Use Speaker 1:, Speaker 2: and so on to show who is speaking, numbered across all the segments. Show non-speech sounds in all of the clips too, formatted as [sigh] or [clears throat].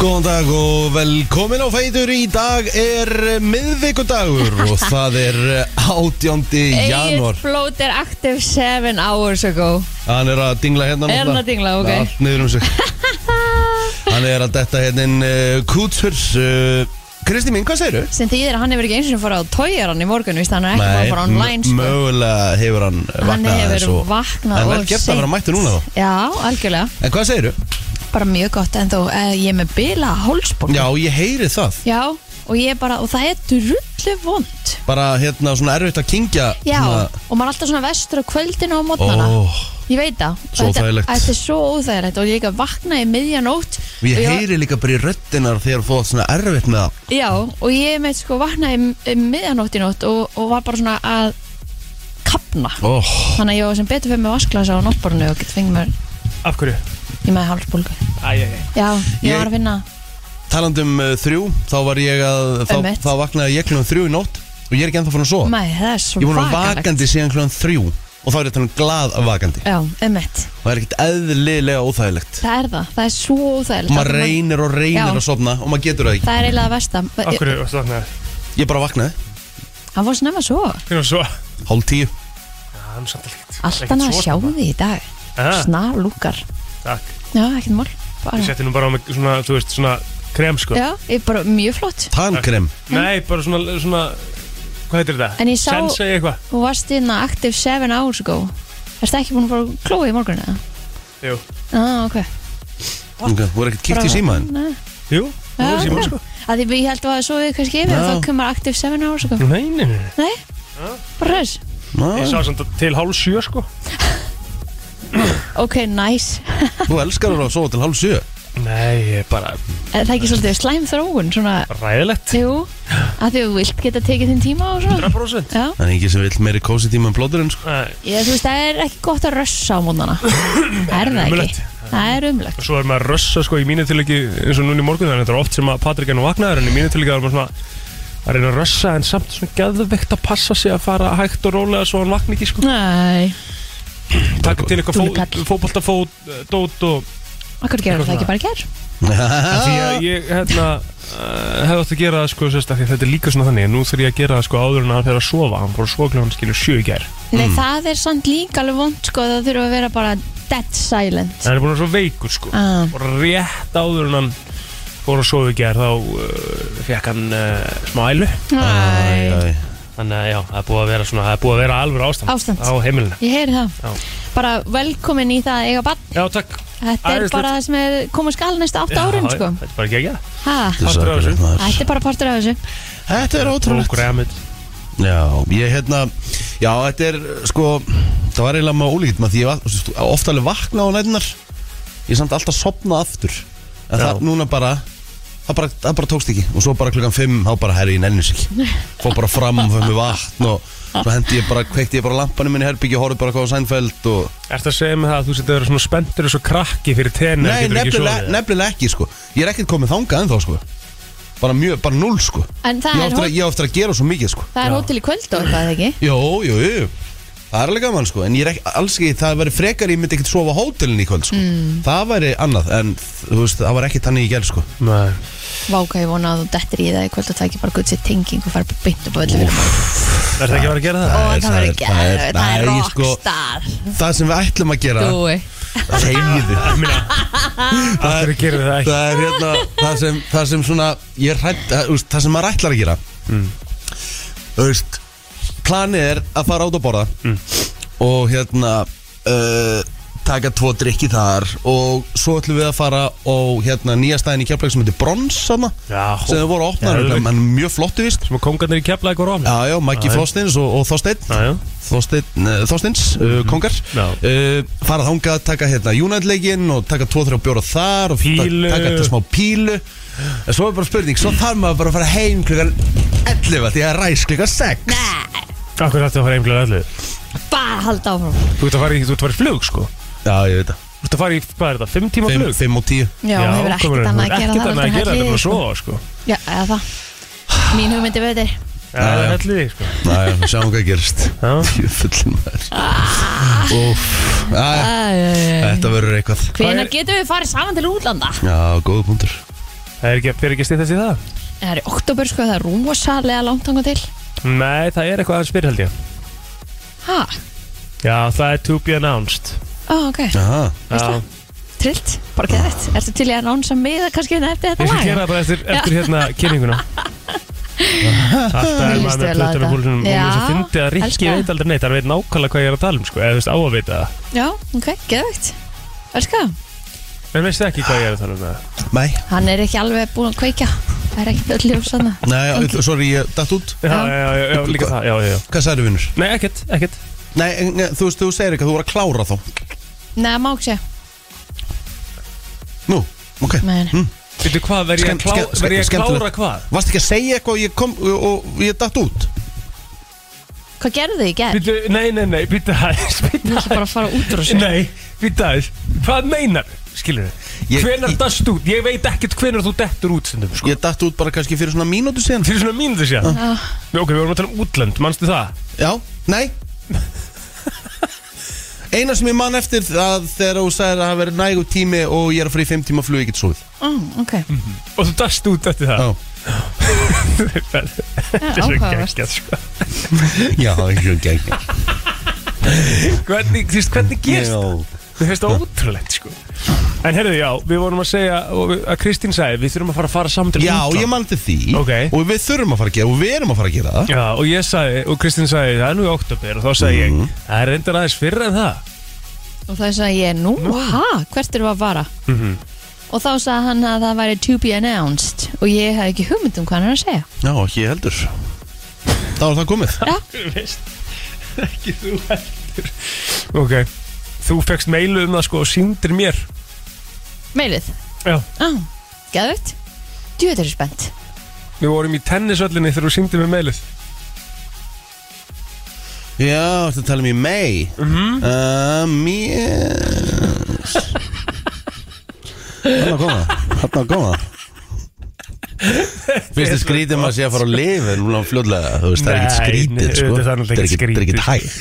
Speaker 1: Góðan dag og velkomin á Fætur Í dag er miðvikudagur
Speaker 2: [laughs]
Speaker 1: og það er eh, 18. janúar
Speaker 2: Egil Blót er active 7 hours ago
Speaker 1: Hann er að dingla hérna
Speaker 2: Er hann
Speaker 1: núna.
Speaker 2: að dingla, ok.
Speaker 1: Allt niður um sig
Speaker 2: [laughs]
Speaker 1: Hann er að detta hérna inn uh, kútur uh, Kristi mín, hvað segirðu?
Speaker 2: sem þýðir að hann hefur ekki eins og fara á tójaran í morgun víst, hann er ekki bara að fara online sko.
Speaker 1: mögulega hefur hann
Speaker 2: hann
Speaker 1: vaknað
Speaker 2: hefur
Speaker 1: aðeins og-
Speaker 2: vaknað
Speaker 1: En vel
Speaker 2: of
Speaker 1: gert að vera
Speaker 2: seint.
Speaker 1: mættu núna þá
Speaker 2: já, algjörlega,
Speaker 1: En hvað segirðu?
Speaker 2: bara mjög gott en þó eh, ég er með bila hálsbólgu
Speaker 1: Já, ég heyri það
Speaker 2: já, og ég er bara, og það er drullu vond
Speaker 1: Bara hérna svona erfitt að kingja
Speaker 2: já, og maður er alltaf svona vestur á kvöldinu og á mótnana
Speaker 1: Ó,
Speaker 2: Ég veit það,
Speaker 1: Svo
Speaker 2: Þetta-
Speaker 1: óþægilegt.
Speaker 2: þetta er svo óþægilegt og ég líka vakna í miðjanótt
Speaker 1: ég
Speaker 2: og
Speaker 1: heyri líka bara í röddinar þegar þú átt svona erfitt með það
Speaker 2: Já, og ég með sko vaknaði um- um miðjanótt í nótt og, og var bara svona að kapna
Speaker 1: oh.
Speaker 2: Þannig að ég var sem betur fyrir með vasklasa á náttborinu og get fengið mér
Speaker 3: Af hverju?
Speaker 2: í með hálsbólgu
Speaker 3: Æj, æj, æj
Speaker 2: Já, ég,
Speaker 1: Ég-
Speaker 2: var að finna
Speaker 1: Talandum uh, þrjú, þá var ég að þá,
Speaker 2: Einmitt.
Speaker 1: þá vaknaði ég kljóðan þrjú í nótt og ég er ekki ennþá fann að sofa
Speaker 2: Mæ, það er
Speaker 1: Ég
Speaker 2: svo
Speaker 1: er búin að vera vakandi síðan kljóðan þrjú og þá er þetta glad vakandi
Speaker 2: Já, emmett,
Speaker 1: Það er ekkert eðlilega óþægilegt
Speaker 2: það er það, það er svo
Speaker 1: og
Speaker 2: óþægilegt
Speaker 1: maður
Speaker 2: Það-
Speaker 1: reynir og
Speaker 2: Já.
Speaker 1: reynir að sofna og maður getur það ekki
Speaker 2: Það er eiginlega verst að
Speaker 3: Af
Speaker 2: versta
Speaker 3: hverju varstu vaknaður?
Speaker 1: Ég bara vaknaði,
Speaker 2: Hann fór snemma svo,
Speaker 3: Hvernig var svo?
Speaker 1: hálf tíu
Speaker 3: Já, hann er samt ekkert
Speaker 2: allt hann að sjá því í dag
Speaker 3: Aha,
Speaker 2: Snar lúkar
Speaker 3: Ah, Takk
Speaker 2: Já, ekkert mál
Speaker 3: Ég
Speaker 2: bara.
Speaker 3: setti nú bara á mig svona, þú veist, svona krem sko
Speaker 2: Já, ég bara mjög flott
Speaker 1: Tankrem,
Speaker 3: Nei, bara svona, svona Hvað heitir þetta?
Speaker 2: En ég sá-
Speaker 3: Sensei eitthvað
Speaker 2: Þú varst inn að Active 7 hours ago Erstu ekki búin að fara að klóa í morgun eða?
Speaker 3: Jú
Speaker 2: Ah, ok
Speaker 1: okay. þú er ekkert kíkt í símaðin
Speaker 2: Nei.
Speaker 3: Jú, þú
Speaker 2: Já,
Speaker 3: er síma
Speaker 2: ok.
Speaker 3: sko
Speaker 2: Að því ég held að það svo við kannski yfir
Speaker 1: Já.
Speaker 2: og þá kemur Active 7 hours ago
Speaker 3: Nei, nei, nei nei.
Speaker 2: Nei, bara hress
Speaker 3: Ég sá samt að til hálf sjö sko
Speaker 2: Ok, nice
Speaker 1: Þú elskar að sofa til hálf sjö
Speaker 3: Nei, ég er bara
Speaker 2: Er það ekki svolítið slæm þróun svona
Speaker 3: ræðilegt
Speaker 2: Jú, að því þú vilt geta tekið þinn tíma og svona
Speaker 3: 100%
Speaker 2: Já,
Speaker 1: Það er ekki sem vill meiri kósi tíma en blóður en sko
Speaker 3: Nei,
Speaker 2: ég, þú veist, það er ekki gott að rössa á mótnana Það er það
Speaker 3: Ömurlegt.
Speaker 2: ekki Það er umlegt
Speaker 3: og svo er maður að rössa sko í mínu tilöki eins og núna í morgun þannig að þetta er oft sem að Patrik er nú vaknaður en í mínu tilöki er maður svona að reyna að rössa en samt svona geðveikt að passa sig að fara hægt og rólega svo hann vakna ekki sko
Speaker 2: Nei,
Speaker 3: taka til eitthvað
Speaker 2: Dúllukall.
Speaker 3: fó, fótboltafót, eh, dót og
Speaker 2: akkur gerur það ekki bara ger
Speaker 3: ah. því að ég hérna uh, hefði átt að gera það sko sérst, af því að þetta er líka svona þannig nú þurf ég að gera það sko áður en hann fyrir að sofa hann fór að sofa kljóðan skilur sjö í gær
Speaker 2: Nei, það er samt líka alveg vond sko það þurfa að vera bara dead silent
Speaker 3: en hann er búin að vera svo veikur sko
Speaker 2: Ah.
Speaker 3: og rétt áður en hann fór að sofa í gær þá uh, fekk hann uh, smá ælu
Speaker 2: Æ.
Speaker 1: Æ, æ.
Speaker 3: Þannig að já, það er búið að vera svona, það er búið að vera alveg ástand
Speaker 2: Ástand.
Speaker 3: Á heimilinu
Speaker 2: Ég heyri það
Speaker 3: Já.
Speaker 2: Bara velkomin í það að eiga bann
Speaker 3: Já, takk
Speaker 2: Þetta er
Speaker 3: Æðislegt.
Speaker 2: bara það sem er koma skal næsta 8 árin
Speaker 3: já,
Speaker 2: sko
Speaker 3: já, Þetta er bara ekki ekki það
Speaker 2: ha,
Speaker 3: Partur af þessu.
Speaker 2: Þetta er bara partur af þessu
Speaker 1: Þetta er ótrúlegt
Speaker 3: Programmið
Speaker 1: Já, ég hérna Já, þetta er sko Það var eiginlega með ólíkt maður Því ég var ofta alveg vakna á nætunar Ég samt alltaf sopna aftur En
Speaker 3: Já.
Speaker 1: það núna bara það, bara það bara tókst ekki Og svo bara klukkan 5 Þá bara herri ég nenni sig
Speaker 2: [laughs]
Speaker 1: ekki. Fór bara fram og fyrir mig vatn Og svo hendi ég bara Kveikti ég bara lampanum minni herbyggi Og horfði bara hvað á sænfæld og
Speaker 3: Ertu að segja mig það að þú setið að vera svona spenntur og svo krakki fyrir tenni
Speaker 1: Nei, nefnilega, nefnilega ekki sko Ég er ekkert komið þangað ennþá sko Bara mjög, bara null sko
Speaker 2: En það
Speaker 1: Ég á
Speaker 2: er,
Speaker 1: eftir að- ég
Speaker 2: hó-
Speaker 1: á eftir að gera svo mikið sko
Speaker 2: það er hótel í kvöld og eitthvað eða ekki
Speaker 1: Jó, jú, jú Það er alveg gaman sko En ég er ekki, alls ekki Það væri frekar ég myndi ekkert sofa á hótelin í kvöld sko Það væri annað En þú veist, það var ekki þannig í gæl sko
Speaker 3: Nei,
Speaker 2: Váka ég vona að þú dettir í það í kvöld og tækir bara gutt sér tenging og fara bara beint upp á öllu fyrir
Speaker 3: það er ekki að vera að gera það
Speaker 2: Og
Speaker 1: er-
Speaker 2: það verður
Speaker 1: er-
Speaker 2: ekki
Speaker 1: það er-
Speaker 2: Það er eh,
Speaker 1: nei, sko,
Speaker 2: rockstar
Speaker 1: Það sem við ætlum að gera
Speaker 2: Dúi
Speaker 1: Þegiðu
Speaker 3: Ég meina, af hverju gerir það ekki?
Speaker 1: Það er hérna Það sem, það sem svona Ég er hrætt Það þú veist, það sem maður ætlar að gera Þú veist Planið er að fara át að borða Og hérna uh, Taka tvo drikki þar Og svo ætlum við að fara á hérna, nýja stæðin í Keflæk sem heitir Brons hana,
Speaker 3: Já,
Speaker 1: sem þau voru að opna
Speaker 3: Já,
Speaker 1: ja, en mjög flottu vist
Speaker 3: Sem að kongarnir í kefla eitthvað ráðan
Speaker 1: Já, já, Maggi
Speaker 3: Já, já.
Speaker 1: Þorsteins og, og Þorsteinn
Speaker 3: Já, já
Speaker 1: Þorsteinn, eh, Þorsteins, uh, kongar
Speaker 3: Já.
Speaker 1: uh, fara þangað, taka hérna United-leikinn og taka 2-3 bjóra þar og ta-
Speaker 3: Pílu.
Speaker 1: taka þetta smá pílu en svo er bara spurning, svo þarf maður bara að fara heim klukkan 11 því að ræs klukkan 6
Speaker 2: Nei,
Speaker 3: Af hverju ætti að fara heimlega öllu?
Speaker 2: bara halda áfram
Speaker 3: Þú ert að fara í, þú ert að fara í flug sko
Speaker 1: Já, ég veit það,
Speaker 3: Þú ert að fara í, hvað er þetta, 5 tíma flug?
Speaker 1: 5 og 10
Speaker 2: Já, hún hefur
Speaker 3: komurinn,
Speaker 2: ekkert annað að gera
Speaker 3: Ekkert
Speaker 2: það
Speaker 3: annað að gera þetta
Speaker 2: hellir
Speaker 3: bara
Speaker 2: þig,
Speaker 3: að sofa sko
Speaker 2: sko. Já, eða það Mín hugmyndi veitir
Speaker 3: Já, það er hellið þig sko
Speaker 1: Næja, við sjáum hvað gerist
Speaker 3: Já.
Speaker 1: Jöfullin maður Úf, að,
Speaker 2: Æ, æ, æ.
Speaker 1: Þetta verður eitthvað
Speaker 2: Hvenær
Speaker 3: er-
Speaker 2: getum við farið saman til útlanda?
Speaker 1: Já, góða punktur
Speaker 3: Það er ekki, fyrir ekki að stýttast í það?
Speaker 2: Það er í oktober sko, það er rosalega langt þangað til
Speaker 3: Nei, það er eitthvað aðeins fyrir held ég
Speaker 2: Ha,
Speaker 3: Já, það er to be announced
Speaker 2: á ok,
Speaker 1: Aha.
Speaker 3: Já,
Speaker 2: Veistla. trillt, bara geða þetta Ertu til í að nánsa með kannski hérna eftir
Speaker 3: Ég
Speaker 2: þetta
Speaker 3: skal
Speaker 2: lag?
Speaker 3: gera það bara eftir, eftir hérna [laughs] kynninguna Alltaf er
Speaker 2: Mér
Speaker 3: maður
Speaker 2: líst
Speaker 3: með
Speaker 2: vel á
Speaker 3: plötuna
Speaker 2: þetta.
Speaker 3: fólkinu og
Speaker 2: Já,
Speaker 3: þess að fyndi að Rikki
Speaker 2: elska.
Speaker 3: veit aldrei neitt, hann veit nákvæmlega hvað ég er að tala um sko, eða þú veist á að vita það
Speaker 2: Já, ok, geðvægt Elska,
Speaker 3: En veistu ekki hvað ég er að tala um það
Speaker 1: Nei,
Speaker 2: hann er ekki alveg búinn að kveikja Það er ekkert öll ljós hana
Speaker 1: nei, okay. sorry, ég datt út
Speaker 3: Já, já, já, já, líka það, já, já, já
Speaker 1: Hvað sagði vinnur?
Speaker 3: Nei, ekkert, ekkert
Speaker 1: Nei, en, eh, þú veist, þú segir eitthvað, þú voru að klára þá
Speaker 2: Nei, má ekki segja
Speaker 1: Nú, ok
Speaker 2: Nei, nei.
Speaker 3: Hm. Veitu hvað, verð ég að
Speaker 1: Skemm-
Speaker 3: klá-
Speaker 1: skemm-
Speaker 3: verð ég að
Speaker 1: skemmtilegt.
Speaker 3: klára hvað?
Speaker 1: Varst ekki að segja eitthvað og ég kom og, og ég datt út
Speaker 2: Hvað gerðu þið í gerð?
Speaker 3: Býtu, nei, nei, nei, býtu aðeins, býtu
Speaker 2: Nú ætla bara að fara út úr þessu
Speaker 3: Nei, býtu aðeins, hvað meinar, skilur þið?
Speaker 1: Ég-
Speaker 3: Hvenar
Speaker 1: ég-
Speaker 3: dast út? Ég veit ekkert hvenar þú dettur út stundum, sko
Speaker 1: Ég datt út bara kannski fyrir svona mínútu síðan
Speaker 3: Fyrir svona mínútu síðan
Speaker 2: Já,
Speaker 3: Við okkur, við vorum að tala um útlönd, manstu það?
Speaker 1: Já,
Speaker 3: [laughs]
Speaker 1: nei Eina sem ég man eftir að þegar þú sagðir að það verið nægur tími og ég er að fara í 5 tíma flug, ég get sofið
Speaker 2: mm, ok
Speaker 3: Og þú dast út eftir það
Speaker 1: Já,
Speaker 2: Já,
Speaker 3: Þetta er svo
Speaker 2: áhugavert.
Speaker 3: geggjað, sko
Speaker 1: já, ekki ekki
Speaker 3: [laughs]
Speaker 1: ekki
Speaker 3: Hvernig, þú veist, hvernig gerst það? Mér finnst það ótrúlegt, sko En herðu, já, við vorum að segja, og við- að Kristín sagði, við þurfum að fara að fara saman til
Speaker 1: Já,
Speaker 3: útlanda.
Speaker 1: ég man til því
Speaker 3: Ok.
Speaker 1: Og við þurfum að fara að gera, og við erum að fara að gera það
Speaker 3: Já, og ég sagði, og Kristín sagði, það er nú í oktober og þá sagði
Speaker 1: Mhm.
Speaker 3: ég, það er reyndar aðeins fyrr en það
Speaker 2: Og þá sagði ég, nú, ha, hvert eru að vara?
Speaker 3: Mhm.
Speaker 2: Og þá sagði hann að það væri to be announced Og ég hafði ekki hugmynd um hvað hann er að segja
Speaker 1: Já, ekki ég heldur Þá er það komið
Speaker 3: Þú veist, [laughs] ekki þú heldur Ok, þú fegst meilu um það sko og síndir mér
Speaker 2: Meilið
Speaker 3: Já
Speaker 2: Á, geðvögt Djöður er spennt
Speaker 3: Við vorum í tennisöllinni þegar þú síndir mér meilið
Speaker 1: Já, þetta tala um í mei mm
Speaker 3: Mhm.
Speaker 1: -hmm. um, yes. Hanna koma Hanna koma Fyrst er skrítið maður sé að fara á lif en núna fljóðlega, þú veist, það er ekkert skrítið sko.
Speaker 3: Það er náttúrulega
Speaker 1: ekkert- Það er ekkert hægt
Speaker 3: skrítið Nei, [laughs]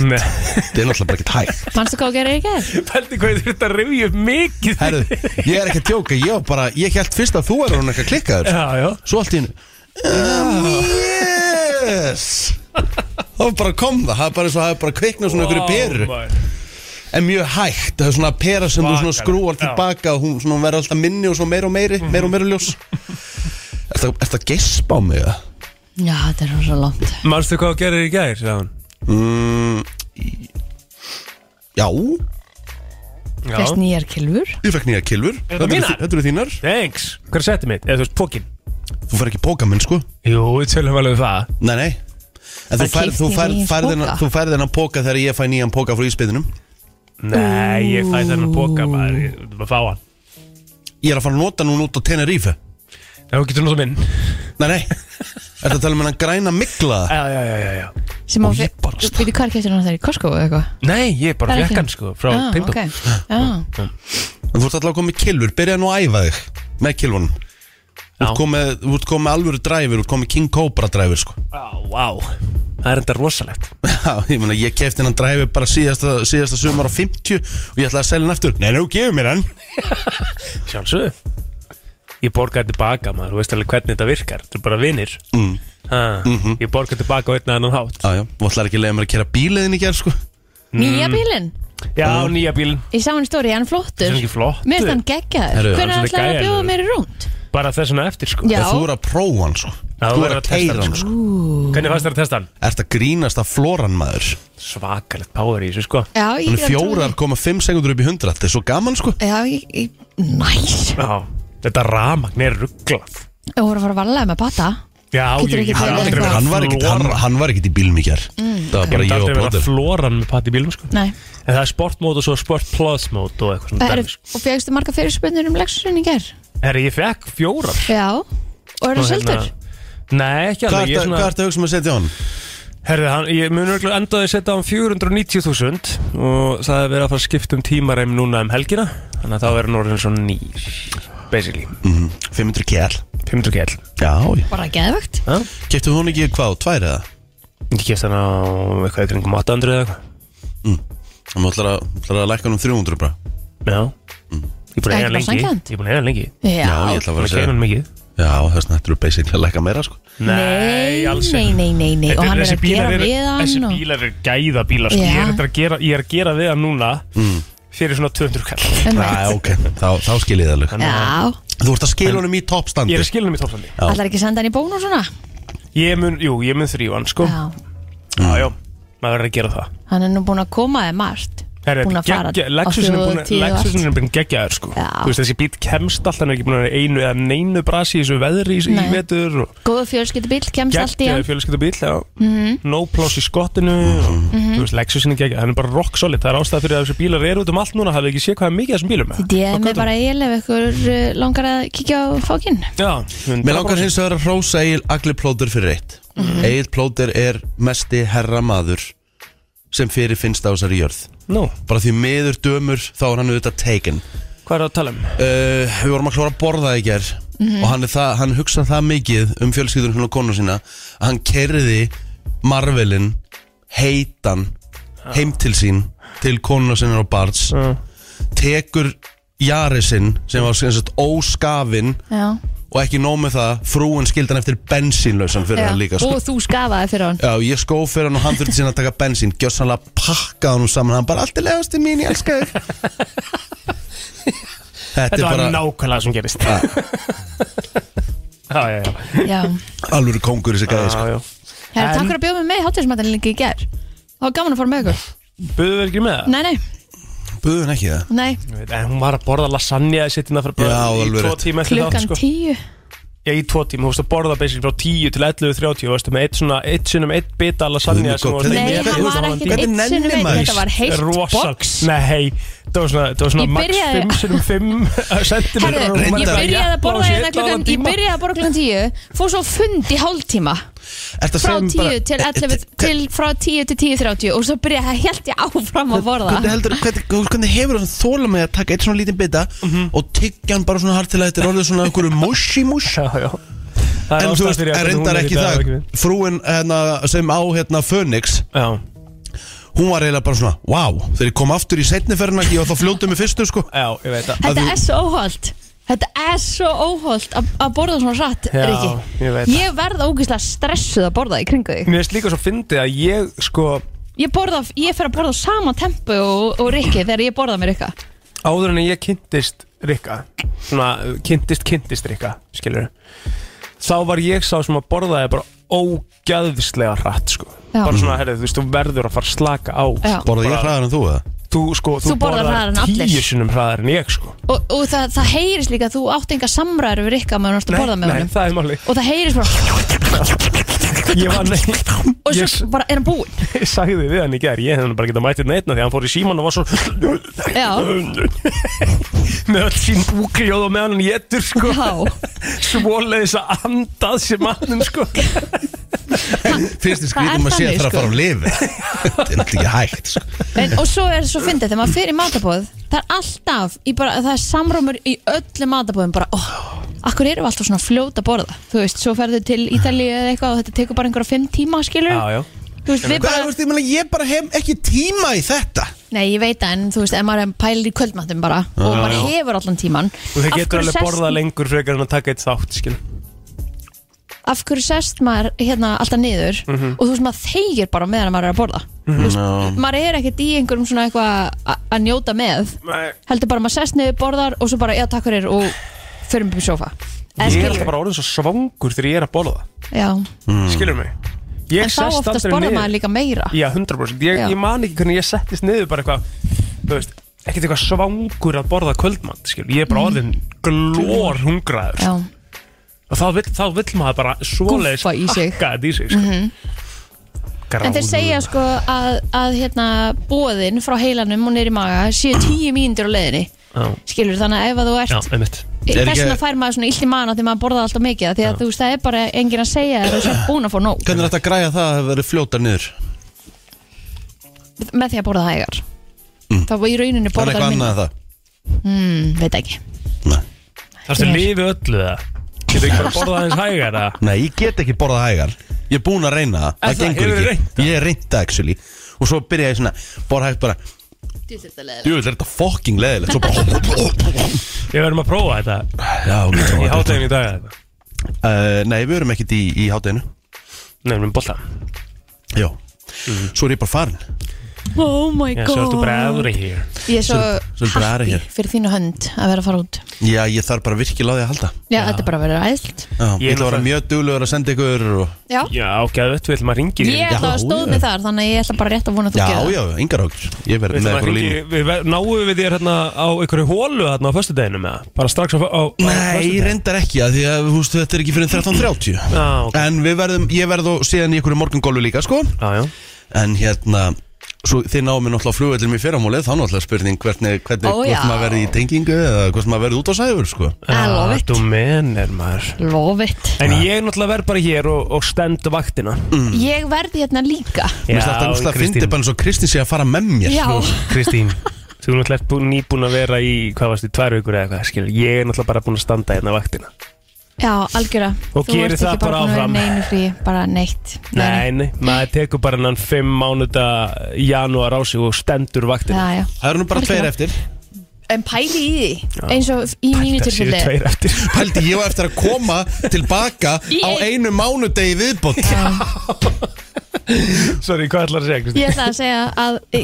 Speaker 1: Það er náttúrulega bara ekkert hægt
Speaker 2: Manstu hvað að gera í gerð?
Speaker 3: pældi hvað þú þetta rifja upp mikið
Speaker 1: Herðu, ég er ekki að tjóka, ég var bara Ég held fyrst að þú er hún ekki að klikka þér
Speaker 3: [laughs] Já, já
Speaker 1: Svo allt í hennu um,
Speaker 3: [laughs]
Speaker 1: Yes Það var bara kom það, það var bara eins og það var bara kviknað svona
Speaker 3: Oh
Speaker 1: ykkur í peru
Speaker 3: Vá, maður.
Speaker 1: En mjög hægt, það er svona pera sem þú svona
Speaker 3: Svakalega,
Speaker 1: skrúar
Speaker 3: já.
Speaker 1: tilbaka og hún svona hún verður alltaf minni og svo meira og meiri, meira og meira ljós
Speaker 3: Mhm.
Speaker 1: Ertu ertu að gespa á mig það?
Speaker 2: Já, þetta er rosa langt
Speaker 3: Manstu hvað þú gerir í gær, sagði hann
Speaker 1: Mm, í- já,
Speaker 2: Fyrst nýjar kilfur
Speaker 1: ég fekk nýja kilfur
Speaker 3: Eru þetta
Speaker 1: eru
Speaker 3: mínar?
Speaker 1: þi- þetta eru þínar
Speaker 3: Thanks Hvað er settið mitt? Eða þú veist, pókin
Speaker 1: Þú fær ekki póka minn sko
Speaker 3: Jú, við tölum alveg um það
Speaker 1: Nei, nei En þú
Speaker 2: Það
Speaker 1: færð
Speaker 2: keypti
Speaker 1: þú
Speaker 2: ég
Speaker 1: færð-
Speaker 2: nýjan
Speaker 1: færð þennan-
Speaker 2: poka.
Speaker 1: þú færð þennan póka þegar ég fæ nýjan póka frá ísbyðinum
Speaker 3: Nei, ég fæ þennan póka maður, ég þú maður fá hann
Speaker 1: Ég er að fara að nota núna út á Tenerife
Speaker 3: Já, þú getur náttúrulega minn
Speaker 1: Nei, nei, ertu að tala um hennan græna mikla
Speaker 3: Já, já, já, já, já
Speaker 2: Sem á
Speaker 1: Og ég
Speaker 2: fyrir
Speaker 1: bara stað-
Speaker 2: Býtu hvað keftir hann það í Costco eða eitthvað?
Speaker 3: Nei, ég bara
Speaker 2: Það er
Speaker 3: fekk
Speaker 2: ekki-
Speaker 3: hann sko frá
Speaker 2: ah,
Speaker 3: Tindó [laughs]
Speaker 2: ok. Ah. Já,
Speaker 1: En þú ert alltaf að koma með kilfur, byrja nú að æfa þig með kilfunum Þú ert
Speaker 3: Já,
Speaker 1: komið, þú ert komið alvöru dræfur, þú ert komið King Cobra dræfur sko [laughs]
Speaker 3: Á, vá Það er enda rosalegt
Speaker 1: Já, ég meina, ég kefti hennan dræfi bara síðasta, síðasta sumar á 50 og ég ætlaði að selja hann aftur Nei, nú, gefur mér hann
Speaker 3: Sjálfsögðu Ég borgaði tilbaka maður, þú veist alveg hvernig þetta virkar Þú er bara vinir
Speaker 1: mm.
Speaker 3: ha, Ég borgaði tilbaka á einn annan hátt
Speaker 1: Já, já, þú ætlaði ekki að leiða mér að kera bíliðin í gerð sko
Speaker 3: Mm.
Speaker 2: Nýja bílinn
Speaker 3: Já, nýja bílinn
Speaker 2: Ég sá hann í stóri, hann er
Speaker 3: Það
Speaker 2: flottur
Speaker 3: Mm. er ekki flott
Speaker 2: Mér er þann geggjaður
Speaker 1: Herru,
Speaker 2: Hvernig
Speaker 3: hann er
Speaker 2: ætlaði að
Speaker 3: gæjar.
Speaker 2: bjóða mér í rúnd?
Speaker 3: Bara þessuna eftir sko
Speaker 2: Já,
Speaker 1: Já, þú er að prófa hann sko
Speaker 3: Já,
Speaker 1: Þú
Speaker 3: þú
Speaker 1: er
Speaker 3: verður
Speaker 1: að
Speaker 3: að testa
Speaker 1: keira
Speaker 3: hann,
Speaker 1: hann sko
Speaker 3: Hvernig fannst þér að testa hann?
Speaker 1: Ert að grínast að flóran maður
Speaker 3: Svakalegt power í þessu sko
Speaker 2: já, ég
Speaker 1: Hann er
Speaker 2: get alveg trúað því.
Speaker 1: fjórar koma fimm sekundur upp í 100 Þetta er svo gaman sko
Speaker 2: Já, ég, ég, næs
Speaker 3: Já, þetta ramagn er rugglað
Speaker 2: Ég voru að fara að varlega með bata
Speaker 3: Já,
Speaker 2: Getur ekki
Speaker 3: ég ég hef
Speaker 2: verið
Speaker 3: aldrei
Speaker 2: eitthvað-
Speaker 3: verið
Speaker 1: Hann var ekkit, hann,
Speaker 3: flóran.
Speaker 1: hann var ekkit í bílum í gerð
Speaker 2: Mm.
Speaker 1: Það var
Speaker 3: Ég
Speaker 1: bara ég
Speaker 3: hef
Speaker 1: og
Speaker 3: aldrei verið að
Speaker 1: bróður
Speaker 3: flóran með patti bílum sko
Speaker 2: Nei
Speaker 3: En það er sportmót og svo sport plus mót og eitthvað svona
Speaker 2: Er,
Speaker 3: dæmis.
Speaker 2: og fegstu marga fyrirspurnir um leksurinn í ger?
Speaker 3: Herri, ég fekk fjórar
Speaker 2: Já Og er
Speaker 3: Og
Speaker 2: það
Speaker 3: hérna-
Speaker 2: seldur?
Speaker 3: Nei, ekki
Speaker 1: Hvað
Speaker 3: alveg ég
Speaker 1: ertu- hvað
Speaker 3: svona,
Speaker 1: ertu að hugsa um að setja á hann?
Speaker 3: Herri, hann, ég mun örgulega endaði að setja á um hann 490.000 Og það er verið að fara að skipta um tímareim núna um helgina Þannig að það verður nú orðin svona nýr Basically,
Speaker 1: Mhm, 500 kjær
Speaker 3: 500 kell
Speaker 1: Já,
Speaker 2: Bara geðvögt
Speaker 1: keftu hún ekki hvað, tvær eða?
Speaker 3: Ég kefst hann á eitthvað í kringum 800 eða eitthvað
Speaker 1: Þannig að ætlar að- ætlar að lækka hann um 300 bara
Speaker 3: Já Ég er búin að
Speaker 2: Það er ekki bara
Speaker 3: eiga hann lengi
Speaker 2: sanngjarnt.
Speaker 3: Ég er búin að eiga hann lengi
Speaker 2: Já,
Speaker 1: Já, ég ætla að
Speaker 3: Það
Speaker 1: fara að
Speaker 3: var að kemur
Speaker 1: segja
Speaker 3: hann mikið
Speaker 1: Já, þess vegna ættir við basically að lækka meira sko
Speaker 3: Nei, alls
Speaker 2: nei,
Speaker 3: ekki.
Speaker 2: nei, nei, nei.
Speaker 3: Þetta
Speaker 2: Og
Speaker 3: er-
Speaker 2: hann er
Speaker 3: þessi
Speaker 2: að gera
Speaker 3: bílar eru-
Speaker 2: við
Speaker 3: Þessi
Speaker 2: hann og...
Speaker 3: bílar eru gæða bílar sko. ég,
Speaker 2: Já.
Speaker 3: er reyndar að gera, ég er að gera við hann núna Fyrir svona 200 kall
Speaker 2: Einmitt.
Speaker 1: Næ, ok, þá, þá skil ég það alveg
Speaker 2: Já,
Speaker 1: Þú ert að skil honum í toppstandi
Speaker 3: Ég er að skilja mig tófstandi
Speaker 1: Já.
Speaker 2: allar ekki að senda hann í bón og svona
Speaker 3: Ég mun, jú, ég mun þrývan sko Já,
Speaker 2: Já,
Speaker 3: já, maður verður að gera það
Speaker 2: hann er nú búin að koma eða margt
Speaker 3: Herri,
Speaker 2: Búin að fara
Speaker 3: Lexusin er búin að Lexusin er búin að gegja þér sko
Speaker 2: Já.
Speaker 3: Þú veist þessi bíl kemst alltaf hann er ekki búin að vera í einu eða neinu brasi í þessu veðri í, í
Speaker 2: Nei.
Speaker 3: vetur og
Speaker 2: Góðu fjölskyldubíl, kemst allt í
Speaker 3: geggjaði
Speaker 2: hann Mhm.
Speaker 3: fjölskyldubíl já. No ploss í skottinu og, Þú veist Lexusin er gegja, hann er bara rock solid Það er ástæða fyrir að þessu bílar eru út um allt núna hafði ekki séð hvað er mikið af þessum bílum
Speaker 2: Þetta er með bara eil ef ykkur uh, langar að kíkja á fókinn
Speaker 3: Já,
Speaker 1: Mér langar hins vegar að hrósa Egil Agli Plóter fyrir eitt mm
Speaker 3: Mhm.
Speaker 1: Egil Plóter er mesti herra maður sem fyrir finnst á þessari jörð
Speaker 3: Nú,
Speaker 1: Bara því miður dömur þá er hann auðvitað taken
Speaker 3: hvað er að tala um?
Speaker 1: uh, Við vorum að klára að borða í ger og hann, er það, hann hugsa það mikið um fjölskyldunum svona konu sína að hann kerði Marvelin heitan heim til sín til konuna sinna og barns
Speaker 3: Uh,
Speaker 1: tekur Jarisinn sem var sem sagt, óskafinn
Speaker 2: Já,
Speaker 1: og ekki nóg með það frúin skildan eftir bensínlausan fyrir hann líka sko.
Speaker 2: og þú skafaði fyrir hann
Speaker 1: Já, ég skóf fyrir hann og hann þurfti síðan að taka bensín Gjössanlega pakkaði hann saman Hann bara, allt er legastu mín, ég elska þig Þetta er
Speaker 3: Þetta var
Speaker 1: bara Ah.
Speaker 3: nákvæmlega sem gerist Já, [laughs] já, já,
Speaker 2: Já,
Speaker 3: [laughs]
Speaker 1: alvöru kongur þessi gæði sko.
Speaker 3: já, já.
Speaker 2: Herra,
Speaker 3: En-
Speaker 2: takk fyrir að bjóða mig með hátíðismættan líka í ger Það var gaman að fara með ykkur
Speaker 3: Buðu við ekki með það?
Speaker 2: Nei, nei,
Speaker 3: Ah.
Speaker 1: Buðu hann ekki það
Speaker 2: nei,
Speaker 3: Ég veit, En hún var að borða lasagna í setjum það fyrir
Speaker 1: Já,
Speaker 3: bara í
Speaker 1: alveg
Speaker 3: tvo
Speaker 1: rétt.
Speaker 3: tíma eftir þátt
Speaker 2: klukkan
Speaker 3: sko.
Speaker 2: tíu
Speaker 3: Já, í tvo tíma, þú veist að borða basically frá 10 til 11.30 og varstu með eitt svona, eitt sinnum, eitt bita lasagna
Speaker 1: Guð minn
Speaker 3: sem
Speaker 1: góð,
Speaker 3: varstu
Speaker 1: hvernig-
Speaker 2: Nei,
Speaker 1: Hvernig-
Speaker 2: hann var
Speaker 1: hvernig
Speaker 2: ekki eitt
Speaker 1: nennir
Speaker 2: sinnum eitt
Speaker 1: maður?
Speaker 2: Þetta var heilt
Speaker 3: rosa,
Speaker 2: box
Speaker 3: nei, það var svona, það var svona
Speaker 2: Ég
Speaker 3: max
Speaker 2: byrjaði-
Speaker 3: 5 sinnum 5 cm
Speaker 2: Herru, ég byrjaði að borða hérna klukkan Ég byrjaði að borða klukkan tíu Fór svo á fund í hálftíma
Speaker 1: Ertu að
Speaker 2: Frá
Speaker 1: segja mér bara-
Speaker 2: tíu til
Speaker 1: Eh,
Speaker 2: 11
Speaker 1: eh,
Speaker 2: Til frá tíu til tíu þrjátíu Og svo byrjaði að held ég áfram að
Speaker 1: Hvernig,
Speaker 2: borða
Speaker 1: heldur, hvernig, hvernig hefur hann þóla með að taka eitt svona lítinn bita
Speaker 3: Mhm.
Speaker 1: og tyggja hann bara svona hart til að þetta er orðið svona einhverju mushi mush
Speaker 3: Já, já [laughs] Það er
Speaker 1: En þú
Speaker 3: ástæða
Speaker 1: veist,
Speaker 3: fyrir að
Speaker 1: er
Speaker 3: hvernig hún
Speaker 1: reyndar
Speaker 3: er í
Speaker 1: ekki
Speaker 3: dag,
Speaker 1: það
Speaker 3: ekki við.
Speaker 1: Frúin hérna, sem á hérna Phoenix
Speaker 3: Já,
Speaker 1: hún var eiginlega bara svona, wow, þegar ég kom aftur í setniferna og þá fljótið mig fyrstu sko
Speaker 3: já, ég veit það
Speaker 2: Þetta
Speaker 1: Að þú-
Speaker 2: er svo óholt Þetta er svo óholt að að borða svona satt
Speaker 3: Já,
Speaker 2: Riki
Speaker 3: ég veit það.
Speaker 2: Ég verð ógeðslega stressuð að borða í kringu þig
Speaker 3: Mér veist líka svo fyndið að ég, sko,
Speaker 2: Ég, borða, ég fer að borða á sama tempu og, og Rikki þegar ég borða mér ykkar
Speaker 3: áður en ég kynntist Rikka svona kynntist kynntist Rikka skilur þá var ég sá sem að borðaði bara ógæðislega hratt sko
Speaker 2: Já.
Speaker 3: bara svona, herri, þú veist, þú verður að fara að slaka á
Speaker 2: Já.
Speaker 3: sko.
Speaker 1: Borða ég
Speaker 3: Bara-
Speaker 1: hraðar en þú eða?
Speaker 3: þú, sko, þú,
Speaker 2: Þú borðar hraðar en allir.
Speaker 3: tíu sinum hraðar en ég sko
Speaker 2: Og, og það, það heyrist líka að þú átt enga samræður við Rikka meðan þú ert að borða með
Speaker 3: nei,
Speaker 2: honum
Speaker 3: það er máli
Speaker 2: Og það heyrist bara
Speaker 3: ég var [laughs] nei,
Speaker 2: Og
Speaker 3: ég
Speaker 2: svo bara er hann
Speaker 3: [laughs]
Speaker 2: búinn
Speaker 3: s- sagði við hann í gerð ég hefði nú bara getað mætið neitna því að hann fór í síman og var svo [laughs]
Speaker 2: Já.
Speaker 3: með öll sín búkljóð og með hann étur sko
Speaker 2: Já
Speaker 3: [laughs] svoleiðis að andað sér mannum sko
Speaker 1: Fyrst er
Speaker 2: það er
Speaker 1: skrítum að sé
Speaker 2: þannig,
Speaker 1: það að
Speaker 2: sko.
Speaker 3: um
Speaker 1: fara á [laughs] lifi Það er ekki hægt sko.
Speaker 2: En, og svo er svo fyndið þegar maður fer í matabóð það er alltaf, í bara, það er samrómur í öllum matabóðum bara, óh, akkur erum við alltaf svona fljóta að borða þú veist, svo ferðu til Ítalíu eða eitthvað og þetta tekur bara einhverja fimm tíma, skilur
Speaker 3: já, já
Speaker 2: þú veist, við
Speaker 1: Hvað, þú
Speaker 2: bara,
Speaker 1: veist, ég, meina, ég bara hef ekki tíma í þetta
Speaker 2: nei, ég veit það en þú veist, ef maður er pælir í kvöldmatum bara og
Speaker 3: Já,
Speaker 2: bara
Speaker 3: já.
Speaker 2: hefur allan tíman
Speaker 3: Og þið
Speaker 2: af
Speaker 3: getur
Speaker 2: hverju
Speaker 3: alveg
Speaker 2: sest-
Speaker 3: borðað lengur frekar en að taka eitt þátt, skil.
Speaker 2: af hverju sest maður hérna alltaf niður
Speaker 3: Mhm.
Speaker 2: og þú veist, maður þeigir bara meðan maður er að borða þú veist, maður er ekkert í einhverjum svona eitthvað að- að njóta með
Speaker 3: Nei.
Speaker 2: heldur bara maður sest niður, borðar og svo bara, já takk fyrir og förum upp í sofa Eða
Speaker 3: Ég er
Speaker 2: skilur.
Speaker 3: alltaf bara orðin svo svangur þegar ég er að borða.
Speaker 2: já,
Speaker 3: Mm. Skilur mig? Ég
Speaker 2: en þá
Speaker 3: sest
Speaker 2: oftast
Speaker 3: aldrei
Speaker 2: borða
Speaker 3: niður.
Speaker 2: maður líka meira
Speaker 3: Já, 100%. Ég,
Speaker 2: Já.
Speaker 3: ég man ekki hvernig ég settist niður bara eitthvað, þú veist, ekkert eitthvað svangur að borða kvöldmann, skil. Ég er bara orðin glór hungraður.
Speaker 2: Hmm. já,
Speaker 3: Og þá vill, þá vill maður bara svoleiðis
Speaker 2: Gúffa í sig.
Speaker 3: hakka þetta í sig, skil. Mm -hmm.
Speaker 2: en þeir segja sko að, að hérna bóðin frá heilanum og neyri maga séu tíu mínútur á leiðinni
Speaker 3: Já,
Speaker 2: skilur þannig að ef að þú
Speaker 3: já,
Speaker 2: ert
Speaker 3: einmitt.
Speaker 1: Er ekki-
Speaker 2: þess vegna fær maður svona illt í manna þegar maður borða alltaf mikið af því að þú veist það er bara enginn að segja þér að þú er búin að fá nóg
Speaker 1: Hvernig er þetta að græja það að það verið fljóta niður?
Speaker 2: með því að borða hægar þá var í
Speaker 1: Mm. Það
Speaker 2: rauninni
Speaker 1: er
Speaker 2: borðar
Speaker 1: eitthvað annað
Speaker 2: minna
Speaker 1: en það
Speaker 2: mm, veit ekki
Speaker 1: Nei.
Speaker 3: Þarstu að lifi öllu það? Getur ekki bara að borða aðeins hægar það?
Speaker 1: Nei, ég get ekki borðað hægar Ég er búin að reyna það,
Speaker 3: Er
Speaker 1: það
Speaker 3: það-
Speaker 1: gengur
Speaker 3: hefurðu reynt
Speaker 1: ekki Ég er reynda actually Og svo byrja ég svona, borða hægt bara Jú, er þetta fucking leðilegt Svo bara
Speaker 3: Við verðum að prófa þetta
Speaker 1: Já, ok,
Speaker 3: í
Speaker 1: prófa þetta.
Speaker 3: hátægin í dag eða eitthvað.
Speaker 1: uh, Nei, við erum ekkert í, í hátæðinu
Speaker 3: Nefnum bolta
Speaker 1: Já
Speaker 3: Mhm.
Speaker 1: Svo er ég bara farin
Speaker 2: Oh my god
Speaker 3: Já, svo ertu bara out of here
Speaker 2: Ég er svo
Speaker 1: svo ertu bara
Speaker 2: happy
Speaker 1: hér.
Speaker 2: fyrir þínu hönd að vera að fara út
Speaker 1: Já, ég þarf bara virkilega á því að halda
Speaker 2: Já, þetta er bara að vera æðslt
Speaker 1: Já, Ég
Speaker 3: Ég
Speaker 1: ætla að vera
Speaker 3: náttúrulega-
Speaker 1: mjög duglegur að senda ykkur og...
Speaker 2: Já,
Speaker 3: Já, gæðu öll, við ætlum að ringi
Speaker 2: ég ætla að
Speaker 1: já,
Speaker 2: stóð
Speaker 1: já.
Speaker 2: mig þar Þannig að ég ætla bara rétt að vona að þú
Speaker 1: Já,
Speaker 2: gerir
Speaker 1: já, yngar okkur Ég verð
Speaker 3: Við
Speaker 1: með
Speaker 3: ætlum að
Speaker 1: ykkur á
Speaker 3: ringi,
Speaker 1: línu
Speaker 3: við ver- náum við þér hérna á einhverju hólu hérna á föstudeginu með það Bara strax á, á, á
Speaker 1: Nei, ég reyndar ekki að því að húst, þetta er ekki fyrir 13.30
Speaker 3: Já, ok
Speaker 1: En við verðum, ég verð og síðan í ykkur morgungólu líka sko
Speaker 3: Já, já
Speaker 1: En hérna, svo, þið náum mér náttúrulega flugvöldum í fyrramálið Þá náttúrulega spurning hvernig, hvernig,
Speaker 2: Ó, já.
Speaker 1: hvort maður verði í tengingu Eða hvort maður verði út á sæfur sko
Speaker 2: I Eh, love
Speaker 3: Ah,
Speaker 2: it.
Speaker 3: Þú mennir maður
Speaker 2: Love it
Speaker 3: En ég náttúrulega verð bara hér og, og stend vaktina
Speaker 2: Ég verði hérna líka
Speaker 1: Mm, Mér finnst alltaf að fyndi bara eins og Kristín sé að fara með mér
Speaker 2: Já,
Speaker 1: sko.
Speaker 3: Kristín Þú er náttúrulega bú- nýbúin að vera í, hvað varst, í tvær vikur eða eitthvað, skilur, ég er náttúrulega bara búin að standa hérna vaktina.
Speaker 2: já algjöra
Speaker 3: Og
Speaker 2: Þú
Speaker 3: gerir
Speaker 2: ert
Speaker 3: það
Speaker 2: ekki bara
Speaker 3: bara
Speaker 2: búin að vera
Speaker 3: áfram.
Speaker 2: í neinu frí, bara neitt
Speaker 3: Nei, nei, maður tekur bara hennan 5 mánuða janúar á sig og stendur vaktina.
Speaker 2: Já, já
Speaker 1: Það eru nú bara tveir eftir
Speaker 2: En pæli í því, eins og í mínu
Speaker 3: Það séu
Speaker 2: tilfelli
Speaker 3: tveir eftir. [laughs]
Speaker 1: Pældi ég á eftir að koma tilbaka
Speaker 2: Í
Speaker 1: á einu mánudegi viðbót
Speaker 3: Sorry, hvað ætlar að segja, Kristín?
Speaker 2: Ég ætla að segja að e,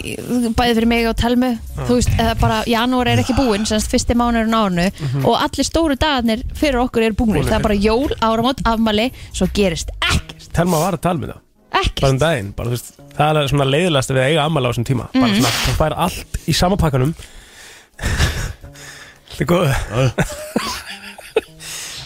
Speaker 2: bæði fyrir mig og Telmu þú veist, eða bara janúar er ekki búinn semst fyrsti mánurinn á árnu
Speaker 3: Mhm.
Speaker 2: og allir stóru dagarnir fyrir okkur eru búinir það er bara jól, áramót, afmæli svo gerist ekkert,
Speaker 3: Telma var að tala með það, bara
Speaker 2: ekkert
Speaker 3: um daginn, bara þú veist, það er svona leiðilegast við að eiga ammala á þessum tíma. Bara svona, það fær allt í sama pakkanum. [laughs] Það er góð.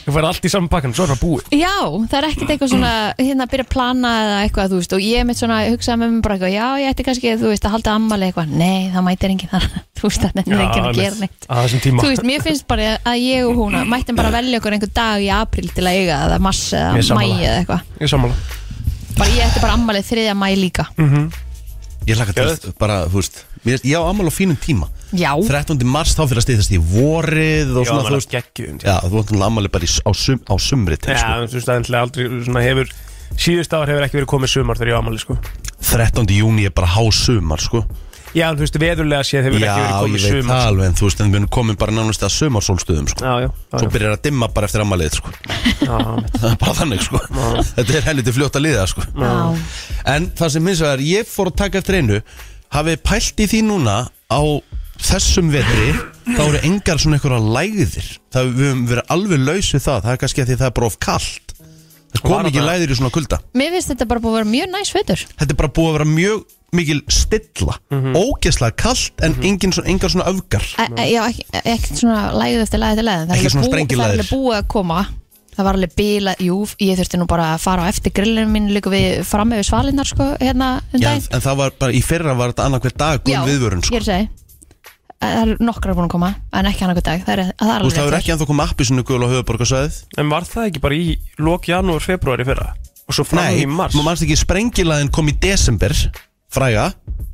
Speaker 3: Það fær allt í sama pakkanum, svo er það búið.
Speaker 2: Já, það er ekkert eitthvað svona hérna að byrja að plana eða eitthvað þú veist og ég mitt svona hugsaði með mér bara eitthvað já, ég ætti kannski þú veist að halda ammali eitthvað nei, það mætir enginn þar [laughs] þú veist, það er enginn að gera neitt
Speaker 3: Á þessum tíma.
Speaker 2: Þú veist, mér finnst bara að ég og hún mættum bara velja okkur einhver dag í april til að eiga það, eða mars
Speaker 3: Ég
Speaker 2: eða
Speaker 3: er
Speaker 2: mæ
Speaker 3: sammála.
Speaker 2: eða eitthvað
Speaker 3: Ég er sammála.
Speaker 2: bara ég ætti bara ammalið þriðja mæ líka
Speaker 1: Mm. Ég laka til bara, þú veist mér- Ég á amal á fínum tíma
Speaker 2: já,
Speaker 1: 13. mars þá fyrir að stýðast í vorið og svona, þú veist
Speaker 3: geggjum.
Speaker 1: Já, þú vantum ammali bara í, á, sum, á sumri til,
Speaker 3: Já,
Speaker 1: sko.
Speaker 3: þú veist, það er náttúrulega aldrei svona hefur Síðust ár hefur ekki verið komið sumar þegar ég á ámali, sko
Speaker 1: 13. júni er bara há sumar sko.
Speaker 3: Já, en þú veist, veðurlega séð hefur
Speaker 1: Já,
Speaker 3: ekki verið
Speaker 1: ég
Speaker 3: komið
Speaker 1: veit það
Speaker 3: sumar sko.
Speaker 1: alveg En þú veist, en við erum komin bara nánast að sumarsólstöðum sko.
Speaker 3: Já, já, já,
Speaker 1: Svo byrjar að dimma bara eftir ammalið sko.
Speaker 3: já, já,
Speaker 1: [laughs] Það er bara þannig sko. Þetta er helviti fljótt að liða sko.
Speaker 2: Já.
Speaker 1: En það sem minnst vegar, ég fór að taka eftir einu Hafið pælt í því núna á þessum vetri Þá eru engar svona einhverja lægðir Það við höfum verið alveg laus við það Það er kannski að því það er bara of kalt Það
Speaker 3: Sko, Var
Speaker 1: kom ekki
Speaker 3: það?
Speaker 1: lægðir í svona kulda
Speaker 2: mér finnst þetta bara búið að vera mjög næs veitur
Speaker 1: Þetta er bara búið að vera mjög mikil stilla
Speaker 2: Mhm.
Speaker 1: Ógeðslega kalt en engin, svona- engar svona öfgar
Speaker 2: E- já, ekki- ekkert svona lægð eftir lægð eftir lægð en það er
Speaker 1: Ekki
Speaker 2: alveg
Speaker 1: svona
Speaker 2: búið- það er
Speaker 1: sprengjulægðir.
Speaker 2: alveg búið að koma það var alveg bila, jú, ég þurfti nú bara að fara á eftir grillinu mín líka við fram yfir svalinnar sko, hérna um
Speaker 1: Já,
Speaker 2: daginn
Speaker 1: en en það var bara, í fyrra var þetta annað hver dag Guð viðvörun
Speaker 2: ég
Speaker 1: sko
Speaker 2: er að segja það er nokkrar búin að koma, en ekki hann okkur dag það er, það er
Speaker 1: Þú veist,
Speaker 2: alveg
Speaker 1: það er
Speaker 2: rétt.
Speaker 1: ekki ennþá komið appi sinni gul á höfuborgarsæðið
Speaker 3: En var það ekki bara í lok janúar, februar í fyrra? Og svo fram
Speaker 1: Nei,
Speaker 3: í mars
Speaker 1: maður mannst ekki sprengilaðin kom í desember fræga,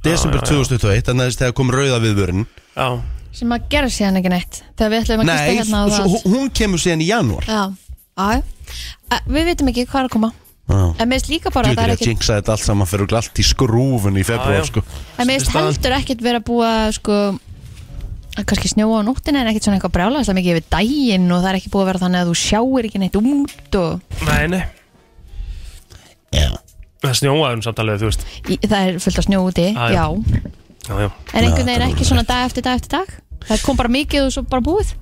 Speaker 1: desember 2021 þannig að þegar kom rauða viðvörun
Speaker 3: Já,
Speaker 2: sem að gera síðan ekki neitt þegar við ætlum að gista
Speaker 1: Nei,
Speaker 2: hérna á
Speaker 1: og
Speaker 2: það
Speaker 1: svo, hún- hún kemur síðan í janúar
Speaker 2: já, já, Eh, við vitum ekki hvað er að koma
Speaker 1: Þú
Speaker 2: en mér finnst líka bara að
Speaker 1: veit
Speaker 2: það er
Speaker 1: ekki að
Speaker 2: ekki
Speaker 1: jinxa þetta allt saman fyrir allt í skrúfun í
Speaker 3: Já,
Speaker 1: februar
Speaker 3: já.
Speaker 1: sko.
Speaker 2: En mér finnst
Speaker 3: Staðan-
Speaker 2: heldur ekkert vera búið að sko að kannski snjóa á nóttina en ekkert svona eitthvað brjálæðast að mikið yfir daginn og það er ekki búið að vera þannig að þú sjáir ekki neitt út og
Speaker 3: nei, nei
Speaker 1: Já.
Speaker 3: Það snjóaði um samtalið, þú veist
Speaker 2: í, það er fullt af snjó úti,
Speaker 3: Ah, Já, já.
Speaker 2: já
Speaker 3: Já, já
Speaker 2: en einhvern veginn ekki svona dag eftir dag eftir dag það kom bara mikið og svo bara búið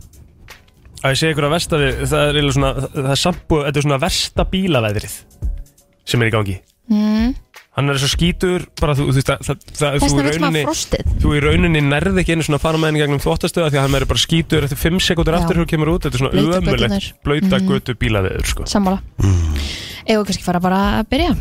Speaker 3: Að ég segi ykkur að vestari, það er eiginlega svona Það er samt búið, þetta er svona versta bílaveðrið Sem er í gangi
Speaker 2: mm.
Speaker 3: Hann er svo skítur, bara þú, þú veist það, það, það,
Speaker 2: þess
Speaker 3: þú í
Speaker 2: vegna vil
Speaker 3: rauninni-
Speaker 2: maður frostið
Speaker 3: þú í rauninni nærði ekki einu svona að fara með henni gegnum þvóttastöða því að hann verður bara skítur eftir 5 sekúndur
Speaker 2: Já.
Speaker 3: eftir hún kemur út þetta er svona
Speaker 2: Blautar
Speaker 3: ömulegt
Speaker 2: göturnar. Mm.
Speaker 3: blöyta götu bílaveður sko.
Speaker 2: sammála eða kannski fara bara að byrja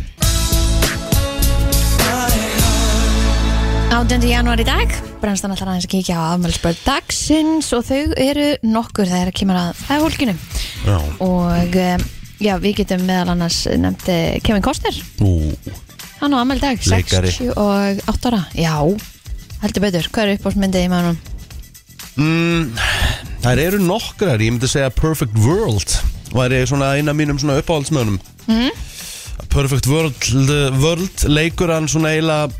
Speaker 2: 8. janúar í dag brennstan allar aðeins að kíkja á afmælspörð dagsins og þau eru nokkur þegar að kemur að það fólkinu
Speaker 1: Já.
Speaker 2: og eh, já, við getum meðal annars nefnt eh, Kevin Costner
Speaker 1: Ú,
Speaker 2: hann á afmæli í dag,
Speaker 1: Leikari.
Speaker 2: 68 ára já, heldur betur, hvað er uppáhaldsmyndið í mannum?
Speaker 1: Mm, þær eru nokkrar, ég myndi segja Perfect World væri svona eina mínum svona uppáhaldsmönum mm. Perfect World, World leikur hann svona eiginlega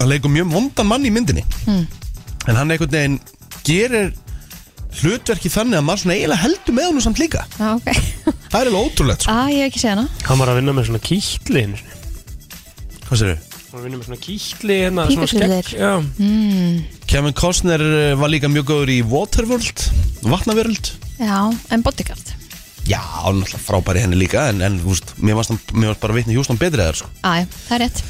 Speaker 1: hann leikur mjög vondan mann í myndinni en hann einhvern veginn gerir hlutverki þannig að maður svona eiginlega heldur með honum samt líka
Speaker 2: Já, [laughs] ok
Speaker 1: Það er alveg ótrúlegt sko.
Speaker 2: Á, ég hef ekki séð hana
Speaker 3: Hann var að vinna með svona kýtli einu sinni.
Speaker 1: Hvað sér þau?
Speaker 3: Hann var að vinna með svona kýtli hérna, svona
Speaker 2: Píkutrillir.
Speaker 3: skegg Já,
Speaker 1: Kevin Costner eh, var líka mjög góður í Waterworld Vatnaveröld
Speaker 2: Já, en bodyguard
Speaker 1: Já, hann er náttúrulega frábæri henni líka En, en þú veist, mér varst, hann- mér varst bara vitni hjústan betri eða sko.
Speaker 2: Á, já, það er rétt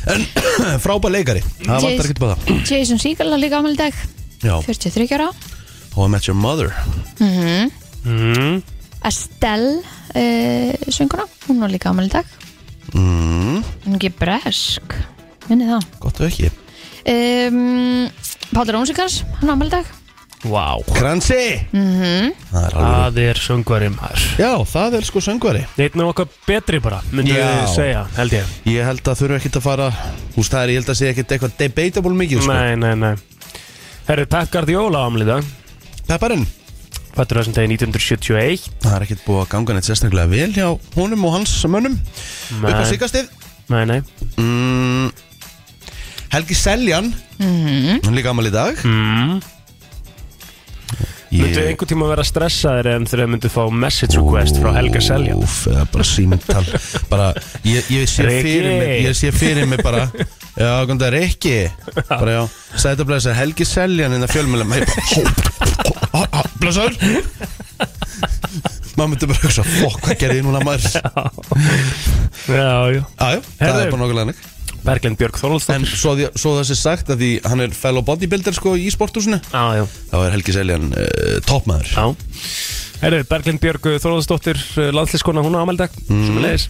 Speaker 1: En frábæri leikari Það
Speaker 2: Jason-
Speaker 1: vantar ekki bæða
Speaker 2: Jason Segel er líka ámæli dag
Speaker 1: Já,
Speaker 2: 43 ára
Speaker 1: How I Met Your Mother
Speaker 3: mm.
Speaker 2: Estelle uh, sönguna, hún var líka ámæli dag
Speaker 1: mm,
Speaker 2: Hún er ekki bresk Minni það
Speaker 1: Gott og ekki
Speaker 2: um, Pátur Rónsikars, hann ámæli dag
Speaker 3: Vá,
Speaker 1: Kransi Það er alveg
Speaker 3: það er söngvari maður
Speaker 1: Já, það er sko söngvari
Speaker 3: Neitt með okkar betri bara, myndi
Speaker 1: Já.
Speaker 3: ég segja, held ég
Speaker 1: Ég held að þurfa ekkit að fara Húst, það er, ég held að segja ekkit eitthvað debatable mikið sko.
Speaker 3: Nei, nei, nei Herri, Pep Guardiola ámlið það
Speaker 1: Pepparinn
Speaker 3: Fættur þessum degi 1971
Speaker 1: Það er ekkert búið að ganga neitt sérstaklega vel hjá honum og hans mönnum upp á
Speaker 3: Nei.
Speaker 1: sigastið
Speaker 3: Nei, nei
Speaker 1: mm, Helgi Seljan mm -hmm. líka amal í dag
Speaker 3: mm. Myndu einhvern tíma vera stressaðir en þegar myndu fá message request frá Helga Selja
Speaker 1: Úff, eða bara símtal bara, ég, ég, sé
Speaker 3: Rikki.
Speaker 1: fyrir mig, ég sé fyrir mig bara Já, kom það er ekki bara já, sætt að blæsa Helgi Seljan hérna en það fjölmjöla mig Blæsaður maður myndi bara hugsa, fokk, hvað gerði ég núna maður
Speaker 3: Já, já
Speaker 1: Já, já, það
Speaker 3: Herðu.
Speaker 1: er bara nokkulega nekk
Speaker 3: Berglind
Speaker 1: En
Speaker 3: Björg Þorvaldsdóttir
Speaker 1: svo, því, svo það sé sagt að því hann er fellow bodybuilder sko í sporthúsinu
Speaker 3: Já, já,
Speaker 1: Þá er Helgi Seljan uh, topmaður
Speaker 3: já Herri, Berglind Björg Þorvaldsdóttir landslískona, hún á ámeldag mm. sem er leiðis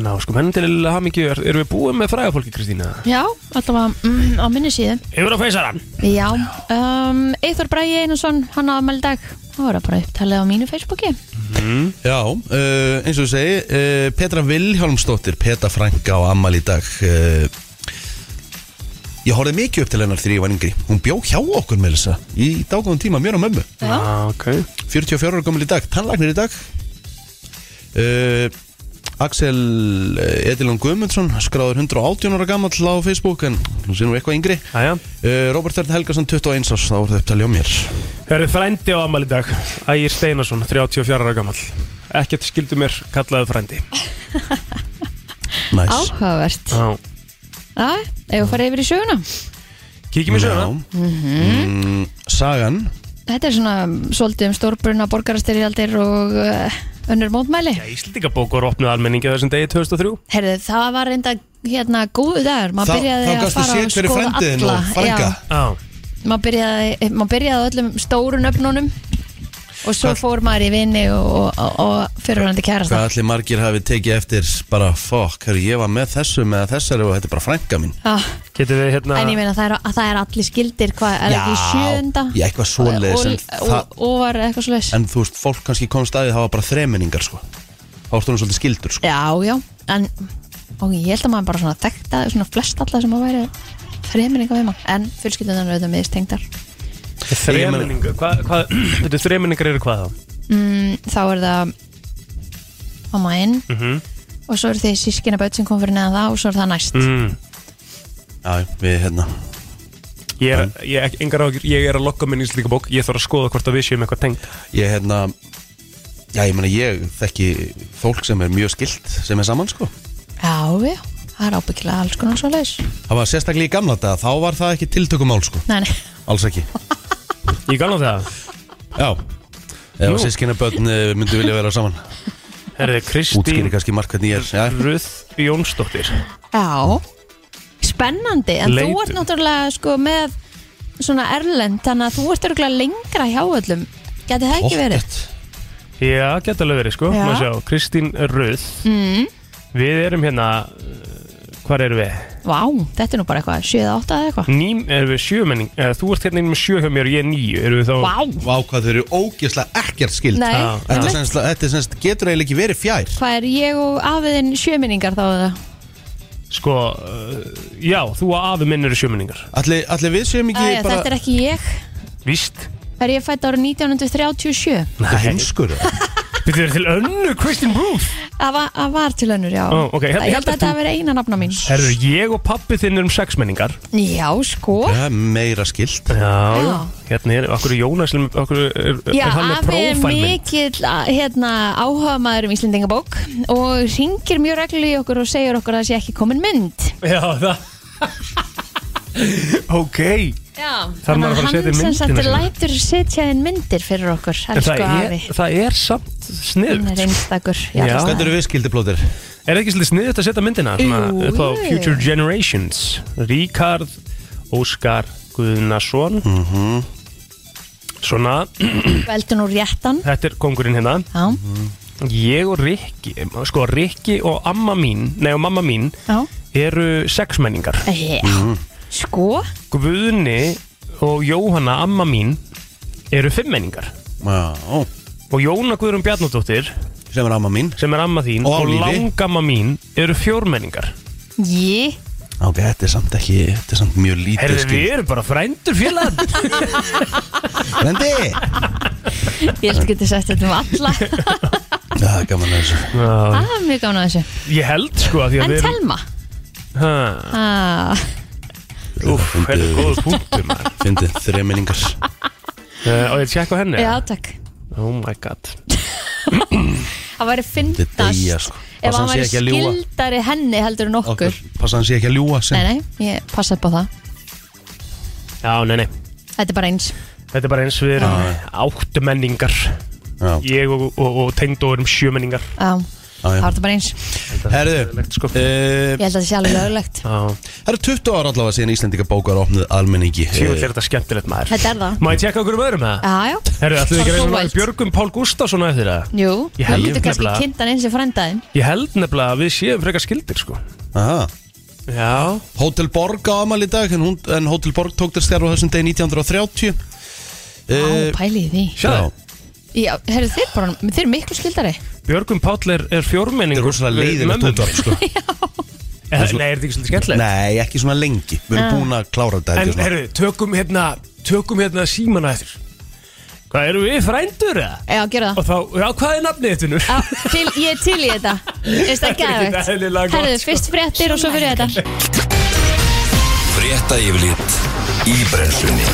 Speaker 3: Ná, sko, menn til hamingju er, erum við búin með frægafólki, Kristína?
Speaker 2: Já, allavega mm, á minni síðu
Speaker 3: Yfir á feysaran
Speaker 2: Já, um, Eithor Bræi Einarsson, hann ámæli dag Það var bara upptalið á mínu Facebooki
Speaker 1: Já, uh, eins og þú segi uh, Petra Vilhjálmsdóttir, Petra Franka á Amal í dag uh, Ég horfði mikið upp til hennar þegar ég var yngri Hún bjó hjá okkur með þessa Í dágóðum tíma, mér og mömmu
Speaker 2: Já,
Speaker 3: ah, ok
Speaker 1: 44 ára gömul í dag, tannlagnir í dag uh, Axel eh, Edilon Guðmundsson skráður 118 ára gamall á Facebook en hún sé nú eitthvað yngri
Speaker 3: Jæja.
Speaker 1: uh, Robert Þörn Helgarsson 21 árs, þá er það upptalið á mér
Speaker 3: Herri, frændi á amal í dag Ægir Steinarsson, 34 ára gammal Ekkert skildu mér, kallaði frændi
Speaker 1: Næs
Speaker 2: áhugavert
Speaker 3: Já
Speaker 2: Já, ef við farið yfir í söguna
Speaker 3: Kíkjum í
Speaker 1: Já.
Speaker 3: söguna
Speaker 1: mm, Sagan
Speaker 2: Þetta er svona mm, svolítið um stórbruna borgarastyrjaldir og uh, önnur mótmæli
Speaker 3: Íslendingabók var opnuð almenningi á þessum degi 2003
Speaker 2: Herðu, það var reynda hérna góðu dagur, maður
Speaker 1: Þá-
Speaker 2: byrjaði
Speaker 1: þá
Speaker 2: að
Speaker 1: gastu
Speaker 2: fara
Speaker 1: séð
Speaker 2: og
Speaker 1: hver er
Speaker 2: skoða
Speaker 1: frændinn
Speaker 2: alla
Speaker 1: og frænka.
Speaker 3: Já
Speaker 2: Já, maður byrjaði, maður byrjaði á öllum stóru nöfnunum og svo fór maður í vini og, og, og, og fyrirhandi kærasta
Speaker 1: Hvað allir margir hafi tekið eftir bara fokk, herri, ég var með þessu með þessari og þetta er bara frænka mín
Speaker 2: Já,
Speaker 3: Getur við hérna
Speaker 2: en ég meina það er, að það er allir skildir, hvað er ekki í sjönda
Speaker 1: Já, eitthvað svoleiðis en,
Speaker 2: og,
Speaker 1: það-
Speaker 2: og, og var eitthvað svoleiðis
Speaker 1: en þú veist, fólk kannski komst að því það var bara þremenningar sko Þá ertu hún svolítið skildur sko
Speaker 2: Já, já, en og ég held að maður bara svona þekkta svona flest alla sem að væri fremninga við mann en fjölskyldunar eru auðvitað miðstengdar
Speaker 3: Þremenningu Hvað, [clears throat] hvað, veitu, þremenningar eru hvað þá?
Speaker 2: mm, þá er það mamma inn og svo eru þeir sískina böt sem kom fyrir neðan það og svo er það næst
Speaker 3: Mm.
Speaker 1: Já, við hérna
Speaker 3: Ég er, ég, ek- engar ágjur, ég er að lokka minn í Íslendingabók Ég þarf að skoða hvort að við séum eitthvað tengt
Speaker 1: Ég hérna Já, ég meina ég þekki fólk sem er mjög skilt sem er saman sko
Speaker 2: Já, já, það er ábyggilega alls konar svo leis
Speaker 1: Það var sérstaklega í gamla daga, þá var það ekki tiltökumál sko
Speaker 2: Nei, nei,
Speaker 1: Alls ekki
Speaker 3: Ég gana það
Speaker 1: Já Ef
Speaker 3: Jú.
Speaker 1: sískinabötn myndu vilja vera saman
Speaker 3: Herri,
Speaker 1: Útskýri
Speaker 3: Kristín
Speaker 1: kannski margt hvernig ég er Já,
Speaker 3: Ruð Jónsdóttir
Speaker 2: já Spennandi, en þú
Speaker 3: Leitum.
Speaker 2: ert náttúrulega sko með svona erlend þannig að þú ert örgulega lengra hjá öllum Gæti það ekki verið?
Speaker 1: pottþétt.
Speaker 3: Já, geta alveg verið sko
Speaker 2: Já.
Speaker 3: Má sjá, Kristín Ruð
Speaker 2: Mm.
Speaker 3: Við erum hérna Hvar erum við?
Speaker 2: Vá, þetta er nú bara eitthvað, 7 eða 8 eða eitthvað
Speaker 3: Ným, erum við sjömenning eða, Þú ert hérna inn með sjö hjá mér og ég er nýju Erum við þá
Speaker 2: Vá,
Speaker 1: Vá, hvað þau eru ógeðslega ekkert skild
Speaker 2: nei,
Speaker 3: Já,
Speaker 1: Þetta,
Speaker 2: einmitt.
Speaker 1: er semst, þetta er semst, getur eiginlega ekki verið fjær
Speaker 2: Hvað er ég og afiðin sjöminningar þá eða?
Speaker 3: Sko, uh, já, þú og afi minn eru sjömenningar
Speaker 1: Allir, allir við séum ekki
Speaker 2: Æja,
Speaker 1: bara
Speaker 2: Þetta er ekki ég
Speaker 3: Víst?
Speaker 2: Er ég fætt ára 1937?
Speaker 1: Þetta er heimskur eða?
Speaker 3: Við erum til önnu Kristin Booth
Speaker 2: Það var, það var til önnur, já
Speaker 3: Ó, ok,
Speaker 2: Það- Ég
Speaker 3: hérna-
Speaker 2: held
Speaker 3: hérna
Speaker 2: að
Speaker 3: ertu-
Speaker 2: þetta að vera eina nafna mín
Speaker 3: Herðu, ég og pappi þinn erum sexmenningar
Speaker 2: Já, sko
Speaker 1: Það er meira skilt
Speaker 3: Já, já
Speaker 2: Já.
Speaker 3: Hérna er, okkur er Jónas Okkur er, er,
Speaker 2: Já,
Speaker 3: er hann með
Speaker 2: afi er
Speaker 3: prófæl minn
Speaker 2: mikill a- hérna, áhuga maður um Íslendingabók og ringir mjög reglulega í okkur og segir okkur að það sé ekki komin mynd
Speaker 3: Já,
Speaker 2: [laughs]
Speaker 3: það Ok
Speaker 2: Já,
Speaker 3: Þarf maður að fara að setja hérna,
Speaker 2: hann sem
Speaker 3: myndina
Speaker 2: sagt
Speaker 3: sína?
Speaker 2: lætur setja inn myndir fyrir okkur
Speaker 3: En
Speaker 2: Elsku
Speaker 3: það er,
Speaker 2: afi,
Speaker 3: það er samt
Speaker 2: hann
Speaker 3: sniðut
Speaker 2: er einstakur
Speaker 3: Já.
Speaker 2: það-
Speaker 1: Hvernig eru við skildiblóðir?
Speaker 3: Er ekki svolítið sniðut að setja myndina svona,
Speaker 2: Jú,
Speaker 3: upp á
Speaker 2: jú.
Speaker 3: Future Generations Ríkard Óskar Guðnason Svona,
Speaker 2: Veldu nú réttan
Speaker 3: þetta er kongurinn hérna
Speaker 2: Já,
Speaker 3: Ég og Rikki Sko, Rikki og amma mín Nei, og mamma mín
Speaker 2: já,
Speaker 3: eru sexmenningar
Speaker 2: já
Speaker 3: Mhm.
Speaker 2: Sko,
Speaker 3: Guðni og Jóhanna, amma mín eru fimmmenningar
Speaker 1: Já,
Speaker 3: og Jóna Guðrún Bjarnadóttir
Speaker 1: sem er amma mín
Speaker 3: sem er amma þín
Speaker 1: Og á
Speaker 3: og,
Speaker 1: lífi.
Speaker 3: langamma mín eru fjórmenningar
Speaker 2: ég
Speaker 1: Ok, þetta er samt ekki, þetta er samt mjög lítið
Speaker 3: Herðu, við erum bara frændur félag
Speaker 1: Vendi!
Speaker 2: Ég held ekki að setja þetta um alla [laughs]
Speaker 1: Já, það er gaman að þessu
Speaker 2: Það er mjög gaman að þessu
Speaker 3: Ég held sko að því að
Speaker 2: En
Speaker 3: við erum
Speaker 2: Telma
Speaker 3: Ha,
Speaker 2: ah,
Speaker 3: Úff, hvernig
Speaker 1: Fyndið-
Speaker 3: góður punktum [laughs]
Speaker 1: Fyndið þreminningar
Speaker 3: uh, Og ég tjekka á henni
Speaker 2: Já, takk
Speaker 3: Oh my god
Speaker 2: Það væri
Speaker 1: Þetta er degja,
Speaker 2: fyndast
Speaker 1: sko.
Speaker 2: Ef
Speaker 1: Passa hann sé
Speaker 2: hann væri
Speaker 1: ekki að ljúga.
Speaker 2: skildari henni heldur en okkur
Speaker 1: Passa hann sé ekki að ljúa sem
Speaker 2: Nei, nei, ég passa upp á það
Speaker 3: Já, nei, nei
Speaker 2: Þetta er bara eins
Speaker 3: Þetta er bara eins við erum áttumenningar
Speaker 1: Já,
Speaker 3: Ég og, og, og tengdó erum sjömenningar
Speaker 2: Já,
Speaker 1: já,
Speaker 2: það
Speaker 1: já
Speaker 2: var þetta bara eins
Speaker 1: Herðu,
Speaker 3: Sko
Speaker 1: eh,
Speaker 2: Ég held að þetta sé alveg löglegt
Speaker 3: Já,
Speaker 1: það eru 20 ára allavega síðan Íslendinga bókar opnuð almenningi
Speaker 3: tjóðlega er þetta skemmtilegt maður
Speaker 2: Þetta er það
Speaker 3: Má ég tjekka okkur um öðrum eða?
Speaker 2: Já, já
Speaker 3: Herru, ætlum við ekki að reyna
Speaker 2: Svo
Speaker 3: að
Speaker 2: vælt.
Speaker 3: ná í Björgum Pál Gustafsson eftir það?
Speaker 2: Jú,
Speaker 3: Ég
Speaker 2: hann
Speaker 3: held
Speaker 2: getur kannski
Speaker 3: nefnilega-
Speaker 2: kynntan eins og frændaðin
Speaker 3: Ég held nefnilega að við séum frekar skildir sko
Speaker 1: Aha.
Speaker 3: Já
Speaker 1: Hótel Borg á amal í dag en, hún, en Hótel Borg tók þér stjárf á þessum degi 1930
Speaker 2: Á,
Speaker 1: uh,
Speaker 2: pæli í því
Speaker 3: Sjáðu,
Speaker 2: Já, herru, þeir bara, þeir eru miklu skildari
Speaker 3: Björgum Páll er, er fjórmenning
Speaker 1: Þetta er rosalega leiðilegt útvarp sko.
Speaker 3: Eh, Nei, er þetta ekki svolítið skemmtilegt?
Speaker 1: Nei, ekki svona lengi Við erum búin að klára þetta
Speaker 3: En
Speaker 1: held ég, svona.
Speaker 3: herru, tökum hérna Tökum hérna símana eftir Hvað eru við frændur eða?
Speaker 2: Já, gera það
Speaker 3: Og þá, já hvað er nafnið þetta nú?
Speaker 2: Já, til, ég er til í þetta Veist það
Speaker 3: Þetta er ekkert
Speaker 2: geðvegt
Speaker 3: eðlilega gott,
Speaker 2: Herðu,
Speaker 3: sko.
Speaker 2: fyrst fréttir og svo fyrir þetta
Speaker 4: Frétta yfirlit í brennslunni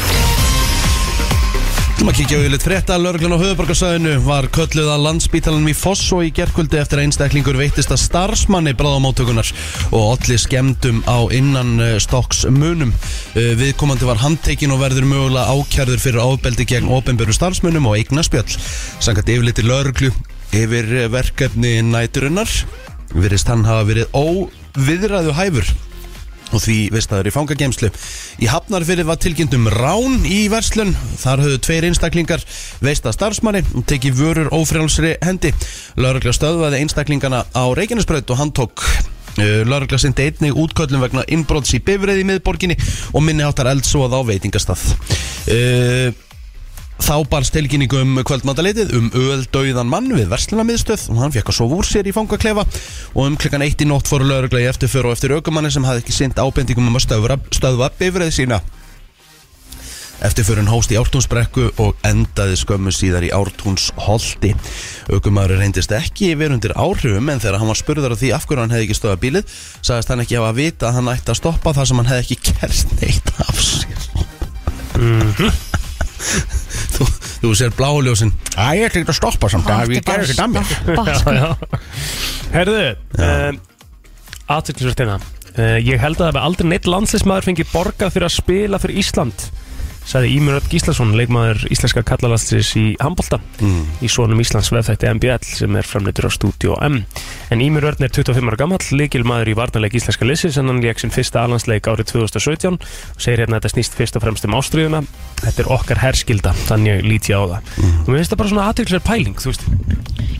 Speaker 1: Þú maður kíkja á yfirleitt frétta Lörglan á höfuborgarsæðinu var kölluð að landsbítalanum í Fossó í gerkvöldi eftir að einstaklingur veittist að starfsmanni bráðamóttökunar og allir skemmdum á innan eh, stokks munum. Eh, Viðkomandi var handtekinn og verður mögulega ákjærður fyrir ábeldi gegn ofinböru starfsmunum og eignaspjöll. Sangat yfirleitti Lörglu yfir eh, verkefni næturinnar virðist hann hafa verið óviðræðu hæfur og því vistaður í fangagemslu. Í Hafnarfyrði var tilkynnt um rán í verslun. Þar höfðu tveir einstaklingar veista starfsmanni og tekið vörur ófrjálsri hendi. Lörgla stöðvaði einstaklingana á Reykjanesbraut og hann tók Lörgla sindi einnig útköllum vegna innbrots í bifriði í miðborginni og minni áttar eldsóð á veitingastað. Uh, Þá barst tilkynningu um kvöldmataleitið um öldauðan mann við verslunamiðstöð og hann fekk að sofa úr sér í fangaklefa og um klukkan eitt í nótt fóru lögregla í eftirför og eftir aukumanni sem hafði ekki sint ábendingum um að stöðra, stöðva bifræði sína. Eftirförun hóst í ártúnsbrekku og endaði skömmu síðar í ártúnsholti. Ökumæður reyndist ekki verið undir áhrifum en þegar hann var spurður af því af hverju hann hefði ekki stöða bílið sagðist hann ekki hafa að vita að hann ætti að stoppa þar sem hann hefði ekki kert neitt af sér. Mhm. [laughs] þú, þú sér bláuljósin. Æ, ég ætla ekki að stoppa samt
Speaker 2: Það er bara stoppa sko.
Speaker 3: Já, já Herðu, um, aðtöklisvert hérna uh, Ég held að það hefði aldrei neitt landslismæður fengið borgað fyrir að spila fyrir Ísland sagði Ímur Öpp Gíslason, leikmaður íslenska kallarlandslis í handbolta í svonum Íslands vefþætti MBL sem er framleitur á Studio M en Ímur Örn er 25 ára gammal, leikilmaður í varnarleik íslenska lissi sem hann leik sinn fyrsta alansleik árið 2017 og segir hérna að þetta snýst fyrst og fremst um ástriðuna þetta er okkar herskilda, þannig lít ég á það og mér finnst það bara svona aðtöklisvert pæling þú veist,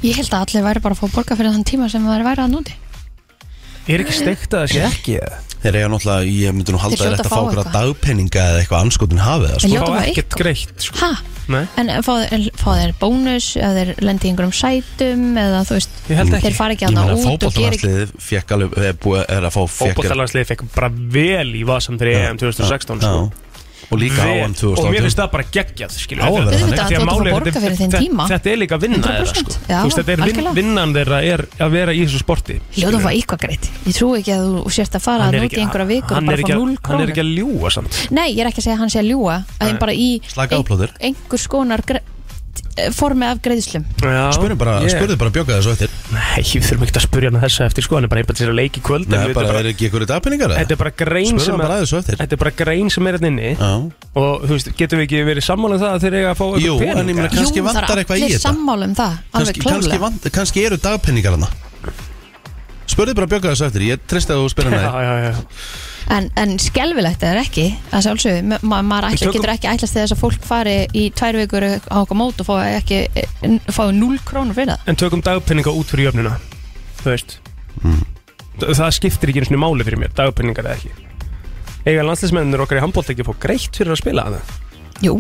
Speaker 2: Ég held að allir væri bara að fá borga fyrir þann tíma sem þeir væri að núti
Speaker 3: er ekki steikt að það sé ekki eða?
Speaker 1: Þeir eiga náttúrulega, ég myndi nú halda
Speaker 2: Þeir
Speaker 1: þér
Speaker 2: hljóta
Speaker 1: eftir að fá
Speaker 2: að fá
Speaker 1: okkur að
Speaker 2: eitthvað.
Speaker 1: dagpenninga eða eitthvað anskotin hafið það,
Speaker 2: Þeir
Speaker 1: sko.
Speaker 2: hljóta
Speaker 3: fá
Speaker 2: bara
Speaker 3: ekkert
Speaker 2: eitthvað
Speaker 3: greitt sko.
Speaker 2: Ha?
Speaker 3: Nei,
Speaker 2: En fá þeir, fá þeir bónus eða þeir lendi í einhverjum sætum eða þú veist
Speaker 3: Ég held ekki.
Speaker 2: Þeir fara ekki
Speaker 1: sko. Ég
Speaker 2: að
Speaker 1: meina
Speaker 2: það út og gera ekki
Speaker 1: fótbollalansliðið fekk alveg, er, búið, er að fá fekk
Speaker 3: fókbóttalansliðið fekk bara vel í vasan fyrir EM 2016
Speaker 1: Já.
Speaker 3: sko.
Speaker 1: Og líka á
Speaker 3: vel.
Speaker 1: hann 2018.
Speaker 3: Og mér finnst það bara geggjað skilur
Speaker 1: Á að
Speaker 3: við.
Speaker 1: vera
Speaker 2: þannig. Auðvitað, þú ert
Speaker 3: Því
Speaker 2: að
Speaker 3: málið er-
Speaker 2: borga fyrir þinn
Speaker 3: þetta-
Speaker 2: tíma.
Speaker 3: Þetta er líka vinna þeirra
Speaker 2: 100%,
Speaker 3: sko.
Speaker 2: já,
Speaker 3: Þú veist, Þetta er vin-
Speaker 2: algjörlega.
Speaker 3: vinnan þeirra er að vera í þessu sporti
Speaker 2: Ljóðum að fá eitthvað greitt Ég trúi ekki að þú sért að fara
Speaker 3: Hann
Speaker 2: að
Speaker 3: er
Speaker 2: núti
Speaker 3: ekki-
Speaker 2: einhverja vikur og
Speaker 3: hann er
Speaker 2: bara
Speaker 3: ekki
Speaker 2: fá 0
Speaker 3: að- Hann er
Speaker 2: krónur
Speaker 3: ekki að ljúa samt
Speaker 2: Nei, ég er ekki að segja að hann sé að ljúa að hann bara í
Speaker 1: Slaka á, plóður.
Speaker 2: ein- einhers konar gre- eh, formi af greiðslum
Speaker 3: Já,
Speaker 1: Spurðu bara,
Speaker 3: ég-
Speaker 1: spurðu bara bjóka þessu eftir
Speaker 3: Nei, við þurfum ekki að spurja hann að þessu eftir sko Hann er bara einbætt sér að leik í kvöld en
Speaker 1: Nei,
Speaker 3: við
Speaker 1: bara,
Speaker 3: þetta
Speaker 1: er ekki ykkur í dagpenningar
Speaker 3: Þetta
Speaker 1: eða?
Speaker 3: er bara grein
Speaker 1: Spurðu
Speaker 3: sem
Speaker 1: hann bara
Speaker 3: að-
Speaker 1: að þessu eftir.
Speaker 3: Þetta er bara grein sem er hérna inni
Speaker 1: Já
Speaker 3: Og þú veist, getum við ekki verið sammála um það að þeir eiga að fá
Speaker 1: Jú, en ég
Speaker 3: eitthvað
Speaker 1: meina
Speaker 3: peninga?
Speaker 1: kannski
Speaker 2: Jú, það
Speaker 1: vantar
Speaker 2: er
Speaker 1: eitthvað í
Speaker 2: allir
Speaker 1: þetta
Speaker 2: sammálum það Alveg
Speaker 1: Kannski, kannski,
Speaker 2: klálega
Speaker 1: vant, kannski eru dagpenningar hana Spurðu bara bjóka þessu eftir Ég treysti að þú spyrir hana
Speaker 3: Já, já, já
Speaker 2: En, en skelvilegt er ekki að sjálfsögðu, ma- ma- maður ætla,
Speaker 3: tökum-
Speaker 2: getur ekki ætlast til þess að fólk fari í tvær vikur á okkur mót og fái ekki fái 0 krónur fyrir það
Speaker 3: En tökum dagpenninga út fyrir jöfnuna Þú veist
Speaker 1: Mm.
Speaker 3: Þa- Það skiptir ekki einu svona máli fyrir mér Dagpenningar eða ekki Eiga landslismennir okkar í handbólt ekki að fá greitt fyrir að spila það
Speaker 2: Jú,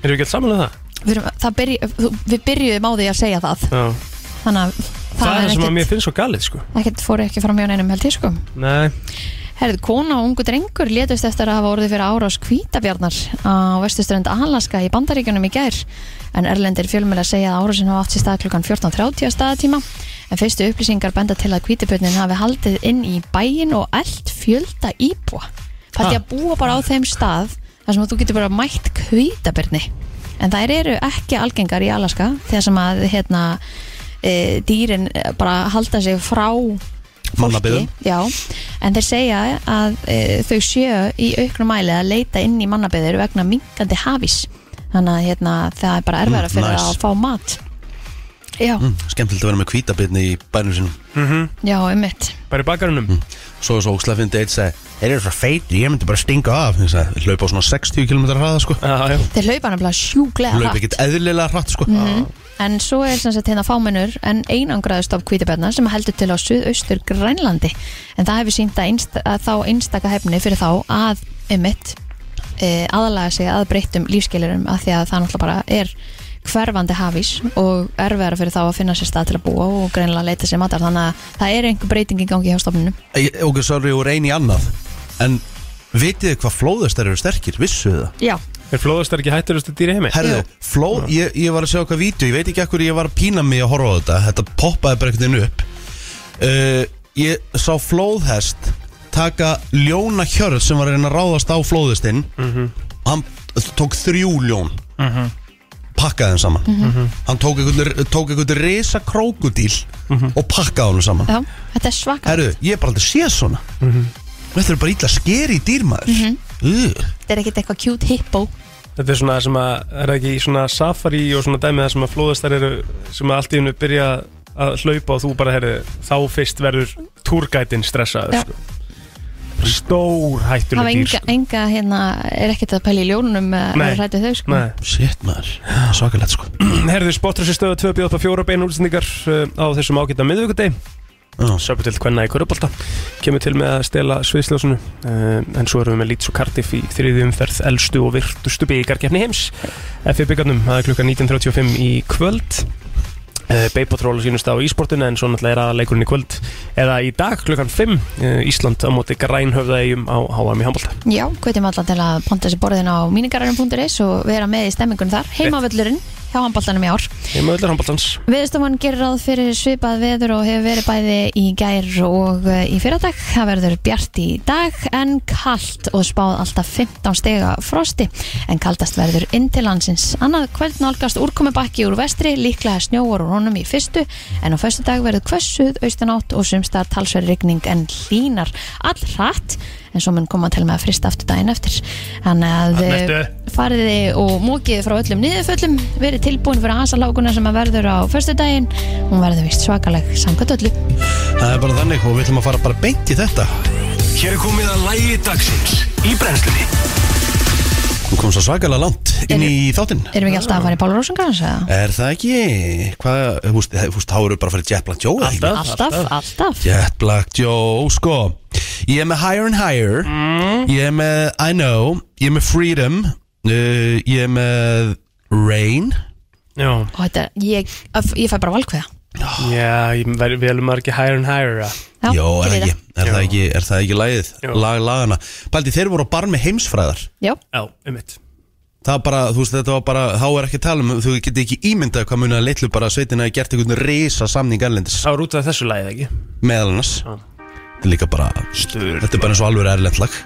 Speaker 3: Erum við ekki alls saman um það?
Speaker 2: við, erum, það byrju, þú- við byrjuðum á því að segja það
Speaker 3: Já.
Speaker 2: þannig að
Speaker 3: Það, er það sem að
Speaker 2: ekkert,
Speaker 3: mér finnst svo galið sko
Speaker 2: ekkert fór ekki fram hjá neinum held ég sko
Speaker 3: Nei
Speaker 2: Herðu, kona og ungu drengur létust eftir að hafa orðið fyrir árás kvítabjarnar á vestuströnd Alaska í Bandaríkjunum í gær en erlendir fjölmjöla segja að árásin hafa átt sér stað klukkan 14.30 að staðatíma en fyrstu upplýsingar benda til að kvítibjörnin hafi haldið inn í bæin og allt fjölda íbúa Það er að búa bara á þeim stað þar sem að þú getur bara mætt kvítabjörni en þær eru ekki algengar í Alaska þegar sem að hérna, e, dýrin eh, bara halda sig frá
Speaker 1: Mannabyggðum.
Speaker 2: já, en þeir segja að e, þau séu í auknum mæli að leita inn í mannabyður vegna minkandi hafís þannig að hérna, það er bara erfæra
Speaker 1: Mm,
Speaker 2: fyrir
Speaker 1: nice.
Speaker 2: að fá mat já,
Speaker 1: Mm, Skemmtilegt að vera með kvítabirni í bænum sinum
Speaker 2: já, einmitt
Speaker 3: Mhm. Bara í bakarunum
Speaker 1: Mm. Svo er svo ókslega fyndi eitt segi Þeir eru svo feitir, ég myndi bara stinga af Ég sagði, Hlaupa á svona 60 km hraða sko
Speaker 3: Já, já
Speaker 2: þeir laupa nefnilega sjúklega
Speaker 1: Hlaupa
Speaker 2: hratt Mhm.
Speaker 1: ekkert eðlilega hratt sko
Speaker 2: en svo er sem sagt hérna fámennur en einangraðust af kvítibenna sem heldur til á suðaustur Grænlandi en það hefur sínt að, einst, að þá einstaka hefni fyrir þá að einmitt e, aðlaga sig að breyttum lífskeilurum af því að það náttúrulega bara er hverfandi hafís og erfiðara fyrir þá að finna sér stað til að búa og greinlega leita sér matar þannig að það er einhver breyting í gangi hjá stofnunum
Speaker 1: Ég- Ok, svo eru úr einu í annað En vitið þið hvað flóðastar eru sterkir, vissuð þið það?
Speaker 2: Já,
Speaker 3: Er flóðastar ekki hætturustu dýri heimi?
Speaker 1: Herðu, flóð, ég, ég var að sjá eitthvað vídeo Ég veit ekki ekkur ég var að pína mig að horfa á þetta Þetta poppaði bara einhvern veginn upp uh, Ég sá flóðhest Taka ljóna hjörð Sem var að reyna að ráðast á flóðhestinn Og hann tók þrjú ljón Pakkaði þeim saman Hann tók einhvern, tók einhvern risa krókudíl Og pakkaði hann saman
Speaker 2: já, þetta er svaka
Speaker 1: Herðu, ég er bara aldrei séð svona Þetta eru bara illa skeri dýrmaður mm
Speaker 2: Þetta er ekkert eitthvað cute hippo
Speaker 3: Þetta er svona sem að Er það ekki í svona safari og svona dæmi Það sem að flóðastar eru Sem að allt í hennu byrja að hlaupa Og þú bara herri Þá fyrst verður túrgætin stressaður
Speaker 2: Já.
Speaker 3: sko. Stór
Speaker 2: Það var
Speaker 3: hættuleg dýr
Speaker 2: enga,
Speaker 3: sko.
Speaker 2: enga hérna, er ekkert að pæla í ljónunum eða
Speaker 3: Nei.
Speaker 2: rætu þau sko
Speaker 3: Nei
Speaker 1: Shit maður, svakalegt sko
Speaker 3: Herðu sportrössi stöða 2 bjóð upp að fjóra beinu útsendingar uh, á þessum ágæta miðvíkudeg
Speaker 1: Já.
Speaker 3: Söpudelt hvenna í Körubolta kemur til með að stela sviðsljósunu uh, en svo erum við með Leeds og Cardiff í þriði umferð elstu og virtustu byggarkeppni heims FI byggarnum, það er klukkan 19.35 í kvöld uh, Beipotról sínust á ísportinu en svo náttúrulega er aðaleikurinn í kvöld eða í dag klukkan 5 uh, Ísland á móti grænhöfðaegjum á HM í Hambolta
Speaker 2: Já, hvetjum alla til að ponta þessi borðin á míningararum.is og vera með í stemmingun þar heimavöllurinn hjá handbóltanum í ár
Speaker 3: Ég með öllar Hamboltans
Speaker 2: Veðurstofan gerir ráð fyrir svipað veður og hefur verið bæði í gær og eh, í fyrradag. Það verður bjart í dag en kalt og spáð alltaf 15 stega frosti en kaldast verður inn til landsins. Annað kvöld nálgast úrkomi bakki úr vestri, líklega snjóar og rónum í fyrstu en á föstu dag verður kvössuð austanátt og sumstar talsverð rigning en hlínar all hratt en svo mun koma til með að frista aftur daginn eftir. Þannig að eh,
Speaker 3: Næstu.
Speaker 2: fariði og mókið frá öllum niðurföllum, verið tilbúin fyrir asalákuna sem að verður á föstudaginn hún verður vist svakaleg samkvæmt öllu
Speaker 1: Það er bara þannig og við ætlum að fara bara beint í þetta
Speaker 4: Hér er komið að lægi dagsins í brennslunni
Speaker 1: Þú kom svo svakalega langt inn í þáttinn
Speaker 2: Erum við ekki alltaf að fara í Pála Rósangrans?
Speaker 1: Er það ekki? Hvað, þú veist, þú veist, þá eru bara að fara í Jet Black Joe eða ekki?
Speaker 2: Alltaf, alltaf
Speaker 1: Jet Black Joe, sko Ég er með Higher and Higher Ég er með I Know Ég er með Freedom uh, Ég er með Rain
Speaker 3: Já,
Speaker 2: Og þetta, ég, ég fæ bara valkveða
Speaker 3: Já, ég vel- velum maður ekki higher and higher að
Speaker 2: Já,
Speaker 1: Jó, er,
Speaker 2: ég
Speaker 1: það
Speaker 2: veit
Speaker 1: ekki, er,
Speaker 3: Jó.
Speaker 1: það ekki, er það ekki lagið?
Speaker 3: Jó.
Speaker 1: Lag lagana Paldi, þeir voru á barmi heimsfræðar
Speaker 2: Já,
Speaker 3: Já, um mitt
Speaker 1: Það var bara, þú veist, þetta var bara Þá er ekki að tala um, þú geti ekki ímyndað Hvað munið að litlu bara að sveitin hafi gert einhvern risa samning erlendis
Speaker 3: Það var út af þessu lagið ekki
Speaker 1: Meðal annars
Speaker 3: Já.
Speaker 1: Þetta er líka bara
Speaker 3: Stur
Speaker 1: Þetta er bara eins og alveg erlend lag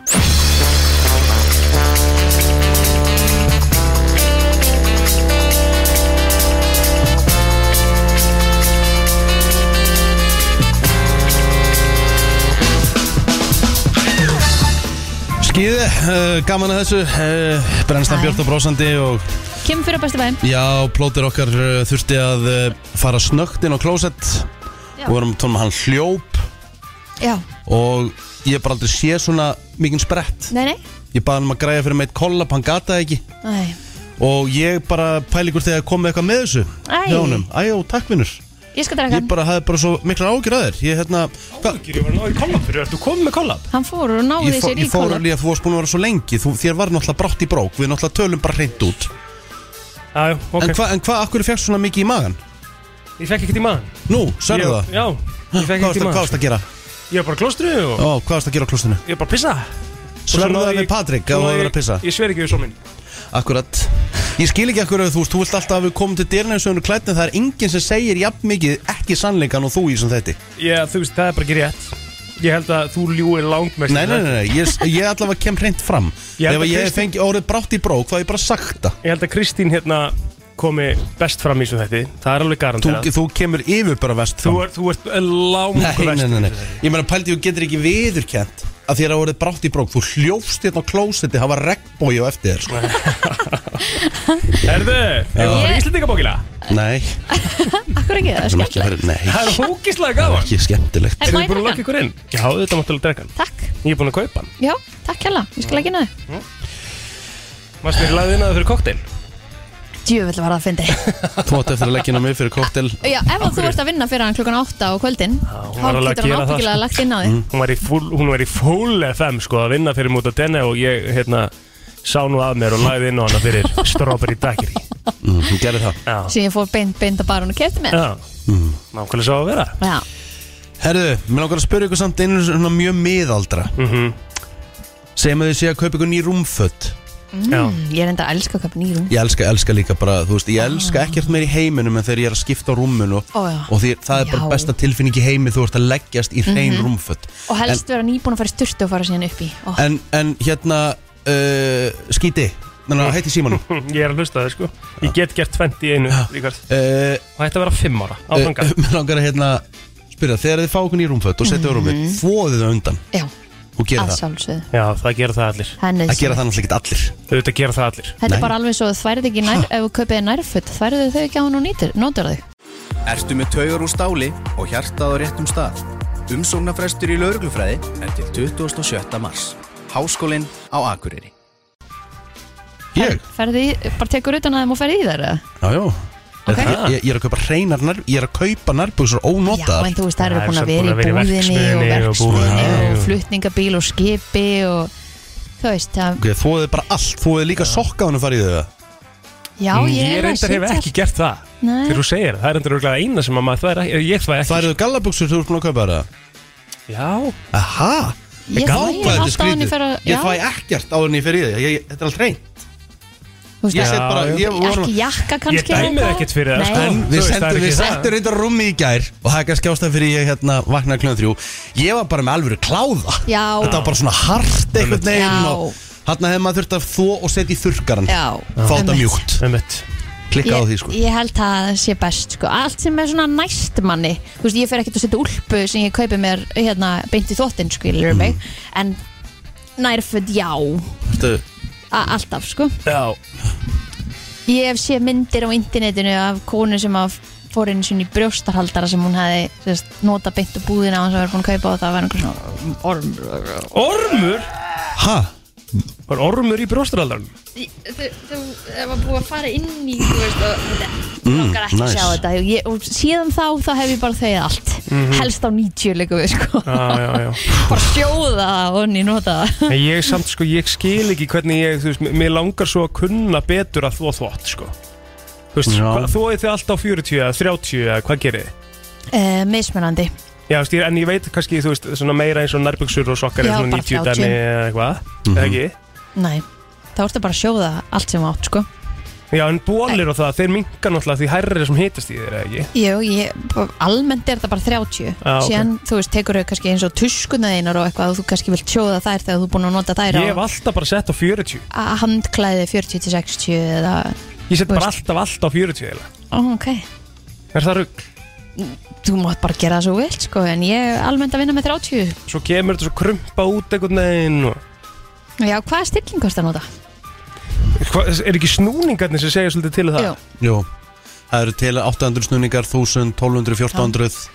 Speaker 1: Skýði, uh, gaman að þessu uh, Brennstan
Speaker 2: Hæ.
Speaker 1: Björn og Brósandi og
Speaker 2: kemur fyrir á besti bæðin
Speaker 1: já, plótir okkar uh, þurfti að uh, fara snögt inn á klósett
Speaker 2: Já.
Speaker 1: og vorum tónum að hann hljóp
Speaker 2: Já,
Speaker 1: og ég hef bara aldrei séð svona mikinn sprett
Speaker 2: nei, nei,
Speaker 1: Ég baði hann um að græja fyrir meitt kollab, hann gataði ekki
Speaker 2: nei.
Speaker 1: Og ég bara pæli hvort þegar komið eitthvað með þessu
Speaker 2: Æ.
Speaker 1: hjá honum. Æjó, takk vinnur
Speaker 2: Ég skal draka
Speaker 1: Ég
Speaker 2: hann
Speaker 1: bara hafði bara svo mikla ágjur að þér Ég, hérna, hva,
Speaker 3: Ég var náðu í kollab fyrir, ertu komið með kollab?
Speaker 2: Hann fór og náði
Speaker 1: ég, fó,
Speaker 2: sér í
Speaker 1: ég fór
Speaker 2: kóla
Speaker 1: alveg að þú varst búin að vera svo lengi þú, Þér var náttúrulega brátt í brók Við náttúrulega tölum bara hreint út
Speaker 3: Já, já, ok,
Speaker 1: En hvað, en hvað, akkur fjökk svona mikið í magan?
Speaker 3: ég fekk ekkert í maðan
Speaker 1: Nú, sérðu
Speaker 3: Ég-
Speaker 1: það
Speaker 3: Já, ég fekk
Speaker 1: Hvað varst
Speaker 3: ekkert í
Speaker 1: að, hvað varst að gera?
Speaker 3: maðan Ég var bara klostru og
Speaker 1: Ó, hvað varst að gera á klostinu?
Speaker 3: ég var bara að pissa
Speaker 1: Sverðu það við Patrik að þú hefur verið að pissa?
Speaker 3: Ég sver ekki við svo minn
Speaker 1: Akkurat Ég skil ekki akkur að þú veist, þú vilt alltaf að við komum til dyrna eins og hennu klætni Það er enginn sem segir jafn mikið ekki sannleikan og þú í sem þetta
Speaker 3: Já, þú veist, það er bara ekki rétt Ég held að þú ljúi langmest
Speaker 1: Nei, nei, nei, nei. Ég, ég allavega kem hreint fram
Speaker 3: Ég held
Speaker 1: Ef
Speaker 3: að
Speaker 1: ég
Speaker 3: Kristín-
Speaker 1: fengi orðið brátt í brók þá hef ég bara sagt það
Speaker 3: Ég held að Kristín hérna komi best fram í svo þetta Það er alveg
Speaker 1: Þú,
Speaker 3: garanterað
Speaker 1: þú kemur yfir bara vest
Speaker 3: Þú
Speaker 1: fram
Speaker 3: ert, þú ert langur
Speaker 1: Nei, nei, nei, nei Ég meina pældi, þú getur ekki viðurkent að þér hafa orðið brátt í brók Þú hljófst hérna á klósetti, hafa regnbói á eftir þér sko.
Speaker 3: Herðu,
Speaker 1: Já.
Speaker 3: hefur þú Íslandingabókila?
Speaker 1: Nei,
Speaker 2: Akkur ekki, það er
Speaker 1: það er ekki að vera
Speaker 2: skemmtilegt
Speaker 1: Nei,
Speaker 3: Það er hókislega
Speaker 1: það er
Speaker 3: gaman
Speaker 1: ekki skemmtilegt
Speaker 2: En
Speaker 3: Erum
Speaker 2: má ég
Speaker 3: við búin að
Speaker 2: taka
Speaker 3: lokka
Speaker 2: hann?
Speaker 3: ykkur inn? Já, þetta máttu alveg drekka hann
Speaker 2: Takk,
Speaker 3: Ég er búin að kaupa hann
Speaker 2: já, takk hella Ég skal ekki náði
Speaker 3: Varst mér lagðið inn að það fyrir kokteil?
Speaker 2: Djöfull var það að fyndi
Speaker 1: Þú átt eftir að leggja hérna mig fyrir koktel
Speaker 2: Já, ef að þú ert að vinna fyrir hann klukkan 8 á kvöldin
Speaker 3: hún
Speaker 2: þá
Speaker 3: var alveg að
Speaker 2: getur
Speaker 3: gera
Speaker 2: hann
Speaker 3: það,
Speaker 2: ábyggilega
Speaker 3: sko.
Speaker 2: lagt inn á því
Speaker 3: Hún var í full, hún var í full FM sko að vinna fyrir múta tenni og ég hérna sá nú að mér og lagði inn á hana fyrir strawberry daiquiri
Speaker 1: mm, Hún gerir það
Speaker 3: Já,
Speaker 2: síðan ég fór beint, beint að barun og kefti mér
Speaker 3: já, nákvæmlega sá að vera
Speaker 2: Já,
Speaker 1: Herðu, mér langar að spyrja ykkur samt einu svona mjög miðaldra
Speaker 3: mm
Speaker 1: Segjum að þið sé að kaupa ykkur ný rúmföt
Speaker 2: Mm.
Speaker 3: Já,
Speaker 2: Hmm, ég er enda að elska að köpa nýrum
Speaker 1: Ég elska, elska líka bara, þú veist, ég elska ekkert meir í heiminum en þegar ég er að skipta á rúmmun og,
Speaker 2: Ó, já.
Speaker 1: og því, það er bara
Speaker 2: Já. Mhm.
Speaker 1: besta tilfinning í heimi, þú ert að leggjast í hrein rúmföt.
Speaker 2: og helst vera nýbúin að fara í sturtu og fara síðan upp í oh.
Speaker 1: En, en hérna, uh, skíti, þannig að hætti símanum.
Speaker 3: Hm, ég er að hlusta það sko Ég get gert 20 í einu Ríkard.
Speaker 1: Uh,
Speaker 3: og þetta vera 5 ára áfranga
Speaker 1: uh, mér langar að hérna, spyrja, þegar þið fá okkur ný rúmföt og setja á
Speaker 2: Mhm.
Speaker 1: rúmið, þvoðu þau undan
Speaker 2: Já,
Speaker 1: og gera
Speaker 2: að
Speaker 1: það.
Speaker 2: sjálfsögðu
Speaker 3: Já, það gera það allir
Speaker 2: Það er
Speaker 1: Það gera
Speaker 2: nauðsynlegt.
Speaker 1: það náttúrulega ekki allir.
Speaker 3: Þetta gera það allir
Speaker 2: Þetta
Speaker 1: Nei.
Speaker 2: er bara alveg svo, þværið ekki nær, ef þú kaupið þér nærfutt, þværið þau ekki á hann og nýtir, nótur þau
Speaker 5: Ertu með taugar úr stáli og hjartað á réttum stað? Umsóknarfrestur í lauruglufræði er til 27. mars. Háskólinn á Akureyri.
Speaker 1: Ég?
Speaker 2: Ferði, bara tekur utan að þeim og ferði í þær eða?
Speaker 1: Já, já.
Speaker 2: Ok.
Speaker 1: Ég, ég, ég er að kaupa hreinar, nær- ég er að kaupa nærbuksur
Speaker 2: Já,
Speaker 1: ónotaðar.
Speaker 2: en þú veist, þær
Speaker 3: Það
Speaker 2: eru
Speaker 3: er
Speaker 2: búin
Speaker 3: samt
Speaker 2: að vera í
Speaker 3: búin að vera í
Speaker 2: búðinni og
Speaker 3: verksmiðjunni og búðinni
Speaker 2: verksmiðinni
Speaker 3: og-
Speaker 2: og flutningabíl og skipi og þú veist, það,
Speaker 1: Ok, þvoðu bara allt, þvoðu líka sokka hann og farið þau það.
Speaker 2: já, ég er að
Speaker 3: Mm, reyndar hef
Speaker 2: sitja-
Speaker 3: ekki gert það
Speaker 2: Nei.
Speaker 3: Þegar þú segir það, það er reyndar örugglega eina sem að maður það er ekki Ég það
Speaker 1: Það
Speaker 3: ekki
Speaker 1: eru gallabuxur þú ert búin að kaupa það?
Speaker 3: Já,
Speaker 1: Aha!
Speaker 2: Ég
Speaker 1: Vá,
Speaker 2: fæ
Speaker 1: hvað
Speaker 2: ég
Speaker 1: þetta er
Speaker 2: alltaf áður en ég fer að-
Speaker 1: skrítið. Ég
Speaker 2: já.
Speaker 1: fæ ekkert áður en ég fer í það Ég- ég- Þetta er allt reynd
Speaker 2: Þú veist,
Speaker 1: Ég
Speaker 2: það-
Speaker 1: set bara
Speaker 3: já.
Speaker 1: ég vorum-
Speaker 2: ekki jakka
Speaker 3: ég
Speaker 2: kannski eða
Speaker 3: dæmið
Speaker 2: eitthvað?
Speaker 3: ekkert fyrir það
Speaker 2: Nei.
Speaker 3: sko.
Speaker 1: En við
Speaker 3: Þú veist, það er
Speaker 1: sendum
Speaker 3: ekki
Speaker 1: við
Speaker 3: það.
Speaker 1: settum reyndar rúmi í gær Og það er kannski ástæð fyrir ég hérna vaknaði kljóðan þrjú Ég var bara með alvöru kláða
Speaker 2: Já.
Speaker 1: Þetta var bara svona hart einhvern veginn
Speaker 2: Já.
Speaker 1: og Þarna hefði maður þurft að þó og setja í þurrkaran
Speaker 2: Já,
Speaker 1: Fá þetta
Speaker 2: einmitt.
Speaker 1: mjúkt
Speaker 3: Einmitt.
Speaker 1: Klikka á
Speaker 2: Ég,
Speaker 1: því sko
Speaker 2: ég held að það sé best sko. allt sem er svona næst manni þú veist, ég fer ekkert að setja úlpu sem ég kaupi mér hérna, beint í þóttin skilur
Speaker 1: Mm.
Speaker 2: mig en nærföld já
Speaker 1: Ertu-
Speaker 2: a- alltaf sko
Speaker 3: Já,
Speaker 2: ég hef séð myndir á internetinu af konu sem að fór einu sinni í brjóstarhaldara sem hún hefði sérst, nota beint úr búðina og sem var búin að kaupa og það var einhver svona orm
Speaker 3: ormur
Speaker 1: Ha?
Speaker 3: Var ormur í brjósturaldarinn
Speaker 2: þú, þú var búið að fara inn í þú veist og
Speaker 1: Mm,
Speaker 2: okkar ekki
Speaker 1: nice.
Speaker 2: sjá þetta og, ég, og síðan þá þá hef ég bara þauð allt helst á 90 leikum við sko
Speaker 3: Já, já, já
Speaker 2: [laughs] bara sjóða það og ný nota [laughs] það
Speaker 3: En ég samt sko, ég skil ekki hvernig ég, þú veist, m- mér langar svo að kunna betur að þvó þvott, sko. Þú veist,
Speaker 1: Já.
Speaker 3: hvað- þvoið þið alltaf á 40 eða 30 eða hvað gerir þið?
Speaker 2: uh, mismunandi
Speaker 3: Já, veist, ég- en ég veit kannski, þú veist, svona meira eins og nærbuksur og sokkar
Speaker 2: Já,
Speaker 3: er svona
Speaker 2: bara 30.
Speaker 3: 90 dæmi eða eitthvað, eða ekki?
Speaker 2: Nei, þá ertu bara að sjóða allt sem þú átt sko
Speaker 3: Já, en bólir og það, þeir mingar náttúrulega því hærri sem hitast í þeir, eða ekki?
Speaker 2: Jú, ég, almennt er þetta bara 30
Speaker 3: Já, ok.
Speaker 2: síðan, þú veist, tekur þau kannski eins og tuskuna þeinar og eitthvað og þú kannski vilt sjóða þær þegar þú er búin að nota þær
Speaker 3: Ég hef
Speaker 2: á
Speaker 3: alltaf bara sett á 40.
Speaker 2: að handklæði 40-60 eða,
Speaker 3: Ég
Speaker 2: Þú
Speaker 3: set bara
Speaker 2: veist.
Speaker 3: alltaf allt á 40 eða.
Speaker 2: ó, ok
Speaker 3: Er það rugg?
Speaker 2: þú mátt bara gera það svo vilt, sko en ég er almennt að vinna með 30
Speaker 3: Svo kemur þetta svo krumpa út einhvern veginn og...
Speaker 2: Já, hvaða stillingu ertu að nota?
Speaker 3: Hva, er ekki snúningarnir sem segja svolítið til um það?
Speaker 2: Jú,
Speaker 1: Jú Það eru til 800 snúningar, 1000, 1200, 1400
Speaker 3: Ég held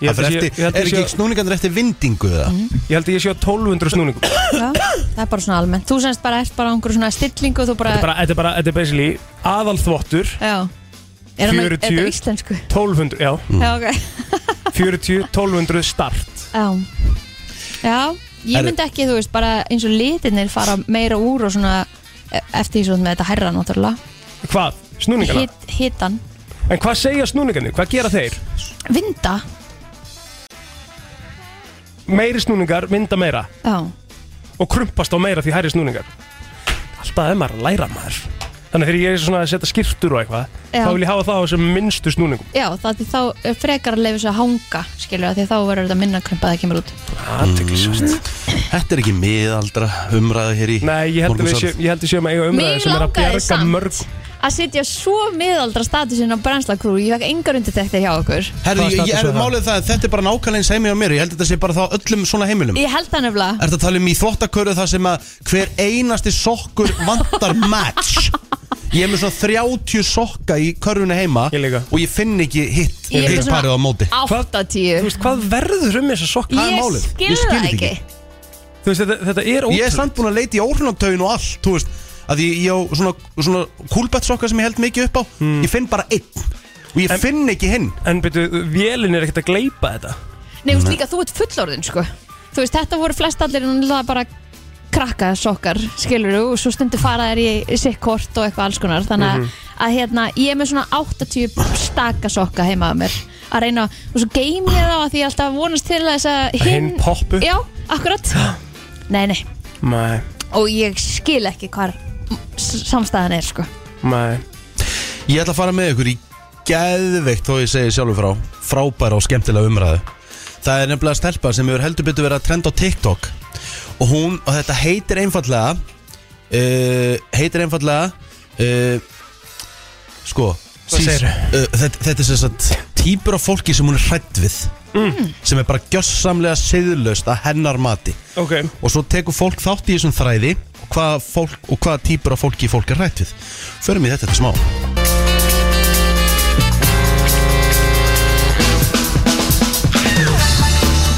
Speaker 1: Það fer
Speaker 3: að sé-
Speaker 1: eftir,
Speaker 3: ég held
Speaker 1: er
Speaker 3: að
Speaker 1: ekki
Speaker 3: sé- Mm.
Speaker 1: snúningarnir eftir vindingu eða?
Speaker 3: Ég held að ég sé á 1200 snúningum. Þetta
Speaker 2: já, það er bara svona almennt Þú semst bara ert bara á einhverju svona stillingu og þú bara,
Speaker 3: er bara, þetta er bara, þetta er basically aðalþvottur,
Speaker 2: já Er það
Speaker 3: 40.
Speaker 2: þetta íslensku?
Speaker 3: 1200, já,
Speaker 2: Já, ok
Speaker 3: 40, 1200 start.
Speaker 2: Já, já ég
Speaker 1: Er-
Speaker 2: myndi ekki, þú veist, bara eins og litinir fara meira úr og svona e- eftir því svona með þetta hærra náttúrulega
Speaker 3: Hvað? Snúningarna?
Speaker 2: Hit, hitan,
Speaker 3: En hvað segja snúningarnir? Hvað gera þeir?
Speaker 2: vinda
Speaker 3: Meiri snúningar, mynda meira
Speaker 2: já,
Speaker 3: og krumpast á meira því hærri snúningar. Alltaf er maður að læra maður. Þannig að þegar ég er svona að setja skiptur og eitthvað,
Speaker 2: Já.
Speaker 3: þá vil ég hafa það á þessum minnstu snúningum.
Speaker 2: já það er þá er frekar að leifa sér að hanga skilur því þá verður þetta minna krumpað að kemur út
Speaker 3: Aðteklisvæst.
Speaker 1: Þetta er ekki miðaldra umræða hér í
Speaker 3: Mm. Nei, ég held að við
Speaker 1: morgunsárið.
Speaker 3: séum, ég held að við séum að eiga umræði
Speaker 2: Mig
Speaker 3: sem er að
Speaker 2: langaði
Speaker 3: bjarga
Speaker 2: samt
Speaker 3: mörg
Speaker 2: að setja svo miðaldra statusinn á brennslakrú ég fekk engar undirtektir hjá okkur
Speaker 1: Herðu,
Speaker 3: Hvaða
Speaker 1: ég, ég
Speaker 3: status
Speaker 1: er
Speaker 3: er það?
Speaker 1: málið það, að þetta er bara nákvæmlega eins heimi á mér Ég held að þetta sé bara þá öllum svona heimilum
Speaker 2: ég held það nefnilega
Speaker 1: Ertu að tala um í þvottakörðu það sem að hver einasti sokkur vantar
Speaker 3: [laughs]
Speaker 1: match Ég er með svona 30 sokka í körfuna heima
Speaker 3: Ég líka.
Speaker 1: Og ég finn ekki hitt,
Speaker 2: Ég er
Speaker 1: hitt
Speaker 2: svona
Speaker 1: parið á móti
Speaker 3: Þú
Speaker 2: 80
Speaker 3: veist, hvað verður um þessa sokka?
Speaker 1: hvað er málið?
Speaker 2: ég
Speaker 1: Ég
Speaker 2: skil
Speaker 1: skil
Speaker 2: það
Speaker 1: þetta
Speaker 2: ekki
Speaker 1: ekki.
Speaker 3: Þú veist, þetta, þetta er
Speaker 1: Ég er
Speaker 3: ótrúlega
Speaker 1: samt búin að leita í órunartögin og allt Þú veist, að ég, ég á svona, svona Coolbet sokka sem ég held mikið upp á Ég finn bara einn Og ég finn ekki hinn
Speaker 3: En byrju, vélin er ekkert að gleypa þetta
Speaker 2: Nei, þú veist líka, þú ert fullorðin, sko Þú veist, þetta voru flest allir náttúrulega bara krakka sokkar, skilur og svo stundu fara þær í sitt kort og eitthvað alls konar, þannig að, að hérna, ég er með svona 80 staka sokka heima að mér, að reyna og svo geim ég þá að því ég alltaf vonast til þess að
Speaker 3: hinn poppi upp.
Speaker 2: Já, akkurat Nei, nei,
Speaker 3: Mæ,
Speaker 2: og ég skil ekki hvar s- samstæðan er, sko
Speaker 3: mæ
Speaker 1: Ég ætla að fara með ykkur í geðveikt þó ég segi sjálfur frá frábæra og skemmtilega umræðu Það er nefnilega stelpa sem hefur heldur betur verið að trenda á TikTok og hún, og þetta heitir einfallega uh, heitir einfallega uh, sko
Speaker 3: segirðu?
Speaker 1: uh, þetta, þetta er sem sagt típur af fólki sem hún er hrætt við sem er bara gjössamlega siðlaust að hennar mati
Speaker 3: Ok,
Speaker 1: og svo tekur fólk þátt í þessum þræði og hvaða fólk, og hvaða típur af fólki fólk er hrætt við Förum í þetta eftir smá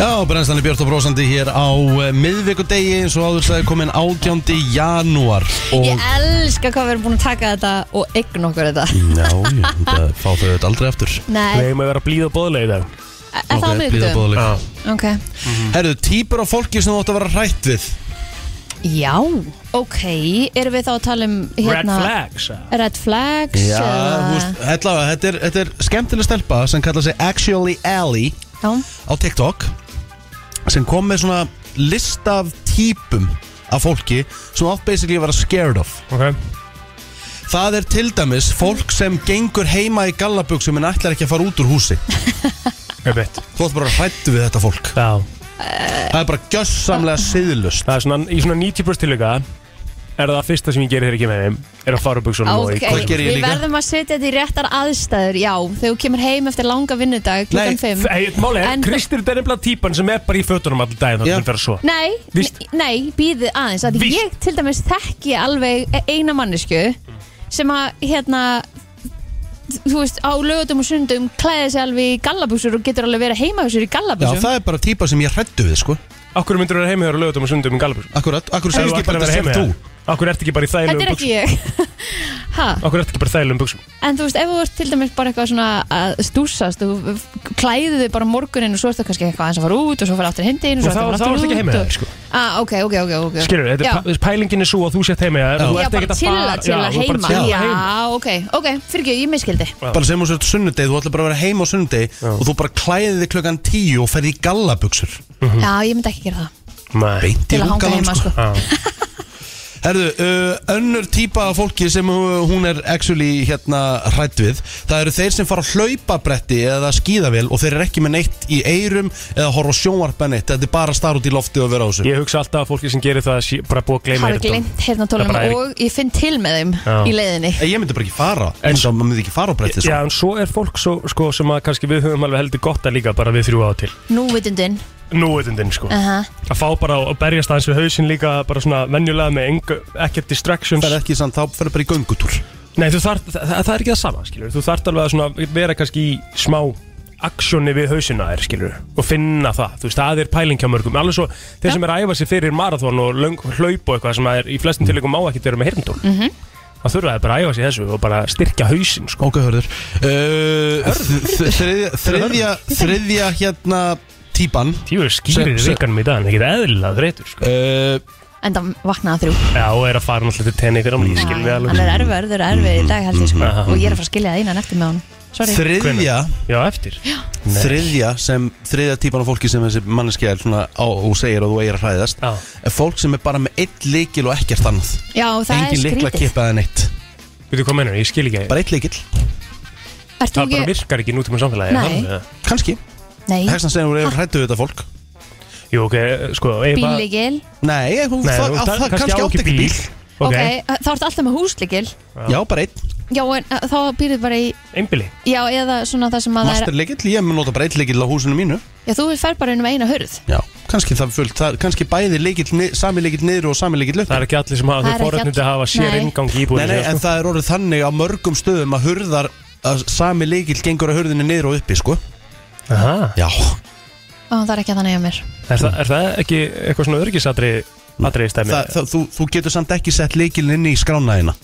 Speaker 1: Já, brennslan er Björn og Brósandi hér á uh, miðvikudegi eins og áður sagði komin 18. janúar og
Speaker 2: Ég elska hvað við erum búin að taka þetta og eign okkur þetta
Speaker 1: Já, já, þetta fá þau þetta aldrei aftur
Speaker 3: við
Speaker 2: Nei,
Speaker 3: eigum að vera blíð og boðlega í
Speaker 2: er
Speaker 3: dag
Speaker 2: það á
Speaker 1: Ok, blíða
Speaker 2: miðvikudum?
Speaker 1: boðleg.
Speaker 2: Ok,
Speaker 1: Herðu, típur af fólki sem þú átt að vera hrætt við
Speaker 2: Já, ok, erum við þá að tala um hérna,
Speaker 3: Red flags eða?
Speaker 2: Red flags
Speaker 1: Já,
Speaker 2: eða-
Speaker 1: þú veist, allavega, þetta er, þetta er skemmtileg stelpa sem kallar sig Actually Ellie
Speaker 2: Já,
Speaker 1: á TikTok sem kom með svona list af típum af fólki sem átt basically að vera scared of
Speaker 3: Ok,
Speaker 1: það er til dæmis fólk sem gengur heima í gallabuxum en ætlar ekki að fara út úr húsi
Speaker 3: ég veit
Speaker 1: þú átt bara hrættu við þetta fólk
Speaker 3: Já,
Speaker 1: það er bara gjössamlega siðlust
Speaker 3: það er svona, í svona 90% tilvika er það fyrsta sem ég gerir þegar ég kem heim er að fara upp buksunum
Speaker 2: ok,
Speaker 1: hvað geri ég
Speaker 2: við
Speaker 1: líka?
Speaker 2: verðum að setja þetta í réttar aðstæður Já, þegar þú kemur heim eftir langa vinnudag klukkan
Speaker 1: Nei,
Speaker 2: 5
Speaker 3: Ei, Máli,
Speaker 2: En-
Speaker 3: Kristir er nefnilega típan sem er bara í fötunum allir daginn
Speaker 1: Já.
Speaker 3: þannig að vera svo
Speaker 2: Nei,
Speaker 3: Víst.
Speaker 2: ne- nei, býðið aðeins að
Speaker 3: Víst.
Speaker 2: Ég til dæmis þekki alveg e- eina mannesku sem að hérna þú veist, á lögutum og sundum klæði sig alveg í gallabuxur og getur alveg verið heima hjá sér í
Speaker 1: já,
Speaker 2: gallabuxum
Speaker 1: það er bara típa sem ég hrættu við sko
Speaker 3: Akkur myndur þú vera heima hjá lögutum og sundum í galabur
Speaker 1: akkurat, akkurat
Speaker 3: Ef þú
Speaker 1: segist ég
Speaker 3: ætlar
Speaker 1: bara
Speaker 3: að
Speaker 1: þetta
Speaker 3: vera
Speaker 1: sem
Speaker 3: heima
Speaker 1: þú
Speaker 3: hjá Akkur ertu ekki bara í
Speaker 2: Þetta
Speaker 3: þægilegum
Speaker 2: er ekki ég [laughs] Ha,
Speaker 3: Akkur ertu ekki bara í þægilegum buksum
Speaker 2: en þú veist, ef þú ert til dæmis bara eitthvað svona að stúsast þú klæðið þig bara morgunin og svo ertu kannski eitthvað eins að fara út og svo fara aftur hindi og
Speaker 3: Og
Speaker 2: svo ertu
Speaker 3: þá, þá
Speaker 2: bara
Speaker 3: ertu
Speaker 2: aftur
Speaker 3: ekki
Speaker 2: út
Speaker 3: heima
Speaker 2: og...
Speaker 3: það sko.
Speaker 2: ah, ok, ok, ok, ok
Speaker 3: Skilur, þetta
Speaker 2: Já.
Speaker 3: er pa- pælingin er svo að þú sett heima það
Speaker 2: Já,
Speaker 3: Þú ert
Speaker 2: bara
Speaker 3: ekkert að
Speaker 2: chilla,
Speaker 3: fara
Speaker 2: chilla
Speaker 3: já, þú
Speaker 2: heima
Speaker 3: ert bara að chilla heima
Speaker 2: Já, ok, ok, fyrir ekki, ég miskildi
Speaker 1: Bara sem þú sért sunnudegi, þú ætlar bara að vera heima á sunnudegi og þú bara klæðið þig klukkan tíu og ferði í gallabuxur
Speaker 2: Já, ég myndi ekki gera það
Speaker 1: Beint
Speaker 3: Nei
Speaker 1: Mhm. í
Speaker 2: Til að hanga
Speaker 1: rúmgalan,
Speaker 2: heima, sko
Speaker 3: Já.
Speaker 1: Herðu, uh, önnur típa af fólki sem uh, hún er actually hérna hrætt við Það eru þeir sem fara á hlaupabretti eða skíðavél og þeir eru ekki með neitt í eyrum eða horfa á sjónvarpa neitt Þetta er bara að stara út í lofti og vera á þessu
Speaker 3: Ég hugsa alltaf að fólki sem gerir það sé bara búið að gleyma
Speaker 2: Hafa gleymt heyrnatólum
Speaker 3: Það bara er-
Speaker 2: og ég finn til með þeim
Speaker 3: Já.
Speaker 2: í leiðinni
Speaker 1: Ég myndi bara ekki fara,
Speaker 3: En-
Speaker 1: eins og maður myndi ekki fara á sko. bretti
Speaker 3: Já, en svo er fólk svo, sko, sem að kannski við höfum alveg heldur gott að líka bara við þrjú á og til
Speaker 2: Núvitundin
Speaker 3: Núvitundin, sko
Speaker 2: uh
Speaker 3: Að fá bara að berjast aðeins við hausinn líka bara svona venjulega með engu, ekkert distractions
Speaker 1: Það er ekki sann, þá ferði bara í göngutúr
Speaker 3: Nei, þú þart, það, það er ekki það sama, skilur Þú þart alveg að svona vera kannski í smá aksjóni við hausina þér, skilur og finna það, þú veist, það er pæling hjá mörgum alveg svo, þeir sem er að æfa sig fyrir marathon og löng, hlaup og eitthvað sem er í flestum tillegum má ekki vera með hirndól mm -hmm. það þurfa þeir bara að æfa sig í þessu og bara styrkja hausin, sko
Speaker 1: Ok, hörður uh, þ- þriðja, þriðja, þriðja hérna típan
Speaker 3: Tíu er skýrið
Speaker 1: Sem- sem-
Speaker 3: vikanum í dag, en ekki eðlilega þreytur, sko
Speaker 1: uh,
Speaker 2: En það vaknaða þrjú
Speaker 3: Já, og er að fara náttúrulega til tenni fyrir ámli, ég skil við
Speaker 2: Hann
Speaker 3: alveg
Speaker 2: er erfiður, erfiður í dag held ég sko
Speaker 1: Mhm.
Speaker 3: Aha.
Speaker 2: Og ég er að fara að skilja það innan eftir með honum Sorry
Speaker 1: Þriðja,
Speaker 3: Já, eftir Nei.
Speaker 1: þriðja sem þriðja típan af fólki sem þessi manneski er svona á og segir og þú eigir að hræðast
Speaker 3: Já.
Speaker 1: er fólk sem er bara með eitt lykil og ekkert annað
Speaker 2: Já, það er
Speaker 1: engin lykla
Speaker 2: skrítið
Speaker 1: kippa eða neitt
Speaker 3: Veitu hvað mennur, ég skil ekki
Speaker 1: bara eitt lykil,
Speaker 2: Ert þú
Speaker 3: Það bara
Speaker 2: ekki
Speaker 3: virkar ekki nútum að samfélagi
Speaker 2: Nei.
Speaker 1: kannski
Speaker 2: Nei,
Speaker 1: þess að segja þú eru hrættu við þetta fólk
Speaker 3: Jú, ok, sko ef að-
Speaker 2: bíligil
Speaker 1: nei, hún,
Speaker 3: Nei,
Speaker 1: það,
Speaker 3: þú-
Speaker 1: það, kannski átt ekki bíl,
Speaker 3: Ok,
Speaker 2: Ok, þá ertu alltaf með húsligil
Speaker 1: já, bara einn,
Speaker 2: Já, en uh, þá býrðu bara í
Speaker 3: einbili
Speaker 2: Já, eða svona það sem að það er
Speaker 1: master lykil ég mun nota bara eitt lykil á húsinu mínu
Speaker 2: Já, þú fer bara inn með eina hurð
Speaker 1: já, kannski það fullt, það, kannski bæði lykil ni- sami lykil niður og sami lykil upp
Speaker 3: Það er ekki allir sem hafa
Speaker 2: Það er
Speaker 3: þau
Speaker 2: ekki
Speaker 3: forrætnandi að
Speaker 2: all-
Speaker 3: hafa sér
Speaker 2: Nei.
Speaker 3: ingang í
Speaker 1: nei,
Speaker 3: íbúinu
Speaker 1: nei, en
Speaker 3: sko.
Speaker 1: það er orðið þannig á mörgum stöðum að hurðar að sami lykil gengur að hurðinu niður og uppi, sko
Speaker 3: Aha,
Speaker 1: já,
Speaker 2: Ó, það er ekki þannig að mér
Speaker 3: er, það, er það ekki eitthvað svona örgisatri atriði stæmi?
Speaker 1: Mm. það, það, þú, þú getur samt ekki sett lykilin inn í skránaðina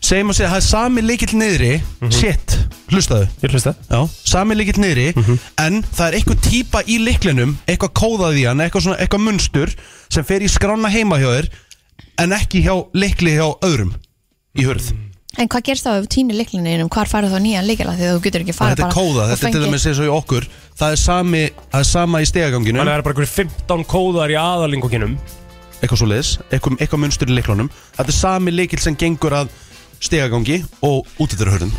Speaker 1: segjum að segja, það er sami lykil niðri
Speaker 2: Mhm.
Speaker 1: shit, hlustaðu
Speaker 3: Ég hlust það
Speaker 1: Já, sami líkill niðri
Speaker 2: Mhm.
Speaker 1: En það er eitthvað típa í líklinum Eitthvað kóðað í hann, eitthvað, svona, eitthvað munstur Sem fer í skrána heima hjá þér En ekki hjá líkli hjá öðrum Í hurð
Speaker 2: En hvað gerst þá ef týni liklinu innum, hvar farið þá nýjan likila því að þú getur ekki farið
Speaker 1: Þetta er
Speaker 2: bara
Speaker 1: kóða,
Speaker 2: og
Speaker 1: þetta er til
Speaker 2: fengið-
Speaker 1: dæmis eins og í okkur Það er, sami, það er sama í stegaganginu
Speaker 3: Þannig að það er bara einhverjum 15 kóðar í aðalingokinum
Speaker 1: Eitthvað svo leiðis, eitthvað, eitthvað munstur í líklunum Þetta er sami líkill sem gengur að stegagangi Og út í þeirra hurðum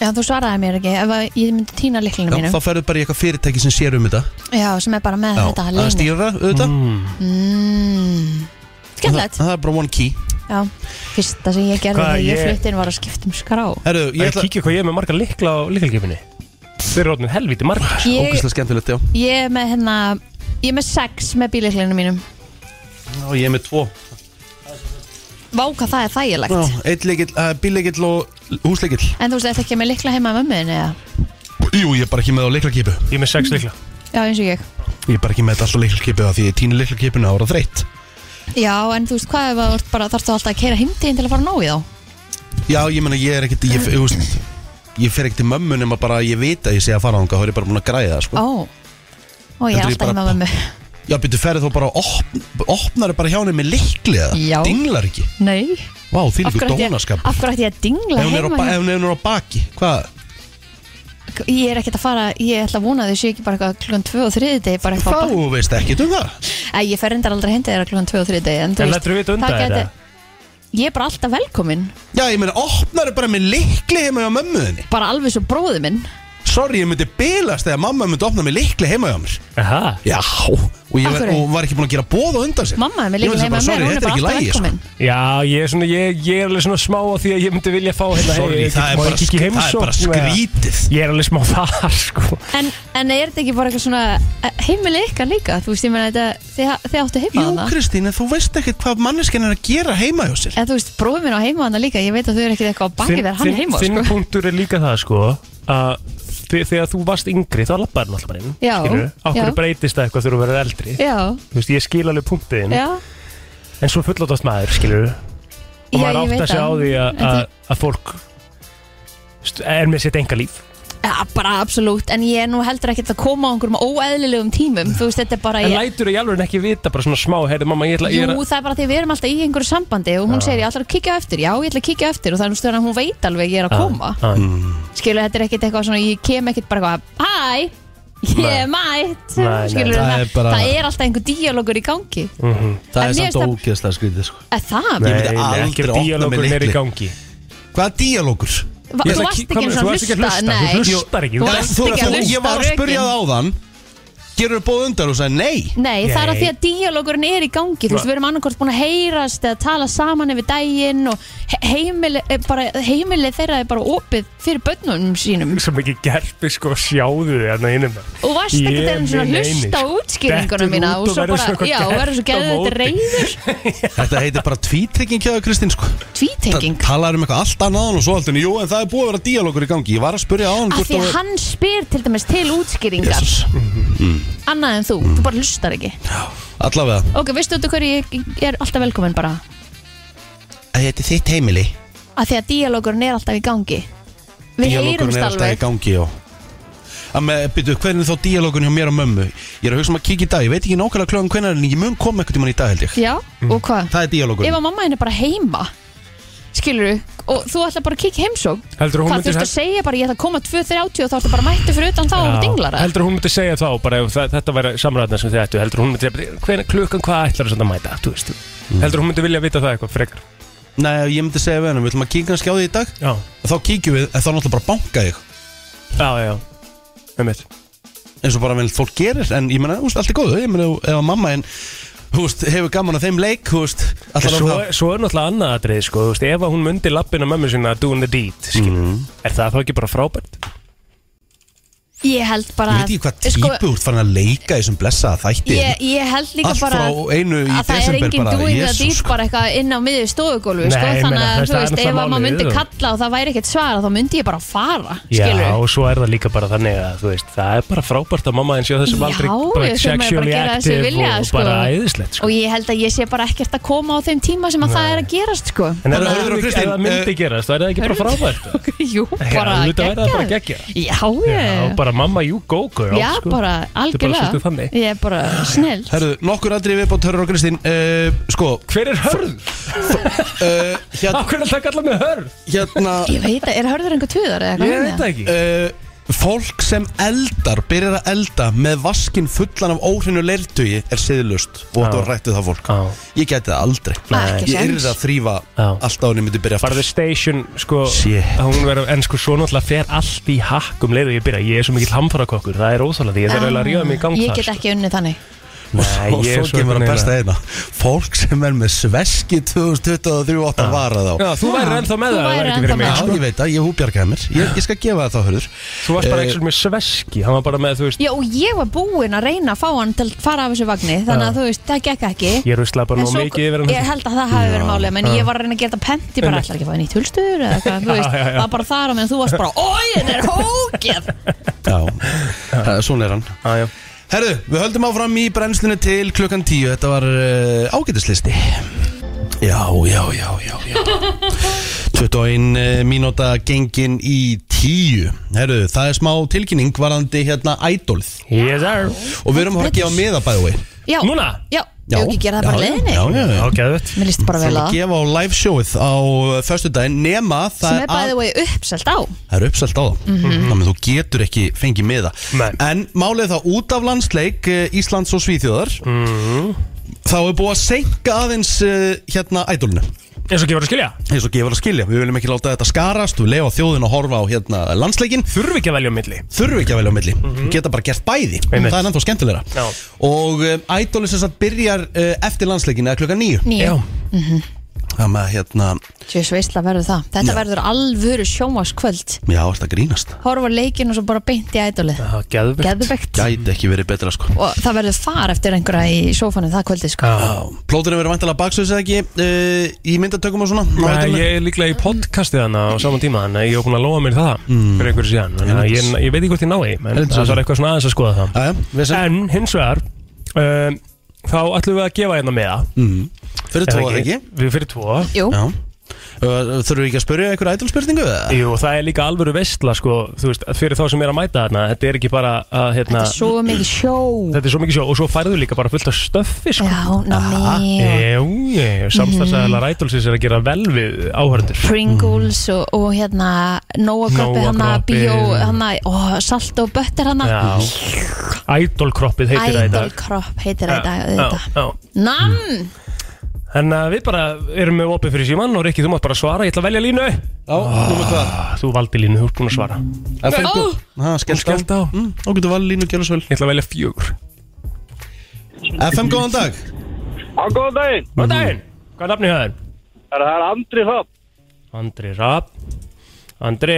Speaker 2: Já, þú svaraði mér ekki ef að ég myndi týna liklinu
Speaker 1: Já,
Speaker 2: mínum
Speaker 1: Þá ferðu bara í eitthvað fyrirtæki sem sér um þetta
Speaker 2: Já, sem er bara með
Speaker 1: Já,
Speaker 2: þetta Mm.
Speaker 1: Það er
Speaker 2: leyni
Speaker 1: stýra auðvitað það,
Speaker 2: Skellett
Speaker 1: það er bara one key
Speaker 2: Já, fyrsta sem ég gerði
Speaker 3: Hvað,
Speaker 2: þegar ég
Speaker 3: ég-
Speaker 2: flutti inn var að skipta um skrá
Speaker 1: Herru,
Speaker 3: Ég
Speaker 1: ég ætla
Speaker 3: kíkja hvað ég er með marga likla á liklakipinni Þeir eru orðin helviti margar
Speaker 2: Ég,
Speaker 1: Ógæslega skemmtilegt, já
Speaker 2: ég er með hérna Ég er með sex með bíliklinu mínum
Speaker 1: Já, ég er með tvo
Speaker 2: Vá, hvað það er þægilegt
Speaker 1: Já, eitt leikill, uh, bíleikill og húsleikill
Speaker 2: En þú veist, þetta ekki með likla heima með mömmuðin eða?
Speaker 1: Jú, ég er bara ekki með á leiklakipu
Speaker 3: Ég er með 6 likla
Speaker 2: Já, eins og ég
Speaker 1: Ég er bara ekki með þetta alltaf leiklakipu Því ég týni leiklakipuna ára þreytt
Speaker 2: Já, en þú veist, hvað ef að þú ert bara Þarftu alltaf að keira heimtíðin til að fara nóg í þá
Speaker 1: Já, ég meina, ég er ekkit Ég, ég, ég, ég fer ekkit til mömmu nema bara að Ég veit að ég sé að fara ánga Þá er ég bara búin að græða það, sko
Speaker 2: Ó, ó
Speaker 1: Heldur
Speaker 2: ég er
Speaker 1: ég
Speaker 2: alltaf
Speaker 1: bara-
Speaker 2: heima með mömmu
Speaker 1: Já, byrju, ferði þó bara opn, Opnar bara hjá henni með leikli
Speaker 2: Já.
Speaker 1: Dinglar ekki
Speaker 2: Nei,
Speaker 1: Vá, því líka
Speaker 2: af hverju ætti ég-
Speaker 1: dónaskap
Speaker 2: af hverju ætti ég að dingla
Speaker 1: Ef hún er á
Speaker 2: heima
Speaker 1: ba-
Speaker 2: hjá-
Speaker 1: ef hún er á baki Hvað?
Speaker 2: Ég er ekkert að fara, ég ætla að vona að þau séu ekki bara eitthvað klukkan 2 og 3 degi bara eitthvað
Speaker 1: Þá veist ekki um það
Speaker 2: Æ, ég fer reyndar aldrei hindi þeirra klukkan 2 og 3 degi En, þú
Speaker 3: En
Speaker 2: veist,
Speaker 3: lætur við um þetta
Speaker 2: það
Speaker 3: undan
Speaker 2: gæti-
Speaker 3: þetta?
Speaker 2: Ég er bara alltaf velkomin
Speaker 1: Já, ég meina, opnar bara með leikli heima hjá mömmuðinni
Speaker 2: Bara alveg svo bróðu minn
Speaker 1: Sorry, ég myndi bilast þegar mamma myndi opna með leikli heima hjá mér
Speaker 3: Aha,
Speaker 1: Já, og ég
Speaker 2: Af
Speaker 1: var,
Speaker 2: hverju?
Speaker 1: og var ekki búin að gera bóð á undan sér
Speaker 2: Mamma er með
Speaker 1: Ég
Speaker 2: líka
Speaker 1: var
Speaker 2: heima
Speaker 1: bara,
Speaker 2: með mér,
Speaker 1: sorry,
Speaker 2: hún er
Speaker 1: þetta
Speaker 2: bara
Speaker 1: ekki
Speaker 2: alltaf
Speaker 1: lagi, sko.
Speaker 2: velkomin
Speaker 3: já, ég er svona, ég, ég er alveg svona smá á því að ég myndi vilja fá hérna
Speaker 1: Sorry,
Speaker 3: hey,
Speaker 1: það er
Speaker 3: má ég
Speaker 1: bara
Speaker 3: kíkja í
Speaker 1: sk- það er
Speaker 3: heimsókn
Speaker 1: bara
Speaker 3: eða-
Speaker 1: skrítið
Speaker 3: Ég er alveg smá þar, sko
Speaker 2: en, en er þetta ekki bara eitthvað svona eh, heimili ykkar líka? Þú veist, ég meina þetta, þið, þið áttu heima
Speaker 1: Jú,
Speaker 2: hana
Speaker 1: Kristín, en þú veist ekkert hvað manneskinn er að gera heima hjá sér
Speaker 2: En þú veist, bróðu minn á heima sko? hana líka Ég veit að þau eru ekkert eitthvað á baki
Speaker 3: Þinn-
Speaker 2: þegar hann er
Speaker 3: þinn-
Speaker 2: heima
Speaker 3: Þinn
Speaker 2: sko.
Speaker 3: punktur er líka það sko að þe- þegar þú varst yngri þá labbaði hann alltaf bara inn
Speaker 2: Já,
Speaker 3: skilurðu? Af
Speaker 2: já.
Speaker 3: hverju breytist það eitthvað þegar þú verður eldri
Speaker 2: Já,
Speaker 3: Þú veist, ég skil alveg punktið þinn
Speaker 2: já,
Speaker 3: En svo fullóttast maður, skilur Og
Speaker 2: já,
Speaker 3: maður
Speaker 2: ég
Speaker 3: átt að
Speaker 2: veit
Speaker 3: segja á
Speaker 2: það.
Speaker 3: því að- að að fólk st- er með sitt enga líf
Speaker 2: Já, bara absolutt, en ég er nú heldur ekkert að koma á einhverjum óeðlilegum tímum Þú veist, þetta er bara
Speaker 3: En
Speaker 2: ég,
Speaker 3: lætur í alveg ekki vita bara svona smá Herri mamma, ég ætla ég er
Speaker 2: Jú,
Speaker 3: að
Speaker 2: það er bara því við erum alltaf í einhverju sambandi Og hún segir, ég ætla að kíkja á eftir Já, ég ætla að kíkja á eftir Og það er nú stöðan að hún veit alveg að ég er að koma
Speaker 3: Já, já.
Speaker 2: Skilur, þetta er ekkert eitthvað svona Ég kem ekkert bara eitthvað, hæ Ég er mætt
Speaker 3: Nei, nei.
Speaker 2: Skilur,
Speaker 1: Það
Speaker 2: það,
Speaker 1: er bara-
Speaker 2: það er alltaf einhver díalógur í gangi
Speaker 1: Það
Speaker 2: En
Speaker 1: er
Speaker 2: mér
Speaker 1: samt
Speaker 2: finnst
Speaker 1: ógeðslega skrítið sko.
Speaker 2: Er það?
Speaker 1: Ég
Speaker 3: Nei,
Speaker 1: myndi
Speaker 3: nei,
Speaker 1: aldrei
Speaker 3: ekki
Speaker 1: opna mig
Speaker 3: díalógur er í
Speaker 1: lykli.
Speaker 3: gangi
Speaker 1: Hvaða díalógur?
Speaker 2: Va,
Speaker 3: Ég
Speaker 2: þú
Speaker 3: ætla að
Speaker 2: varst
Speaker 3: kí-
Speaker 2: ekki eins og
Speaker 3: hvað- þú varst ekki að hlusta,
Speaker 2: Nei.
Speaker 3: þú hlustar ekki.
Speaker 2: Þú
Speaker 3: Nei,
Speaker 2: varst ekki að hlusta
Speaker 1: Ég var að
Speaker 2: á
Speaker 1: spurja
Speaker 2: rökin.
Speaker 1: það á þann Gerur bóð undan og sagði nei
Speaker 2: Nei, það er að
Speaker 3: Nei.
Speaker 2: því að díalógurinn er í gangi Þú veist, við erum annarkort búin að heyrast eða tala saman yfir daginn og he- heimili, eh, bara, heimili þeirra er bara opið fyrir börnunum sínum
Speaker 3: Svo mikið gerpi sko sjáðu þið hérna innum
Speaker 2: og varst ekki
Speaker 3: Ég sko.
Speaker 2: þeirra svona
Speaker 3: minn
Speaker 2: hlusta á
Speaker 3: einir.
Speaker 2: útskýringunum
Speaker 3: Dettur
Speaker 2: mína
Speaker 3: út
Speaker 2: og
Speaker 3: og
Speaker 2: svo
Speaker 3: verður
Speaker 2: bara,
Speaker 3: svona eitthvað
Speaker 2: já, og verður svo
Speaker 3: gert á
Speaker 2: geðið þetta
Speaker 3: móti.
Speaker 2: reyður
Speaker 1: Þetta heitir bara tvítrygging hjá Kristín sko
Speaker 2: tvíteking
Speaker 1: Ta- Talar um eitthvað allt annað án og svo haldin Jú, en það er búið að vera díalógur í gangi Ég var að spurja á hann
Speaker 2: af því að hann spyr til dæmis til útskýringar annað en
Speaker 3: Mm.
Speaker 2: þú, þú bara hlustar ekki
Speaker 1: Allavega
Speaker 2: ok, veistu út af hverju ég ég er alltaf velkominn bara
Speaker 1: Þetta er þitt heimili
Speaker 2: af því að díalógurinn er alltaf í gangi við
Speaker 1: Díalógurinn
Speaker 2: heyrumst
Speaker 1: er alltaf í
Speaker 2: alveg
Speaker 1: gangi, já Að með, byrju, hvernig er þá díalógun hjá mér og mömmu? Ég er að hugsa um að kíkja í dag, ég veit ekki nákvæmlega klöðan hvernig en ég mun koma eitthvað tímann í dag held ég
Speaker 2: já,
Speaker 3: Mm.
Speaker 2: og hvað?
Speaker 1: Það er díalógun
Speaker 2: ef að mamma henn er bara heima skilur og þú ætla bara að kíkja í heimsókn
Speaker 3: Heldur
Speaker 2: hvað þurftu að segja bara ég ætla að koma 2.30 og þá ertu bara mættu fyrir utan þá og dinglar það
Speaker 3: Heldur hún myndi segja þá bara ef þa- þetta væri samræðna sem þið ættu Heldur hún myndi segja bara, hvenær- klukkan hvað ætlar að mæta þú veist. Heldur hún myndi vilja vita það eitthvað frekar
Speaker 1: Nei, ég myndi segja við hennum, við ætlum að kíkja kannski á því í dag
Speaker 3: Já,
Speaker 1: Þá kíkjum við, en þá náttúrulega bara banka þig
Speaker 3: já, já, einmitt
Speaker 1: eins og bara vel fólk gerir en ég meina, þú veist, allt er góðu ég meina, ef að mamma en þú veist, hefur gaman að þeim leik þú veist,
Speaker 3: En
Speaker 1: alltaf
Speaker 3: Svo,
Speaker 1: það
Speaker 3: svo er náttúrulega annað atrið sko, þú veist, ef að hún myndi lappina mömmu sinna doing the deed, skil, er það þá ekki bara frábært?
Speaker 2: ég held bara
Speaker 1: ég veit ekki hvað típu
Speaker 2: sko,
Speaker 1: þú ert farin að leika í þessum blessaða þætti
Speaker 2: ég, ég held líka
Speaker 1: Allt
Speaker 2: bara
Speaker 1: frá einu í
Speaker 2: að það er
Speaker 1: desember
Speaker 2: engin
Speaker 1: bara,
Speaker 2: doing the
Speaker 1: Jesus,
Speaker 2: deed
Speaker 1: sko.
Speaker 2: bara eitthvað inn á miðju stofugólfi
Speaker 3: Nei,
Speaker 2: sko,
Speaker 3: ég
Speaker 2: þannig
Speaker 3: meina,
Speaker 2: að
Speaker 3: það er
Speaker 2: þú veist, ef
Speaker 3: náttúrulega
Speaker 2: að maður
Speaker 3: málið,
Speaker 2: myndi
Speaker 3: þú.
Speaker 2: kalla og það væri ekkert svara þá myndi ég bara fara
Speaker 3: Já,
Speaker 2: skilur
Speaker 3: og svo er það líka bara þannig að þú veist, það er bara frábært að mamma þinn séu þessum
Speaker 2: Já,
Speaker 3: aldrei
Speaker 2: ég þurfum
Speaker 3: bara
Speaker 2: að bara
Speaker 3: sexually
Speaker 2: gera það sem
Speaker 3: active
Speaker 2: vilja,
Speaker 3: og
Speaker 2: sko.
Speaker 3: bara æðislegt sko.
Speaker 2: og ég held að ég sé bara ekkert að koma á þeim tíma sem að það er að gerast sko
Speaker 3: En ef
Speaker 1: Hörðu,
Speaker 3: það
Speaker 1: Hörður og
Speaker 3: myndi-
Speaker 1: Kristín,
Speaker 3: ef það myndi gerast, þá er það ekki bara
Speaker 2: [laughs]
Speaker 3: frábært sko.
Speaker 2: Jú, bara
Speaker 3: Já, þetta væri það bara
Speaker 2: geggjað.
Speaker 3: geggjað.
Speaker 2: Já,
Speaker 3: Já,
Speaker 2: ég
Speaker 3: bara mamma, you go girl
Speaker 2: Já,
Speaker 3: sko.
Speaker 2: bara
Speaker 3: Þetta er bara
Speaker 2: algjörlega
Speaker 3: svolítið þannig.
Speaker 2: Ég er bara snill
Speaker 1: Herðu, nokkur andri viðbótt Hörður og Kristín uh, Sko,
Speaker 3: Hver er hörð?
Speaker 1: uh, hér,
Speaker 3: Akkur er alltaf kallað með hörð?
Speaker 1: hérna
Speaker 2: Ég veit að, er hörður einhver tuðar eða
Speaker 3: Ég
Speaker 2: hvað
Speaker 3: veit það ekki
Speaker 1: uh, Fólk sem eldar, byrjar að elda með vaskinn fullan af óhrinu leirtugi er siðlust og
Speaker 3: Já.
Speaker 1: þetta var rættið það fólk
Speaker 3: Já.
Speaker 1: Ég gæti það aldrei
Speaker 2: Nei. Ekki
Speaker 1: Ég
Speaker 2: séns.
Speaker 1: yrði að þrýfa
Speaker 3: Já.
Speaker 1: allt á henni myndi byrja
Speaker 3: Bara the station, sko
Speaker 1: Shit.
Speaker 3: hún verður, En sko, svo náttúrulega fer allt í hakk um leið og ég byrja Ég er svo mikill hamfarakokkur, það er óþálandi Ég þarf eiginlega að ríða mig í gang
Speaker 2: Ah, Ég
Speaker 3: þar,
Speaker 2: get
Speaker 3: sko.
Speaker 2: ekki unnið þannig
Speaker 3: Nei,
Speaker 1: og
Speaker 3: ég
Speaker 1: svo
Speaker 3: er svo
Speaker 1: kemur að
Speaker 3: einhvern
Speaker 1: besta
Speaker 3: veginn
Speaker 1: eina fólk sem er með sveski 2023 átt að vara þá
Speaker 3: að- Já, þú væri ennþá með
Speaker 2: Þú
Speaker 3: það ef það
Speaker 2: væri
Speaker 3: væri ekki fyrir
Speaker 2: ennþá
Speaker 1: Já,
Speaker 3: mig,
Speaker 2: með.
Speaker 3: sko.
Speaker 1: ég veit að ég húbjargaði mér ég, ég skal gefa það þá, hörður
Speaker 3: Þú varst
Speaker 1: Eh,
Speaker 3: bara ekki svona með sveski Hann var bara með, þú veist,
Speaker 2: Já, og ég var búinn að reyna að fá hann til að fara af þessu vagni Þannig að þú veist, það gekk ekki
Speaker 3: ég er visslega bara
Speaker 2: En
Speaker 3: nú
Speaker 2: svo-
Speaker 3: mikið yfir hann
Speaker 2: Ég held að það hafi verið málið En ég var að reyna að gera þetta pent Ég bara ætlar ekki að fá nýtt hulstur eða hvað, þú veist
Speaker 3: [laughs] Já, já, já.
Speaker 2: Það var bara þar á meðan þú varst bara Ói, þetta er
Speaker 3: [laughs]
Speaker 2: hókið
Speaker 1: Já, svona er hann
Speaker 3: Ah, Já, já.
Speaker 1: Herðu, við höldum áfram í brennslunni til klukkan 10 Þetta var uh, ágætislisti Já, já, já, já, [laughs] já 21 uh, mínúta gengin í 10 Herðu, það er smá tilkynning varandi hérna ædólið
Speaker 3: Yes, sir
Speaker 1: Og við
Speaker 2: Ah,
Speaker 1: erum að gefa miða bæði
Speaker 2: Já,
Speaker 3: Núna?
Speaker 2: já, já, ekki gera það bara leiðinni
Speaker 1: Já, já, já,
Speaker 3: Já, geðvett
Speaker 2: Mér líst bara
Speaker 1: Það
Speaker 2: vel
Speaker 1: er
Speaker 2: að
Speaker 1: að
Speaker 2: það.
Speaker 1: gefa á live showið á uh, föstudaginn nema það
Speaker 2: Sem er bæðið vegi uppselt á
Speaker 1: það er uppselt á það
Speaker 2: Mhm.
Speaker 1: þannig að þú getur ekki fengið miða
Speaker 3: Nei.
Speaker 1: en málið er það út af landsleik eh, Íslands og Svíþjóðar Mhm. þá er búið að senka aðeins eh, hérna ædolinu
Speaker 3: Eins og gefur að skilja
Speaker 1: eins og gefur að skilja, við viljum ekki láta þetta skarast við lefa þjóðin að horfa á hérna landsleikin
Speaker 3: Þurfi ekki að velja á milli
Speaker 1: þurfi ekki að velja á milli, geta bara gert bæði
Speaker 3: Einmitt.
Speaker 1: það er ennþá skemmtilegra
Speaker 3: Já.
Speaker 1: uh, og um, ædolin sem sagt byrjar uh, eftir landsleikin eða klukkan nýju
Speaker 2: Nýju
Speaker 1: Hvað með hérna,
Speaker 2: Sjöss veistla verður það Þetta verður alvöru sjómaskvöld
Speaker 1: já, er þetta grínast
Speaker 2: Horfa á leikinn og svo bara beint í ædolið
Speaker 3: Það var geðvikt
Speaker 2: Geðvegt
Speaker 1: Gæti ekki verið betra sko
Speaker 2: Og það verður far eftir einhverja í sófanum það kvöldi sko
Speaker 1: Já, Plóturinn verður væntalega baksveits eða ekki uh, í myndatökum og svona Ná,
Speaker 3: Nei,
Speaker 1: væntanlega.
Speaker 3: ég er líklega í podcastið hana á saman tíma þannig að ég er búin að lofa mér það fyrir einhverju síðan þannig að ég, ég veit ekki hvort ég nái en
Speaker 1: Heldur
Speaker 3: það
Speaker 1: svo.
Speaker 3: var eitthvað svona aðeins að skoða það
Speaker 1: Jæja, við sem
Speaker 3: En hins vegar um, þá ætlum við að gefa hérna með það
Speaker 1: Mhm. Fyrir tvo eða ekki
Speaker 3: Við fyrir tvo
Speaker 2: Jú,
Speaker 1: Já Uh, Þurfum við ekki að spyrja einhverja ædolspurningu?
Speaker 3: Jú, það er líka alvöru veistla sko, þú veist, fyrir þá sem er að mæta þarna þetta er ekki bara að hérna,
Speaker 2: þetta er svo mikið sjó
Speaker 3: þetta er sko- svo mikið sjó og svo færðu líka bara fullt af stöffi sko.
Speaker 2: Já, Mm. ná mér
Speaker 3: Jú, jú, samstagsæðala rætulsins er að gera vel við áhörndur
Speaker 2: Pringles og, og hérna Nóagroppi
Speaker 3: Nóa
Speaker 2: hana,
Speaker 3: Krabbi.
Speaker 2: bíó hana, ó, salt og bötter hana
Speaker 3: eh. Já Ædolkroppið heitir það í dag
Speaker 2: Ædolkropp heitir það í dag auðvitað.
Speaker 3: Já, já.
Speaker 2: Nam,
Speaker 3: En uh, við bara erum með opið fyrir síman og Rikki, þú mátt bara svara, ég ætla að velja línu
Speaker 1: Já,
Speaker 3: Ah.
Speaker 1: nú með hvað
Speaker 3: Þú valdi línu, þú ert búin að svara
Speaker 1: Það fyrir þú Það skellt á
Speaker 3: Skellt á,
Speaker 1: Mm, Þá getur valið línu og gjöla svöl
Speaker 3: ég ætla að velja fjögur
Speaker 1: FM, góðan dag
Speaker 6: Á, góðan daginn.
Speaker 3: Góðan daginn, hvað er nafnið það?
Speaker 6: Það er- það er Andri Hrapp.
Speaker 3: Andri Rapp Andri,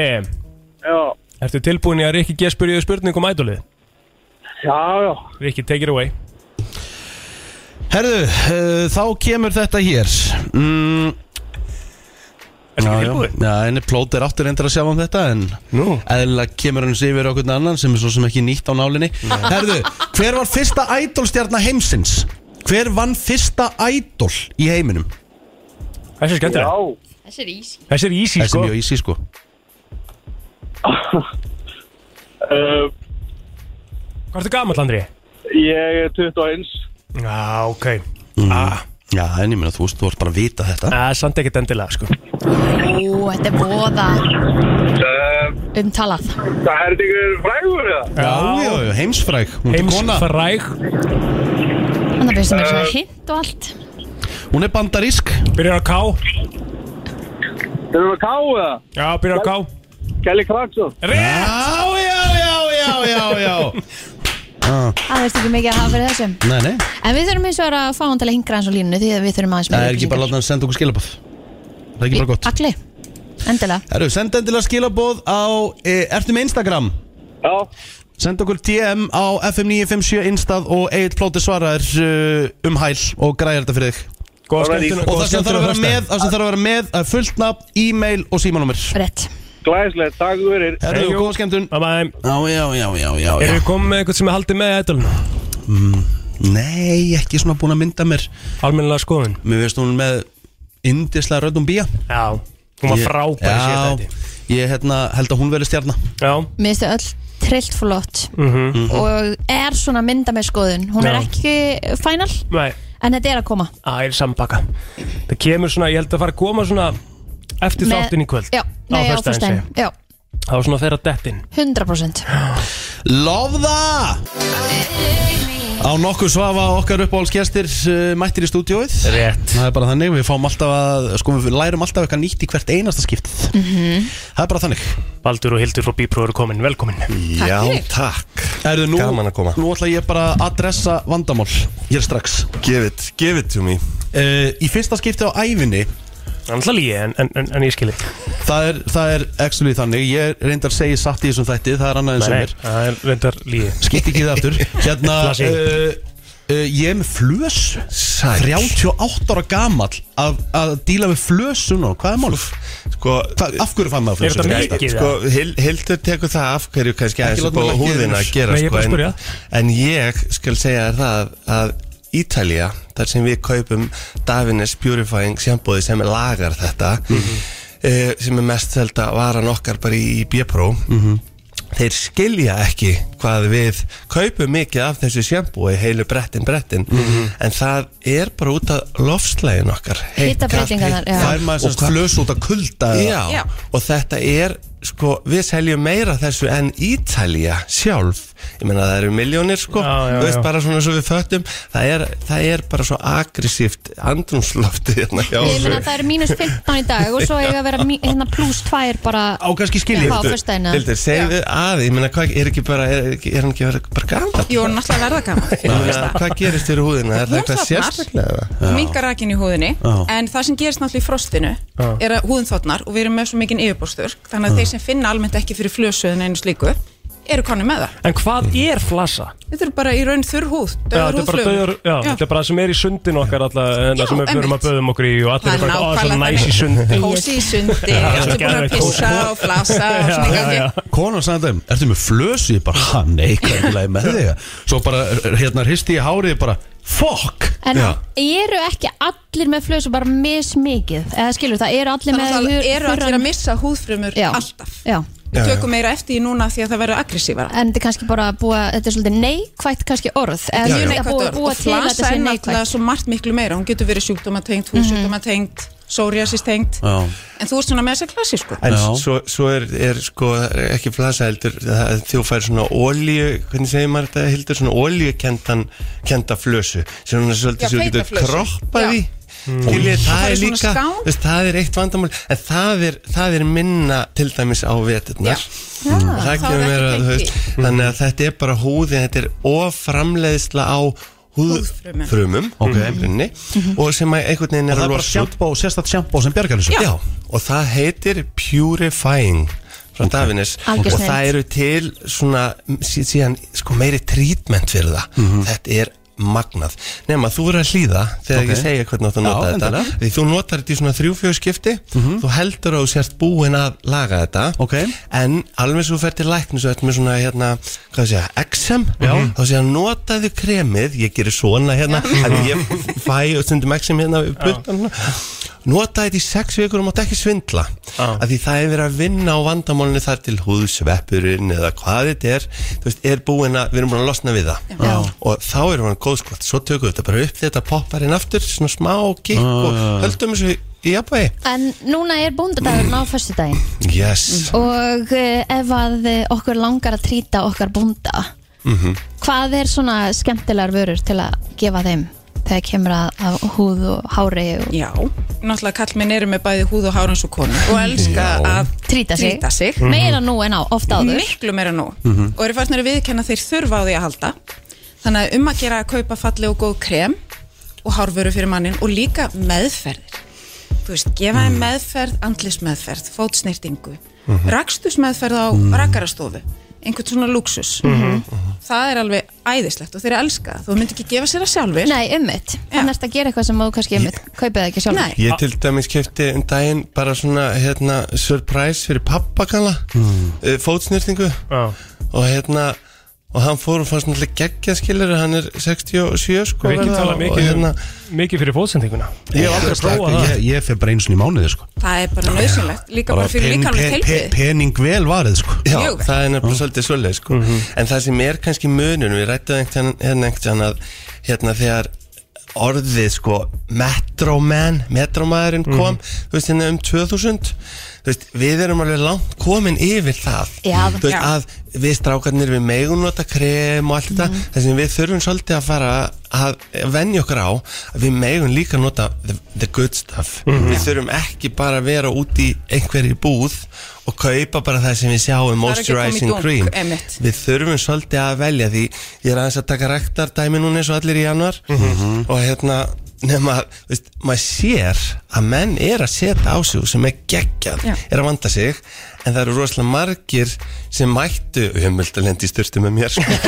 Speaker 6: Já,
Speaker 3: ertu tilbúin í að Rikki G spurði spurningu um ædolið?
Speaker 6: já, já.
Speaker 3: Rikki, take it away
Speaker 1: Herðu, uh, þá kemur þetta hér mm, já,
Speaker 3: Ertu ekki
Speaker 1: já.
Speaker 3: tilbúin?
Speaker 1: Já, en plót er áttur reyndar að sjá um þetta En
Speaker 3: Nú,
Speaker 1: eðlilega kemur hann sér yfir okkur annan Sem er svo sem ekki nýtt á nálinni Herðu, hver var fyrsta ædolstjarnar heimsins? Hver vann fyrsta ædol í heiminum?
Speaker 3: þessi er skemmtilega
Speaker 6: Já,
Speaker 2: þessi er ísi
Speaker 3: Þessi er easy
Speaker 1: Þessi
Speaker 3: sko
Speaker 1: er mjög ísi sko
Speaker 6: uh,
Speaker 3: Hvað ertu gamall Andri?
Speaker 6: ég er 21.
Speaker 3: Já, ok
Speaker 1: mm. Já, en ég meina, þú veist, þú ert bara að vita þetta
Speaker 3: Það er samt ekkert endilega sko
Speaker 2: Ú, þetta er voða
Speaker 6: Uh,
Speaker 2: umtalað
Speaker 6: það er þetta ykkur frægur eða?
Speaker 1: Já, já, já, heimsfræg Hún er kona,
Speaker 3: Heimsfræg
Speaker 2: Þannig finnst það mér
Speaker 3: Eh.
Speaker 2: svona hint og allt
Speaker 1: hún er bandarísk
Speaker 3: Byrjar á K
Speaker 6: Þeir eru að káu eða?
Speaker 3: Já, byrjar á K
Speaker 6: Kelly Clarkson.
Speaker 3: Rétt
Speaker 1: Já, já, já, já, já, [laughs] já
Speaker 2: Það veist ekki mikið að hafa fyrir þessum
Speaker 1: Ah, Nei, nei,
Speaker 2: En við þurfum eins og að fá hann til að hingra hans á línunni Því að við þurfum aðeins
Speaker 1: það er ekki bara að láta hann senda okkur skilabóð Það er ekki bara gott
Speaker 2: Alli, endilega
Speaker 1: Herru, senda endilega skilabóð á e, Ertu með Instagram?
Speaker 6: Já,
Speaker 1: Senda okkur DM á FM957 Instað og Egil Plóti svarar uh, um hæl og græjar þetta fyrir þig
Speaker 3: Góða
Speaker 6: Það var
Speaker 3: skemmtun
Speaker 6: í-
Speaker 1: Og það sem þarf að vera með, það sem þarf að vera með það er fullt nafn, e-mail og símanúmer
Speaker 2: Rétt
Speaker 6: glæslega, takk fyrir.
Speaker 1: Herru,
Speaker 3: Heyo.
Speaker 1: góða skemmtun
Speaker 3: Bæ bæ
Speaker 1: Já, já, já, já, já,
Speaker 3: Erum
Speaker 1: já
Speaker 3: við komið með eitthvað sem er haldið með ædolun?
Speaker 1: Nei, ekki svona búin að mynda mér
Speaker 3: Almennilega skoðun
Speaker 1: Mér veist hún með indislega röddum bía
Speaker 3: Já Hún var
Speaker 1: Ég-
Speaker 3: frábær í síðasta
Speaker 1: Já,
Speaker 3: þætti.
Speaker 1: ég hérna, held að hún verði stjarnar
Speaker 3: Já
Speaker 2: Mér finnst þau öll trillt flott
Speaker 1: Mhm.
Speaker 2: Og er svona mynda með skoðun Hún er
Speaker 3: Mhm. Já.
Speaker 2: ekki final
Speaker 3: Nei
Speaker 2: En þetta er að koma
Speaker 3: Það er sambaka Það kemur svona Ég held að fara að koma svona Eftir
Speaker 2: Með-
Speaker 3: þáttinn í kvöld
Speaker 2: Já, nei, á
Speaker 3: föstudaginn,
Speaker 2: fyrstæðin
Speaker 3: segi ég.
Speaker 2: Já,
Speaker 3: Það var svona að þeirra dettin
Speaker 2: 100%
Speaker 1: Love það! Á nokkuð svafa okkar uppáhaldsgestir uh, mættir í stúdióið
Speaker 3: Rétt
Speaker 1: Það er bara þannig, við fáum alltaf að, sko við lærum alltaf eitthvað nýtt í hvert einasta skiptið
Speaker 2: Mhm.
Speaker 1: Það er bara þannig
Speaker 3: Baldur og Hildur frá Bípró eru komin Velkomin
Speaker 2: Takk fyrir.
Speaker 7: takk
Speaker 1: Erðu nú,
Speaker 7: Gaman að koma.
Speaker 1: nú ætla ég bara að adressa vandamál Hér strax
Speaker 7: Give it, give it to me
Speaker 1: uh, Í fyrsta skipti á ævinni
Speaker 3: Þannig að ég en, en, en, en ég skil þig.
Speaker 1: Það er, það er actually þannig, ég reyndar að segja satt í þessum þætti, það er annað en
Speaker 3: Nei,
Speaker 1: sem
Speaker 3: nei,
Speaker 1: er
Speaker 3: Það er reyndar líði
Speaker 1: Skipt ekki það aftur Hérna
Speaker 3: Flasi.
Speaker 1: uh, uh, Ég er með flös 38 ára gamall að, að díla við flösun og hvað er mál?
Speaker 7: Sko,
Speaker 1: Hva, af hverju fann maður
Speaker 3: Er
Speaker 1: flösun?
Speaker 3: þetta
Speaker 1: Nei,
Speaker 3: mikið?
Speaker 7: sko Hil- Hildur tekur það af hverju kannski aðeins
Speaker 1: láta
Speaker 7: upp á
Speaker 1: mig leggja
Speaker 7: húðina að
Speaker 1: yfir.
Speaker 7: gera
Speaker 3: Nei, ég er
Speaker 7: sko,
Speaker 3: bara að spyrja.
Speaker 7: en, en ég skal segja þér það að Ítalía, þar sem við kaupum Davines Purifying sjambóði sem lagar þetta eh, sem er mest selda varan okkar bara í, í B-Pro þeir skilja ekki hvað við kaupum mikið af þessu sjambói heilu brettin brettin en það er bara út af lofslægin okkar Heitt, kalt, heitt,
Speaker 2: Hitabreytingarnar, já.
Speaker 1: Það er maður
Speaker 7: Og
Speaker 1: semst
Speaker 7: hvað-
Speaker 1: flös út af kulda eða-
Speaker 7: Já, og þetta er sko, við seljum meira af þessu en Ítalía sjálf ég meina það eru miljónir sko
Speaker 3: Já, já,
Speaker 7: Þú veist
Speaker 3: já.
Speaker 7: bara svona svo við föttum það er, það er bara svo aggressíft andrumslofti hérna hjá
Speaker 2: Ég meina
Speaker 7: þessu.
Speaker 2: að það er mínus 15 í dag og svo eiga að vera mí- hérna pluss 2 bara
Speaker 1: Á kannski skil
Speaker 2: Já,
Speaker 1: ég
Speaker 2: á föstudagina
Speaker 7: Hildur, segðu að, ég meina hvað er ekki bara, er, ekki- er hann ekki verið bara gammal?
Speaker 8: Jú, hún er alltaf að verða gaman
Speaker 7: Ég meina, Hvað gerist fyrir húðina? Er það
Speaker 8: Hún
Speaker 7: eitthvað
Speaker 8: þornar.
Speaker 7: sérstaklega? eða?
Speaker 8: minkar rakin í húðinni
Speaker 1: Já.
Speaker 8: en það sem gerist náttúrulega í frostinu er að húðin þotnar og við erum með svo mikinn yfirbórstur þannig að þeir sem finna almennt ekki fyrir flösuðin einu slíku eru konu með það
Speaker 3: En hvað er flasa?
Speaker 8: við þurfum bara í raun þurr húð
Speaker 3: Já,
Speaker 8: dauðar
Speaker 3: þetta er bara
Speaker 8: húðflugur.
Speaker 3: döður, já, þetta er bara það sem er í sundin okkar alltaf,
Speaker 8: Já,
Speaker 3: það sem við förum að
Speaker 8: einmitt.
Speaker 3: böðum okkur í og allir
Speaker 8: það
Speaker 3: er
Speaker 8: er
Speaker 3: bara, ó, það er
Speaker 8: nákvæmlega
Speaker 3: næs í sundi.
Speaker 8: hósi í sundi, allir búin að
Speaker 3: geðveikt.
Speaker 8: pissa og flasa og
Speaker 3: Já,
Speaker 8: svona
Speaker 3: já,
Speaker 8: ekki
Speaker 3: já.
Speaker 1: Konan sagði þeim, ertu með flösu? Ég bara, ha, nei, hvernig með þig? Svo bara, hérna, hristi ég hárið bara, fuck!
Speaker 2: En
Speaker 1: Já.
Speaker 2: eru ekki allir með flösu bara mismikið? Eða skilur, það eru allir
Speaker 8: þannig að
Speaker 2: með
Speaker 8: það
Speaker 2: hur-
Speaker 8: eru allir að
Speaker 2: þurran-
Speaker 8: missa húðfrumur
Speaker 2: Já.
Speaker 8: alltaf
Speaker 2: Já,
Speaker 7: Já,
Speaker 8: við
Speaker 7: já.
Speaker 8: tökum meira eftir í núna því að það verður aggressívara
Speaker 2: en þetta er kannski bara að búa, þetta er svolítið neikvætt kannski orð Eða
Speaker 8: mjög
Speaker 2: að
Speaker 8: neikvætt
Speaker 2: búa-
Speaker 8: orð
Speaker 2: Búa
Speaker 8: og
Speaker 2: til að þetta
Speaker 8: flasa
Speaker 2: sé
Speaker 8: er náttúrulega
Speaker 2: neikvætt Mhm.
Speaker 8: svo margt miklu meira hún getur verið sjúkdóma tengt, húsjúkdóma tengt psoriasis tengt
Speaker 1: Já.
Speaker 8: en þú ert svona með sko. þess að klassísku
Speaker 7: En
Speaker 1: Já.
Speaker 7: svo, svo er, er sko er ekki flasa heldur það- þú fær svona olíu, hvernig segir maður þetta heldur, svona olíukendan kenda flösu, sem hún er
Speaker 8: Já,
Speaker 7: svolítið sem þú getur
Speaker 8: feitaflösu.
Speaker 7: kroppað í
Speaker 8: Já.
Speaker 1: Mm.
Speaker 7: Skiljið, það
Speaker 8: Það
Speaker 7: er
Speaker 8: er svona
Speaker 7: líka,
Speaker 8: skán.
Speaker 7: veist, það er eitt vandamál en það er, það er minna til dæmis á veturnar Og það
Speaker 8: Það er
Speaker 7: kemur
Speaker 8: ekki
Speaker 7: mér að,
Speaker 8: tengt
Speaker 7: þú veist, þannig að þetta er bara húðin, þetta er offramleiðsla á
Speaker 8: Húðfrumum. Mhm.
Speaker 7: húðfrumum okay. og sem að einhvern veginn er
Speaker 1: Það
Speaker 7: að
Speaker 1: er bara
Speaker 7: losa út
Speaker 1: sjampó, sérstætt sjampó sem bjargar þessu
Speaker 7: Já. og það heitir Purifying frá okay. Davines
Speaker 2: Algjör
Speaker 7: og
Speaker 2: snilld.
Speaker 7: það eru til svona sí- síðan sko meiri treatment fyrir það
Speaker 1: Mhm.
Speaker 7: þetta er magnað nema þú verður að hlýða þegar
Speaker 1: Ok.
Speaker 7: ég segja hvernig þú átt
Speaker 1: Já,
Speaker 7: að nota þetta
Speaker 1: endilega. Mhm.
Speaker 7: því þú notar þetta í svona þrjú-fjögur skipti þú heldur að þú sért búin að laga þetta
Speaker 1: Ok.
Speaker 7: en alveg svo þú fer til læknis og ert með svona hérna hvað sé ég, XM þá sé ég að notaðu kremið ég gerir svona hérna en ég fæ og stundum XM hérna við puttan nota þetta í sex vikur og mátt ekki svindla
Speaker 3: Ah.
Speaker 7: af því það er verið að vinna á vandamálinu þar til húðsveppurinn eða hvað þetta er þú veist, er búin að, við erum búin að losna við það
Speaker 2: Já.
Speaker 7: og þá erum við góð skvart svo tökum við þetta bara upp þetta poppar inn aftur svona smá kikk og
Speaker 1: Ah.
Speaker 7: höldum þessu í jafnvægi
Speaker 2: En núna er bóndadagurinn á föstudaginn
Speaker 7: yes
Speaker 2: Og eh, ef að eh, okkur langar að trýta okkar búnda Hvað er svona skemmtilegar vörur til að gefa þeim Þegar kemur að, að húð og hári og
Speaker 8: Já, náttúrulega kallmenn eru með bæði húð og hár eins og konu og elska að
Speaker 2: trýta sig,
Speaker 8: trýta sig
Speaker 2: Meira nú en á, oft áður
Speaker 8: miklu meira nú og eru fannir að viðkenna þeir þurfa á því að halda þannig að um að gera að kaupa falli og góð krem og hárvöru fyrir mannin og líka meðferðir þú veist, gefa þeim meðferð, andlismeðferð fótsnýrtingu, mm á rakarastofu, einhvern svona luxus það er alveg æðislegt og þeir elska það, þú myndir ekki gefa sér það sjálfur
Speaker 2: Nei, ummitt,
Speaker 8: Já.
Speaker 2: þannig að gera eitthvað sem þú kannski ummitt kaupið það ekki sjálf
Speaker 8: Nei.
Speaker 3: Ah.
Speaker 7: Ég til dæmis kefti um daginn bara svona hérna surprise fyrir pappakalla
Speaker 3: Hmm.
Speaker 7: mm. fótsnýrtingu
Speaker 3: Já.
Speaker 7: og hérna og hann fór og fannst náttúrulega geggja skilur hann er 67 sko
Speaker 3: Við ekki
Speaker 7: verða,
Speaker 3: tala
Speaker 7: og
Speaker 3: mikið, um-
Speaker 7: hérna
Speaker 3: mikið fyrir fóðsendinguna
Speaker 1: Ég hef aldrei
Speaker 7: Slaka,
Speaker 1: prófað það Ég, ég fer bara einu sinni í mánuði, sko
Speaker 8: það er bara nöðsynlegt, líka bara fyrir
Speaker 1: pening-
Speaker 8: líkamlega
Speaker 1: pe- pe-
Speaker 8: tilbyrði
Speaker 1: Pening vel varðið, sko
Speaker 7: Já,
Speaker 8: Mjög vel.
Speaker 7: það er nefnilega
Speaker 3: Ah.
Speaker 7: svolítið svolítið sko.
Speaker 3: Mhm.
Speaker 7: en það sem er kannski munun við rættum einhvern hérna einhvern að hérna þegar orðið sko metroman, metromaðurinn kom þú veist hérna um 2000 þú veist, við erum alveg langt komin yfir það
Speaker 2: Já.
Speaker 7: Þú veist,
Speaker 8: Já.
Speaker 7: að við strákarnir við megum nota krem og allt þetta þess að við þurfum svolítið að fara að venja okkur á að við megum líka nota the, the good stuff við þurfum ekki bara að vera út í einhverju búð og kaupa bara það sem við sjáum
Speaker 8: Það er ekki að koma í
Speaker 7: moisturizing
Speaker 8: dunk,
Speaker 7: cream
Speaker 8: einmitt.
Speaker 7: við þurfum svolítið að velja því ég er aðeins að taka rektar dæmi núna eins og allir í januar og hérna nema, þú veist, maður sér að menn er að setja á sig sem er geggjað,
Speaker 8: Já.
Speaker 7: er að vanda sig en það eru rosalega margir sem mættu, og ég möldi að lendi í styrtu með mér sko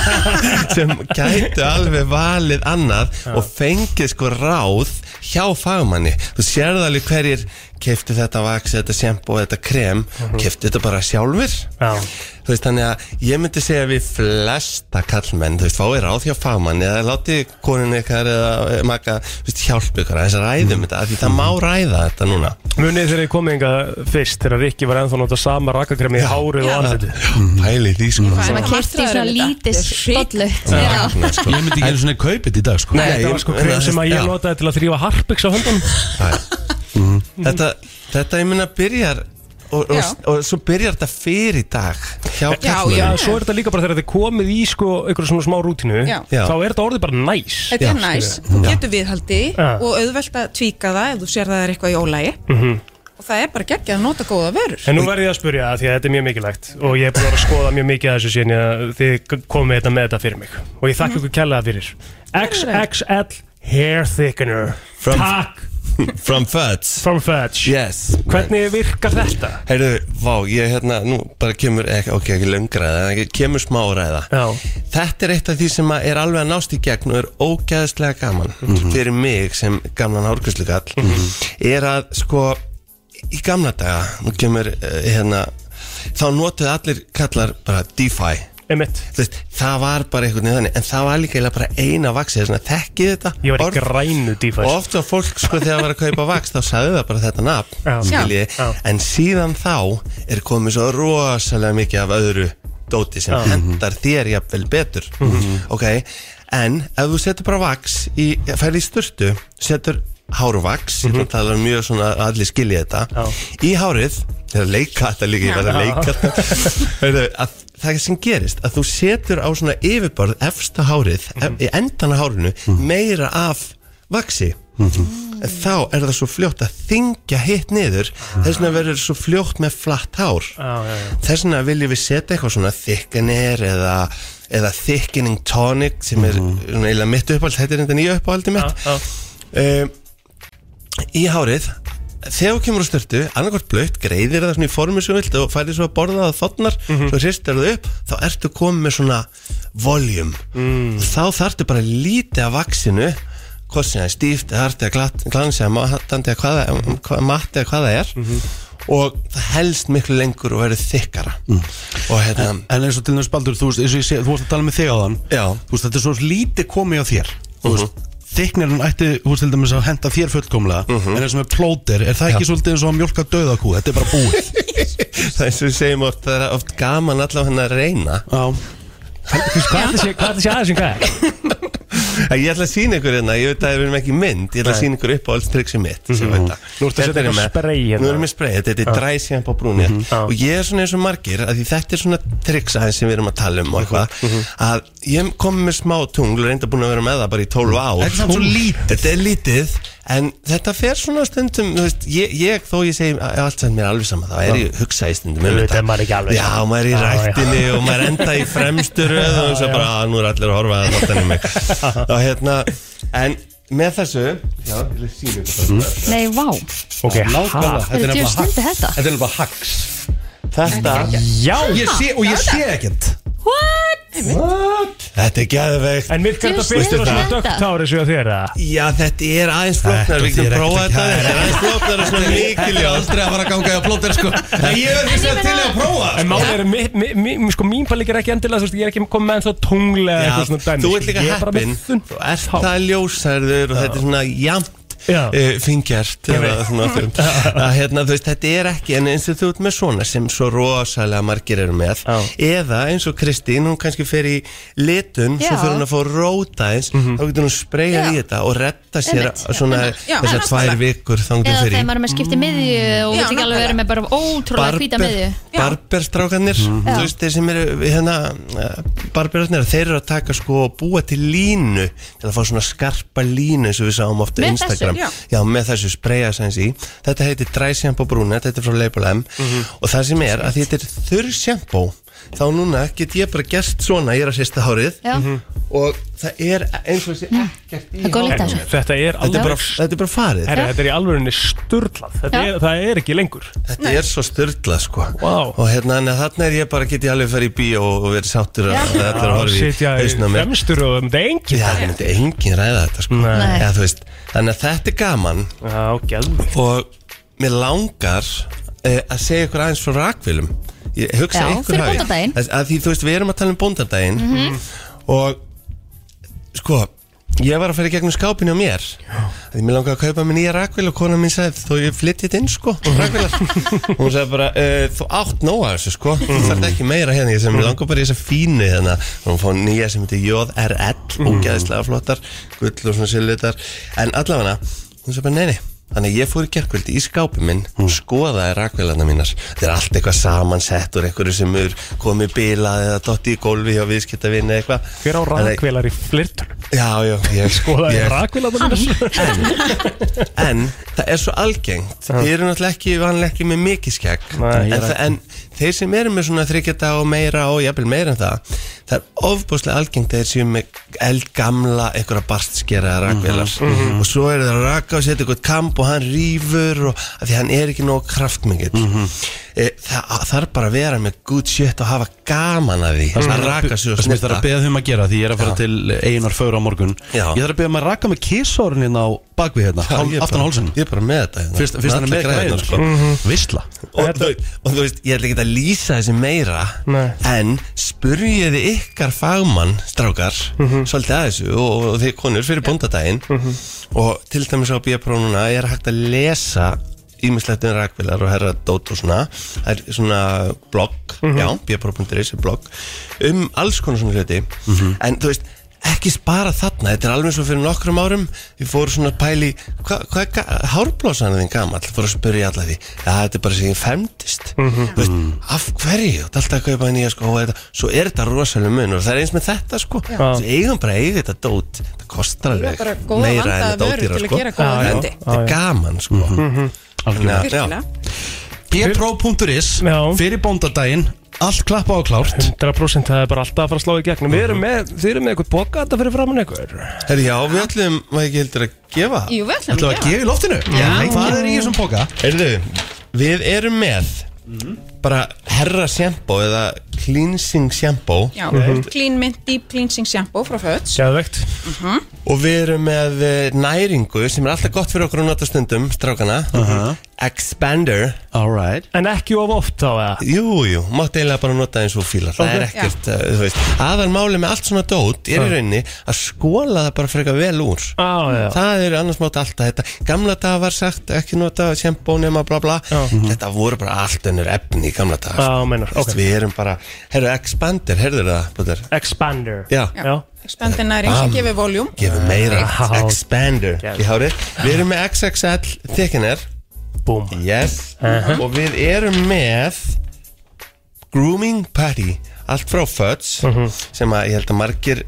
Speaker 7: [laughs] sem gætu alveg valið annað og fengið sko ráð hjá fagmanni þú sérðu alveg hverjir keftu þetta vaks, þetta sjampo, þetta krem mm keftu þetta bara sjálfur
Speaker 3: Já.
Speaker 7: þú veist þannig að ég myndi segja við flesta kallmenn, þú veist, fáið ráð hjá fagmanni eða látið konin ykkar eða maka, þú veist, hjálp ykkur aðeins að ræðum þetta, af því það má ræða þetta núna
Speaker 3: Munið þegar ég komið enga fyrst þegar Rikki var ennþá að nota sama rakakremi í hárið og andlitið
Speaker 1: Mhm.
Speaker 7: pæli því sko
Speaker 2: Sem að
Speaker 8: Martraður
Speaker 2: kefti í
Speaker 8: er
Speaker 2: svona
Speaker 8: þetta.
Speaker 2: lítið
Speaker 8: Þetta er hrikalegt.
Speaker 2: stollu
Speaker 7: Já, sko.
Speaker 1: Ég myndi ekki einu svona kaupið í dag, sko
Speaker 7: Nei,
Speaker 3: Þetta var sko krem sem að
Speaker 7: Já.
Speaker 3: ég notaði til að þrýfa harpiks á höndunum
Speaker 7: Það er- þetta, þetta ég minna byrjar og, og,
Speaker 8: Já.
Speaker 7: og, svo byrjar þetta fyrir í dag hjá
Speaker 8: Já,
Speaker 7: kallmönnum
Speaker 3: Já, svo er þetta líka bara þegar þið komið í sko einhverjum svona smá rútinu
Speaker 8: Já.
Speaker 7: Já.
Speaker 3: þá er þetta orðið bara næs
Speaker 8: Þetta er næs, þú getur viðhaldi
Speaker 3: Já.
Speaker 8: og auðvelt að tvíka það ef þú sér það er eitthvað í ólægi og það er bara geggjað að nota góða vörur
Speaker 3: Mhm. En nú verð ég að spurja það því að þetta er mjög mikilvægt og ég er búin að vera að skoða mjög mikið að þessu síðan ég að þið komið þetta með þetta fyrir mig og ég þakka ykkur kærlega fyrir XXL Hair Thickener
Speaker 7: From-
Speaker 3: Takk
Speaker 7: From Fudge
Speaker 3: from Fudge
Speaker 7: Yes
Speaker 3: Hvernig virkar þetta?
Speaker 7: Heyrðu, vá, ég hérna, nú bara kemur ekki, ok, ekki löngraða, en kemur smá ræða
Speaker 3: Já.
Speaker 7: Þetta er eitt af því sem að er alveg að nást í gegn og er ógæðslega gaman fyrir mig sem gamlan hárgræslukall er að sko í gamla daga, nú kemur eh, hérna, þá notuðu allir kallar bara DeFi
Speaker 3: Emitt,
Speaker 7: Þú veist, það var bara einhvern veginn þannig en það var líka eiginlega bara eina vaxið þess að þekkið þetta
Speaker 3: ég var í
Speaker 7: orð?
Speaker 3: grænu
Speaker 7: og
Speaker 3: dífæs
Speaker 7: oft var fólk sko þegar það var að kaupa vaks þá sagði það bara þetta nafn
Speaker 3: Já.
Speaker 7: skiljiði.
Speaker 3: Já.
Speaker 7: en síðan þá er komið svo rosalega mikið af öðru dóti sem hendar þér jafnvel betur
Speaker 3: Mhm.
Speaker 7: ok, en ef þú setur bara vaks í, færði í sturtu setur hárvaks mm -hmm. það er mjög svona að allir skilja þetta
Speaker 3: Mhm. Já.
Speaker 7: í hárið, það er að leika þetta líka ég verð að leika
Speaker 3: [laughs]
Speaker 7: þetta Heyrðu, að það sem gerist, að þú setur á svona yfirborð efsta hárið mm -hmm. endan á hárinu, meira af vaksi En þá er það svo fljótt að þingja hitt niður, þess vegna verður svo fljótt með flatt hár
Speaker 3: Já, já, já.
Speaker 7: þess vegna viljum við setja eitthvað svona thickener eða, eða thickening tonic sem er mm -hmm. eiginlega mitt uppáhald, þetta er þetta nýja uppáhaldi mitt
Speaker 3: Já,
Speaker 7: um, í hárið þegar þú kemur á störtu, annarkvort blöytt greiðir það svona í formi sem þú vilt og færir svo að borða það þotnar, svo hristar það upp þá ertu komið með svona voljum mm. þá þarftu bara lítið af vaksinu hvort sem það er stíft, eða hart eða glatt, glansi eða matandi eða hvað það, um, hva, matt eða hvað það er og það helst miklu lengur og verður þykkara og hérna, [laughs]
Speaker 1: En eins og til næst Baldur, þú veist, eins og ég sé, þú varst að tala með þig á þann
Speaker 7: Já. Mhm.
Speaker 1: Þú veist, þetta er svo lítið komið á þér Þú veist, þyknirinn ætti, þú veist, til dæmis að henda þér fullkomlega En eins og með plóter, er það ekki svolítið eins og að mjólka döðakú Þetta er bara búið
Speaker 7: það er eins og við segjum oft það er oft gaman allavega hérna að reyna
Speaker 1: Já,
Speaker 3: Hvað ætli sé- hvað ætli sé aðeins um hvað?
Speaker 7: Æ, Ég ætla að sína ykkur hérna, ég veit að við erum ekki í mynd Ég ætla að sína ykkur upp á alls tryggsum mitt mm
Speaker 1: Mhm.
Speaker 7: -hmm.
Speaker 3: Nú ertu að setja eitthvað spray hérna.
Speaker 7: Nú erum við spray, þetta er dry shampoo brúni
Speaker 1: Mhm.
Speaker 7: Og ég er svona eins og margir að því þetta er svona tryggs aðeins sem við erum að tala
Speaker 1: Mhm.
Speaker 7: um og eitthvað Að ég kom með smá tungl og reynda búin að vera með það bara í 12 ár
Speaker 1: Þetta er samt svo
Speaker 7: Tungl.
Speaker 1: lítið.
Speaker 7: Þetta er lítið En þetta fer svona [laughs] stundum, þú veist, ég, ég þó ég segi að allt sem mér er alveg sama, þá er ég hugsa í stundum um
Speaker 3: Auðvitað
Speaker 7: þetta.
Speaker 3: er maður ekki alveg
Speaker 7: Já,
Speaker 3: sama.
Speaker 7: maður er í
Speaker 3: Já, já.
Speaker 7: rættinni og maður enda í fremstu röð og þess að bara, að nú er allir að horfa að þáttan í mig
Speaker 1: [laughs]
Speaker 7: og hérna, en með þessu já, ég vil sína ykkur
Speaker 1: Mhm.
Speaker 7: bara.
Speaker 2: Nei, vá,
Speaker 3: Ok,
Speaker 1: nákvæmlega, þetta
Speaker 3: ha?
Speaker 1: er
Speaker 2: Þetta er
Speaker 1: nefnilega
Speaker 2: stundi
Speaker 1: hacks.
Speaker 2: þetta.
Speaker 1: Þetta er nefnilega hacks
Speaker 7: þetta,
Speaker 3: Já,
Speaker 1: Ég sé, og ég sé ekkert
Speaker 7: þetta er geðveikt
Speaker 3: en virkar þetta
Speaker 2: Djöfull
Speaker 3: byrst
Speaker 2: er
Speaker 3: og svona
Speaker 2: þetta.
Speaker 3: dögt hárið svo þér að
Speaker 7: já, þetta er aðeins flóknar, við
Speaker 1: þýðir
Speaker 7: getum prófað
Speaker 1: ekkert
Speaker 7: þetta
Speaker 1: að
Speaker 7: þetta er aðeins flóknar og svona
Speaker 1: Ég er
Speaker 7: líkiljós
Speaker 1: aldrei að fara að ganga í að plóter, sko En ég er hins vegar til í að prófa
Speaker 3: En máli er, mi, mi, mi, sko mín pæling er ekki endilega, þú veist, ég er ekki komið með ennþá tunglega
Speaker 7: Já,
Speaker 3: eitthvað svona dæmi
Speaker 7: þú
Speaker 3: sko.
Speaker 7: ert líka
Speaker 3: Ég er bara með
Speaker 7: heppin
Speaker 3: þunn-
Speaker 7: þú ert
Speaker 3: hár.
Speaker 7: það ljósærður og þetta er svona jamt
Speaker 3: Já.
Speaker 7: uh, fingjart eða
Speaker 3: veit. [laughs]
Speaker 7: svona þum. að, hérna, þú veist, þetta er ekki en eins og þú ert með svona sem svo rosalega margir eru með
Speaker 3: Já.
Speaker 7: eða eins og Kristín, hún kannski fer í litun,
Speaker 2: Já.
Speaker 7: svo fyrir hún að fá róta eins,
Speaker 3: Mhm.
Speaker 7: þá getur hún spreyjað í
Speaker 2: Já.
Speaker 7: þetta og retta sér
Speaker 2: Einmitt.
Speaker 7: svona
Speaker 8: Já.
Speaker 7: þessar
Speaker 8: Já.
Speaker 7: tvær vikur þangtum
Speaker 2: Eða
Speaker 7: fyrir
Speaker 2: þegar maður er með skipti miðju og
Speaker 8: Já,
Speaker 2: við ekki alveg
Speaker 8: nákvæmlega.
Speaker 2: verið með bara ótrúlega hvíta miðju
Speaker 7: barberstrákanir
Speaker 2: Mhm.
Speaker 7: þú veist þeir sem eru hérna, uh, barberarnir þeir eru að taka sko og búa til línu til að fá svona skarpa línu eins og við sáum ofta
Speaker 2: Með
Speaker 7: Instagram
Speaker 2: þessu, já.
Speaker 7: með þessu spreyja sæns í þetta heitir dry shampoo brúna, þetta er frá Label M
Speaker 2: Mhm.
Speaker 7: og það sem er að þetta er þurr shampoo þá núna get ég bara gert svona, ég er að sérsta hárið
Speaker 2: Já,
Speaker 1: Mhm.
Speaker 7: og það er eins og þessi ekkert í
Speaker 2: það er góð líkt að
Speaker 3: En
Speaker 2: þessu
Speaker 3: Þetta er
Speaker 7: þetta er,
Speaker 3: alveg
Speaker 7: bara, þetta er bara farið
Speaker 3: Herra, þetta er í alvörinni sturlað Þetta
Speaker 2: Já.
Speaker 3: er, það er ekki lengur
Speaker 7: Þetta er svo styrla sko
Speaker 3: Vá.
Speaker 7: Og hérna en þarna er ég bara getið alveg að fara í bíó og verið sáttur að að þetta er að horfa í
Speaker 3: Sitja í
Speaker 7: hausna mér
Speaker 3: fremstur og um þetta er engin
Speaker 7: Já, það myndi engin ræða þetta sko
Speaker 3: Nei.
Speaker 7: Eða, þú veist, Þannig að þetta er gaman
Speaker 3: Já, gæðvikt
Speaker 7: og mér langar eh, að segja ykkur aðeins frá rakvilum Ég hugsa
Speaker 2: Já,
Speaker 7: að ykkur
Speaker 2: fyrir
Speaker 7: hafi-
Speaker 2: bóndadaginn. Mhm.
Speaker 7: að, að því þú veist, við erum að tala um bóndardaginn og sko Ég var að fara í gegnum skápinu á mér Af Því mér langaði að kaupa mér nýja rakvél og kona mín sagði þó ég flytti þetta inn sko
Speaker 3: [laughs]
Speaker 7: rakvélar. Hún sagði bara "Eh, þú átt nóga þessu sko þú þarf ekki meira hérna ég sem mér langar bara í þessa fínu hérna og hún fór nýja sem heitir
Speaker 3: Mhm.
Speaker 7: JRL ógeðislega flottar gull og svona silvitar en allavega hún sagði bara neini Þannig að ég fór í gerkvöldi í skápi minn
Speaker 3: Mhm.
Speaker 7: skoðaði rakvélarna mínar þetta er allt eitthvað samansett úr einhverju sem er komið bilað eða dotti í gólfi hjá viðskiptavinn eða eitthvað
Speaker 3: Hver á
Speaker 7: Þannig-
Speaker 3: rakvélar í flirtunum?
Speaker 7: Já, já, ég
Speaker 3: Skoðaði
Speaker 7: ég-
Speaker 3: rakvélar það minna?
Speaker 7: [laughs] en það er svo algengt
Speaker 3: Já.
Speaker 7: þeir eru náttúrulega ekki, vanlega ekki með mikið skegg
Speaker 3: Nei, ég
Speaker 7: en,
Speaker 3: er
Speaker 7: það- en þeir sem eru með svona þryggjata og meira og jafnvel meira en það það er ofbúslega algengt að þeir séu með eldgamla einhverja barstskeraða
Speaker 1: Mhm.
Speaker 7: rakvelar og svo eru þeir að raka og setja eitthvað kamp og hann rýfur og af því hann er ekki nóg kraftmengið
Speaker 2: Mhm.
Speaker 7: e, það þarf bara að vera með good shit og hafa gaman af því
Speaker 2: Mhm.
Speaker 7: að raka sig og
Speaker 1: Það sem ég þarf
Speaker 7: snetta
Speaker 1: að beða þau um að gera því ég er að fara til einar föru á morgun
Speaker 7: Já.
Speaker 1: Ég þarf að beða um að raka með kísorinn hérna á bakvið hérna,
Speaker 7: Já,
Speaker 1: hál-
Speaker 7: ég er
Speaker 1: aftan á
Speaker 7: bara-
Speaker 1: hálsinn
Speaker 7: Ég er bara með þetta hérna.
Speaker 1: Fyrst, fyrst hann er
Speaker 7: allar
Speaker 1: með
Speaker 7: græjurnar,
Speaker 1: græðin
Speaker 7: sko.
Speaker 1: sko. Visla
Speaker 7: og, þú, og þú veist, ég ætla ekki að lýsa þessi meira
Speaker 3: Nei.
Speaker 7: en spurjiði ykkar fagmann strákar, svolítið að þessu og, og þið konur fyrir bóndadaginn og til dæmis á bíaprónuna er hægt að lesa ímislegt um rakvilar og herra dót og svona það er svona blogg, já, bíapró.is er blogg um alls konar svona hluti en þú veist, ekki spara þarna þetta er alveg svo fyrir nokkrum árum við fórum svona að pæli hvað hva, hva, hárblósan er þín gamall fórum að spyrja alla því ja, þetta er bara sem ég femdist Þú veist, af hverju, þetta er alltaf að kaupa nýja sko, svo er þetta rosalega mun og það er eins með þetta sko Svo eigum bara að eiga þetta dót það kostar
Speaker 8: Eiga
Speaker 7: alveg
Speaker 8: bara góða vandaða
Speaker 7: þetta
Speaker 8: vöru
Speaker 7: ódýra,
Speaker 8: til að
Speaker 7: sko.
Speaker 8: gera góða
Speaker 7: En
Speaker 8: hluti.
Speaker 7: þetta er gaman sko
Speaker 1: Mhm.
Speaker 7: Þannig að- já.
Speaker 8: virkilega
Speaker 1: Bpro.is
Speaker 3: Já.
Speaker 1: Fyrir bóndadaginn Allt klappa á klárt
Speaker 3: 100% það er bara alltaf að fara að slá í gegnum Við erum með, þið erum með eitthvað boka þetta fyrir framann eitthvað
Speaker 7: Herri, já, við ætlum, var ekki heldur að gefa það?
Speaker 8: Jú, vel sem
Speaker 1: Þetta var að gefa í loftinu Hvað er í þessum póka?
Speaker 7: Heyrðu, við erum með bara herra sjambó eða cleansing sjambó
Speaker 8: Já,
Speaker 3: Mhm.
Speaker 8: Clean Mint Deep Cleansing Shampoo frá Föts
Speaker 3: Sjáðvegt
Speaker 7: og við erum með eh, næringu sem er alltaf gott fyrir okkur að nota stundum, strákana Expander
Speaker 1: Alright
Speaker 3: En ekki of oft þá eða
Speaker 7: Jú, jú, mátt eiginlega bara nota eins og þú fílar Það er ekkert, uh, þú veist Aðal máli með allt svona dót er í rauninni að skóla það bara frekar vel úr
Speaker 3: Á, já.
Speaker 7: Það er annars mátt alltaf þetta Gamla dag var sagt, ekki nota sjambó nema bla bla Þetta voru bara allt önnur efni í gamla dag
Speaker 3: Mhm. Já, meinar,
Speaker 7: Þú veist,
Speaker 3: ok.
Speaker 7: Við erum bara, herru, Expander, herður það, Bóttir
Speaker 3: Expander
Speaker 7: Já.
Speaker 3: Já.
Speaker 8: Expandi næring sem gefur voljúm
Speaker 7: Gefum meira,
Speaker 3: Já.
Speaker 7: Expander
Speaker 3: Geð.
Speaker 7: í hárið Við erum með XXL þykkiner
Speaker 3: Búm
Speaker 7: Yes
Speaker 3: Uh-huh.
Speaker 7: Og við erum með Grooming Patty Allt frá Fudge Sem að ég held að margir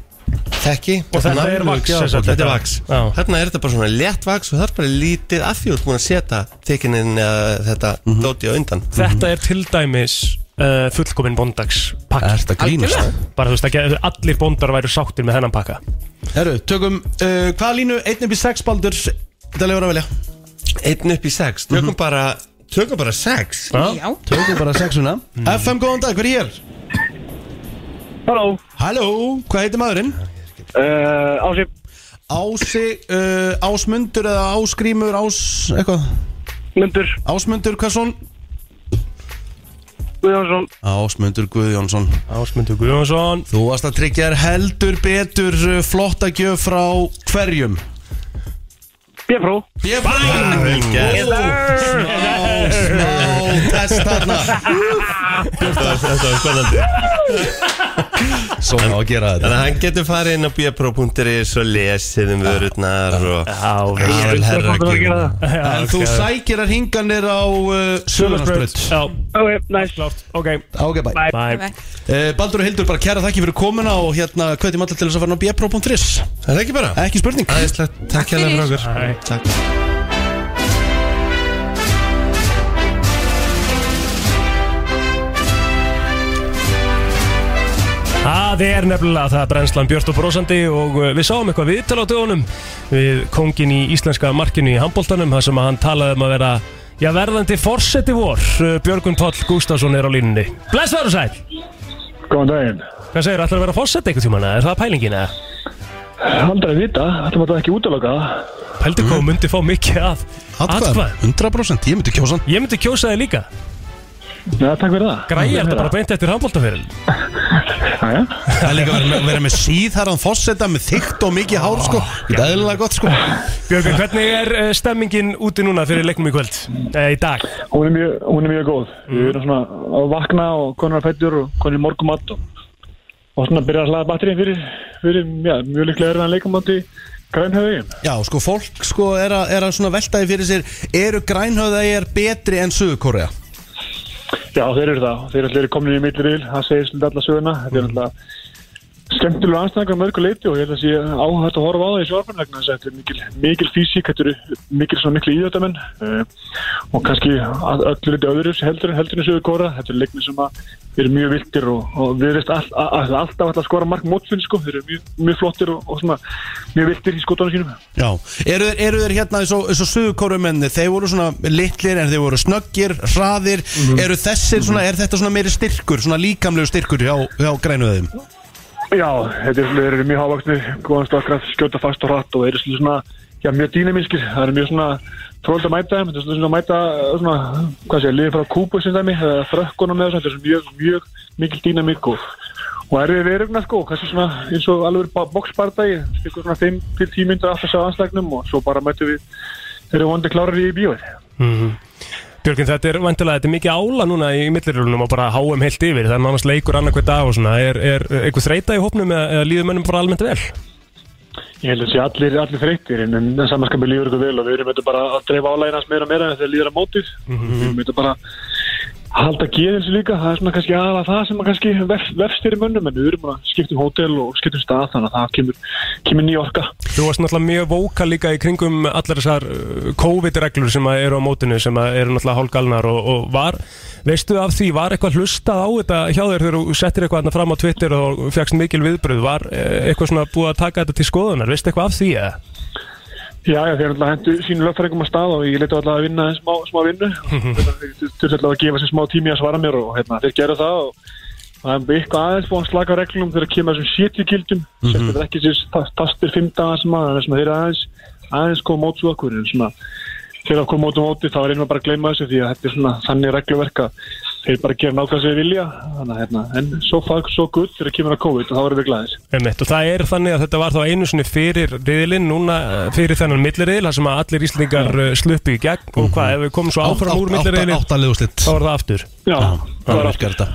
Speaker 7: þekki
Speaker 3: Mhm. Og þetta er
Speaker 7: Nafnlaug-
Speaker 3: vax,
Speaker 7: Já,
Speaker 3: sem sagt,
Speaker 7: Þetta er
Speaker 3: þetta-
Speaker 7: vaks
Speaker 3: Já.
Speaker 7: Þarna er þetta bara svona létt vaks Og það er bara lítið af því þú ert búin að setja Þykkinin eða þetta dóti á undan
Speaker 3: Þetta er til dæmis uh, fullkominn bondags pakki
Speaker 1: Ertu að grínast? eh?
Speaker 3: Bara þú veist ekki, allir bondar væru sáttir með þennan pakka
Speaker 1: Herru, tökum uh, Hvaða línu? 1 upp í 6 baldur Þetta lefur að velja
Speaker 7: Einn upp í sex Tökum bara Tökum bara sex
Speaker 3: Já,
Speaker 8: Já,
Speaker 1: Tökum bara 6 una FM, Mm. góðan dag, hver er hér?
Speaker 6: Halló,
Speaker 1: Halló, hvað heitir maðurinn?
Speaker 6: uh, ásip,
Speaker 1: Ási, uh, Ásmundur eða Ásgrímur, Ás, eitthvað
Speaker 6: myndur,
Speaker 1: Ásmundur Hversson?
Speaker 6: Guðjónsson,
Speaker 1: Ásmundur Guðjónsson
Speaker 3: Ásmundur Guðjónsson
Speaker 1: Þú varst að tryggja þér heldur betur uh, flotta gjöf frá hverjum
Speaker 6: Björnfró.
Speaker 1: Ég bara Smá, smá test þarna
Speaker 7: Þetta var spennandi
Speaker 1: Svona á að gera
Speaker 7: Þannig
Speaker 1: þetta
Speaker 7: að hann getur farið inn á bjapro.is og lesið um vörurnar og
Speaker 3: Já,
Speaker 7: og
Speaker 3: veist,
Speaker 7: aðal herra
Speaker 6: Hvað er að gera
Speaker 7: gefur.
Speaker 6: það?
Speaker 1: En þú sækir að hinganir á uh, Sjölunarsbröð
Speaker 3: Já,
Speaker 6: Ok, næst.
Speaker 3: klárt, ok
Speaker 1: Ok, bæ
Speaker 3: Bye,
Speaker 8: Bye.
Speaker 1: uh, Baldur og Hildur, bara kæra þakki fyrir komuna og hérna hvernig maður til þess að fara á bjepro.ris
Speaker 7: Það er ekki bara
Speaker 1: Ekki spurning
Speaker 7: Æðislegt, takk hérna frá okkur
Speaker 3: Bye.
Speaker 7: Takk
Speaker 3: Það er nefnilega það brennslan Björn og Brósandi og uh, við sáum eitthvað viðtal á dögunum við kongin í íslenska markinu í handbóltanum þar sem að hann talaði um að vera já, verðandi forseti vor Uh, Björgun Páll Gústafsson er á línunni Blessaður og sæl!
Speaker 6: Góðan daginn.
Speaker 3: Hvað segir, ætlar að vera forseti einhvern tímann eða er það pælingin eða?
Speaker 6: Aldrei að vita, þetta var ekki útlöka það.
Speaker 3: Pældi hvað hún myndi fá mikið af
Speaker 1: Atkvæðan,
Speaker 3: atkvæðum.
Speaker 1: 100% Ég myndi kjósa hann
Speaker 3: Ég myndi kjósa þig líka
Speaker 6: Nei, takk fyrir það.
Speaker 3: Græjar þetta bara beint eftir handbóltaferil
Speaker 6: Jæja.
Speaker 1: Það er líka að vera, vera með síðharðan fosseta með þygt og mikið hár sko
Speaker 7: Ah,
Speaker 1: Þetta er eðlilega gott sko
Speaker 3: Björgun, hvernig er uh, stemmingin úti núna fyrir leiknum í kvöld? Eh, í dag?
Speaker 6: Hún er mjög, hún er mjög góð. Við erum svona að vakna og konar fættur og konar morgumatt og, og svona byrja að hlaða batterið fyrir, fyrir já, mjög líklega erfiðan leikamóti grænhöfðin
Speaker 1: Já, sko, fólk sko er að, er að svona veltaði fyrir sér Eru grænhöfðægir betri en Suður-Korea?
Speaker 6: Já, þeir eru það, þeir eru allir komin í milliril það segir svolítið alla söguna þetta er náttúrulega skemmtilega anstæðingar mörgu leiti og ég held að sé áhægt að horfa á það í sjálfum vegna þess að þetta er mikil, mikil físík þetta eru mikil svona mikil íðjöldamenn uh, og kannski að öllu liti öðru heldur en heldur en sögur kóra þetta eru leikni sem að eru mjög vildir og, og við erum all, all, all, alltaf alltaf að skora mark mótsvinn sko, þeir eru mjög, mjög flottir og, og svona mjög vildir í skotunum sínum
Speaker 1: Já, eru þeir, eru þeir hérna eins og, eins og Suður-Kóreumenni Þeir voru svona litlir en þeir voru snöggir, hraðir Eru þessir svona, er þetta svona meiri styrkur, svona líkamlegu styrkur hjá, hjá grænhöfðum?
Speaker 6: Já, þetta er- þeir eru mjög hávaksni, góðan stakkar, skjóta fast og hratt og eru svolítið svona, já, mjög dýnaminskir, það eru mjög svona tróld að mæta þeim, þetta er svolítið svona að mæta, eh, svona, hvað sé, liðið frá Kúbu sem dæmi, eða frökkunum eða svona, þetta er svona mjög, mjög mikil dýnamík og, og erfið verugna sko, kannski svona eins og alveg boksbardagi, stikkur svona 5-10 myndir aftur sá anslæknum og svo bara mætu við, þeir eru vondi klárar í bíóið.
Speaker 3: Björgvin, þetta er vantilega, þetta er mikið ála núna í millirjólunum og bara háum heilt yfir það er nánast leikur annarkvæð dag og svona er, er eitthvað þreita í hópnum eða, eða líður mönnum bara almennt vel?
Speaker 6: Ég held að sé allir, allir þreytir en, en samanskapi lífur ykkur vel og við erum þetta bara að dreifa álæginast meira og meira þegar líður að mótið við erum þetta bara að halda geðins líka, það er svona kannski aðalega það sem að kannski vef, vefstir í mönnum en við erum að skiptum hótel og skiptum stað þannig að það kemur, kemur ný orka
Speaker 3: Þú varst náttúrulega mjög vóka líka í kringum allar þessar uh, COVID-reglur sem að eru á mótinu sem að eru náttúrulega hálgalnar og, og var, veistu af því, var eitthvað hlustað á þetta hjá þér þegar þú settir eitthvað þarna fram á Twitter og fegst mikil viðbröð var eh, eitthvað svona búið að taka þetta til skoðunar veistu eitthvað af því eða?
Speaker 6: Já, já, þeir alltaf hendur sínu lögfræðingum að stað og ég leita alltaf að vinna en smá, smá vinnu þurfti alltaf að gefa sér smá tími að svara mér og hérna, þeir gera það og það er eitthvað aðeins búin að slaka á reglum þegar kemur þessum 70 gildum mm -hmm. þetta er ekki sér tastir 5 daga sem að þessum að þeir eru aðeins aðeins koma mót svo okkur en svona þegar okkur mótum móti þá er einnig bara að gleyma þessu því að þetta er svona þannig regluverk að þeir bara gera nákvæmlega sem þeir vilja þannig að hérna, en so far so good þegar kemur að COVID og þá erum við glæðis
Speaker 3: Einmitt. og það er þannig að þetta var þá einu sinni fyrir riðilinn, núna eh, fyrir þennan milliriðil, þar sem að allir íslendingar eh, sluppu í gegn og hvað, ef við komum svo áfram úr milliriðilinn,
Speaker 1: Áttalegu slitt
Speaker 3: þá var það aftur
Speaker 6: Já,
Speaker 1: Já,
Speaker 6: það
Speaker 1: það
Speaker 6: var
Speaker 1: er
Speaker 6: allt.
Speaker 1: aftur þetta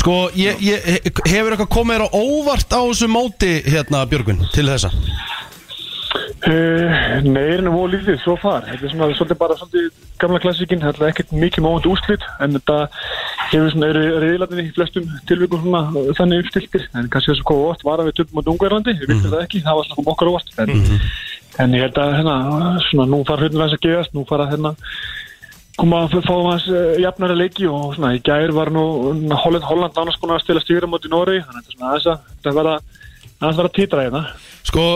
Speaker 1: Sko, ég, ég, hefur eitthvað komið þér á óvart á þessu móti hérna Björgvin til þessa?
Speaker 6: Uh, nei, er henni voru lítið, svo far Þetta er svona svolítið bara svolítið gamla klassíkin Það er ekkert mikið móvand úrslit En þetta hefur svona eru reyðlatinni í flestum tilvikum svona uh, þannig uppstiltir En kannski þess að koma óvart var að við töpum á Ungverlandi Við viltum það ekki, það var svona kom okkar óvart En, en ég held að hérna, svona, nú fara hlutin að geðast Nú fara hérna koma að fá hans uh, jafnari leiki og svona í gær var nú Holland, Holland nánast búin að stila stýra móti Nóri þannig að þetta er svona aðeins að þetta verða aðeins verða títra hérna
Speaker 1: Sko,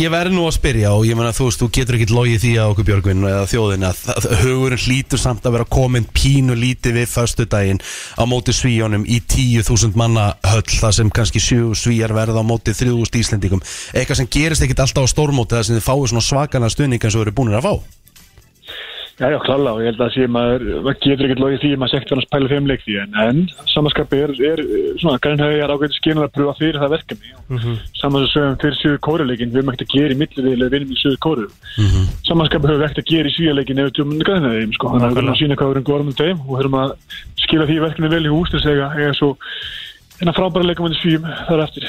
Speaker 1: ég verð nú að spyrja og ég meina þú veist, þú getur ekkit logið því að okkur Björgvin eða þjóðin að það- það- hugurinn hlýtur samt að vera komin pínu lítið við föstudaginn á móti svíjónum í 10.000 manna höll þar sem kannski 7 svíjar verða á móti 3.000 íslendingum eitthvað sem gerist ekkit alltaf á stórmóti þar sem þið fáið svona svakana stuðning eins og þið eru búinir að fá
Speaker 6: Já, já, klála og ég held að sé maður, maður getur ekkert logið því að maður sektur hann að spæla fimmleik því en, en samanskapi er, er eh, svona, grænhauði er ágætið skinar að pröfa fyrir það verkefni mm -hmm. saman sem sögum fyrir sögur kóruleikin við höfum ekkert að gera í milliðilega vinnum í sögur kóru mm -hmm. samanskapi höfum við ekkert að gera í svíjarleikin ef við tjóðum undir grænhauðið, sko þannig að við höfum að sína hvað við erum góðum um þeim og höfum að skila því verkefni vel í ústisega eða svo en að frábæra leikum undir svíum þar eftir.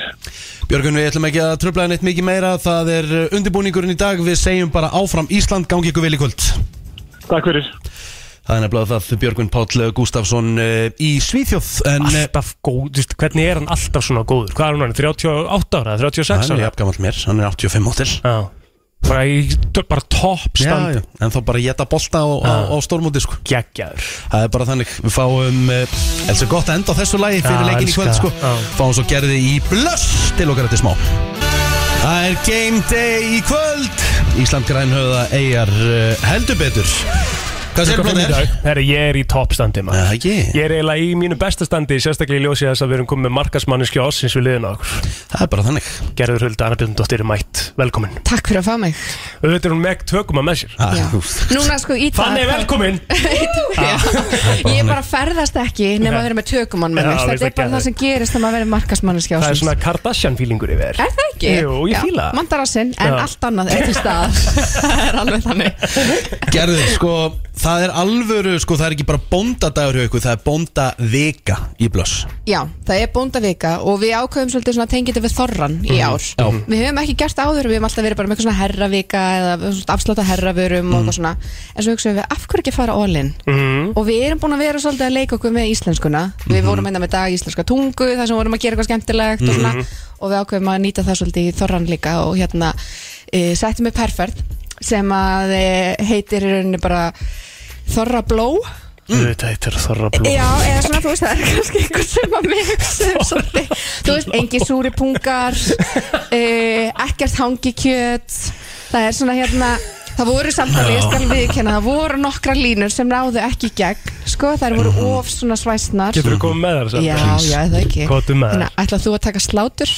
Speaker 1: Björgun, við ætlum ekki að tröfla neitt mikið meira það er uh, undirbúningurinn í dag, við segjum bara áfram Ísland, gangi ykkur vel í kvöld
Speaker 6: Takk fyrir.
Speaker 1: Það er nefnilega það Björgvin Páll Gustafsson uh, í Svíþjóð en uh,
Speaker 3: alltaf góð, þú veist, hvernig er hann alltaf svona góður hvað er hann, orðinn, 38 ára, eða 36
Speaker 1: hann er
Speaker 3: ára
Speaker 1: jafngamall mér, hann er 85 mótil
Speaker 3: já, bara, í, bara top stand
Speaker 1: Já, já, en þá bara geta bolta á, á, á stórmóti sko.
Speaker 3: geggjaður
Speaker 1: Það er bara þannig, við fáum uh, Elsa gott að enda á þessu lagi fyrir
Speaker 3: Já,
Speaker 1: leikin í
Speaker 3: elska
Speaker 1: kvöld sko.
Speaker 3: það, já.
Speaker 1: Fáum svo gerði í blöss til okkar eftir smá Það er game day í kvöld Ísland grænhöða eigar uh, heldur betur Hvað sér blóð er?
Speaker 3: Herra, ég er í top standi maður
Speaker 1: Það ekki,
Speaker 3: Ég er eiginlega í mínu besta standi, sérstaklega í ljósi þess að við erum komið með markasmanniski ásins við liðina á okkur.
Speaker 1: það er bara þannig
Speaker 3: Gerður Hulda Annabjörndóttir er mætt, velkomin.
Speaker 9: Takk fyrir að fá mig
Speaker 3: Auðvitað er hún megg tökum að með sér.
Speaker 1: Það
Speaker 9: Já.
Speaker 1: er úst
Speaker 9: Núna sko í dag
Speaker 3: Fannig,
Speaker 9: [laughs]
Speaker 3: velkomin!
Speaker 9: Ég er bara ferðast ekki nema að vera með tökumann með
Speaker 3: Já,
Speaker 9: mér
Speaker 3: við
Speaker 9: Þetta er
Speaker 3: það
Speaker 9: bara það
Speaker 3: gerðum.
Speaker 9: sem gerist þegar maður verið markasmanniski
Speaker 3: Það er svona Kardashian-fílingur yfir.
Speaker 9: Er það ekki?
Speaker 3: Jú, ég fíla það.
Speaker 9: Mandarassinn, en
Speaker 3: Já.
Speaker 9: [laughs] allt annað er til staðar Það er alveg þannig
Speaker 1: Gerður, sko, það er alvöru, sko, það er ekki bara bóndadagur hjá ykkur, það er bóndavika í blöss
Speaker 10: Já, það er bóndavika og við ákveðum svolítið svona tengið við þorran í ár
Speaker 1: já.
Speaker 10: Við höfum ekki gert það áður, við höfum alltaf verið bara með eitthvað svona herravika eða afsláta herraverum og eitthvað svona En svo hugsaum við, af hverju ekki fara all-in?
Speaker 3: Mhm.
Speaker 10: Og við erum búin að vera svolítið að leika okkur með íslenskuna Við vorum hérna með dag íslenska tungu, þar sem vorum að gera eitthvað skemmtilegt og svona Og við ákveðum að nýta það svolítið í þorran líka og hérna e, settum við perfert sem að e, heitir í rauninni bara Þorra Bló
Speaker 3: Þetta heitir þorra blóð
Speaker 10: Já, eða svona, þú veist, það er kannski einhver sem að mig hugsaðum svolítið Þú veist, engi súri pungar, uh, ekkert hangikjöt Það er svona hérna, það voru samtalið, ég skal viðkenna Það voru nokkra línur sem náðu ekki í gegn, sko, þær voru
Speaker 3: Mhm.
Speaker 10: of svona svæsnar
Speaker 3: Getur þú komið með þar?
Speaker 10: Já, já, er það ekki
Speaker 3: Kvotum með
Speaker 10: Þannig, ætlaðu þú að taka slátur?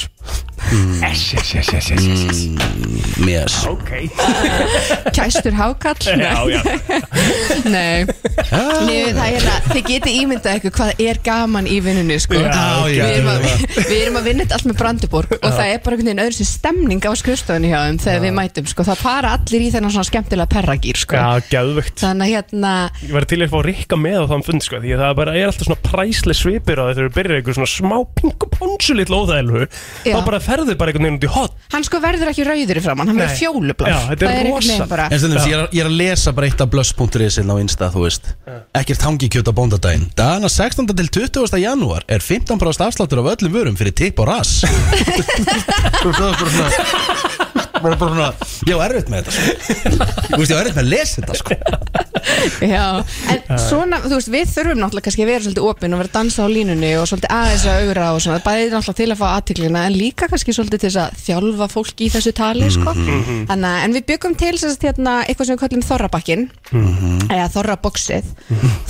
Speaker 3: Yes, yes, yes, yes, yes, yes, yes.
Speaker 1: Yes
Speaker 3: Ok
Speaker 10: Kæstur hákall?
Speaker 3: Já, já
Speaker 10: Nei, Nei það er hérna, þið geti ímyndað ykkur hvað er gaman í vinnunni, sko
Speaker 1: Já, já,
Speaker 10: við, erum að, við erum að vinna þetta allt með Branduborg og það er bara einhvern veginn öðru sem stemning á skrifstofunni hjá þeim þegar við mætum sko. það para allir í þennan svona skemmtilega perragýr sko.
Speaker 3: Já, gæðvögt
Speaker 10: þannig að hérna
Speaker 3: Ég var til að fá Rikka með á þann fund sko, því að það er bara er alltaf svona præsli svipir á því þegar þú byrjar einhver svona smá pingu ponsu litla óþægilegu
Speaker 10: Já.
Speaker 3: þá bara ferðu bara einhvern veginn út í hot
Speaker 10: hann sko verður ekki rauður í framann, hann verður
Speaker 3: Nei.
Speaker 10: fjólublár
Speaker 3: Já, þetta er
Speaker 10: Það einhvern veginn
Speaker 3: rosa.
Speaker 10: bara,
Speaker 1: En stundum, ég, er, að- ég er að lesa bara eitt af blöss.is inn á Insta, þú veist Ekkert hangikjöt á bóndadaginn Dana 16. til 20. janúar er 15% afsláttur af öllum vörum fyrir tipp og rass [laughs] Þú veist, það er bara svona bara bara svona, ég á erfitt með þetta sko. Þú veist, ég á erfitt með að lesa þetta sko.
Speaker 10: já, en svona þú veist, við þurfum náttúrulega kannski að vera svolítið opinn og vera að dansa á línunni og svolítið aðeins að augra og svona, bæði náttúrulega til að fá aðtiklina en líka kannski svolítið til þess að þjálfa fólk í þessu tali, sko Þannig, að- en við byggum til sérst hérna eitthvað sem við kallum þorrabakkin
Speaker 3: Mhm.
Speaker 10: eða þorraboksið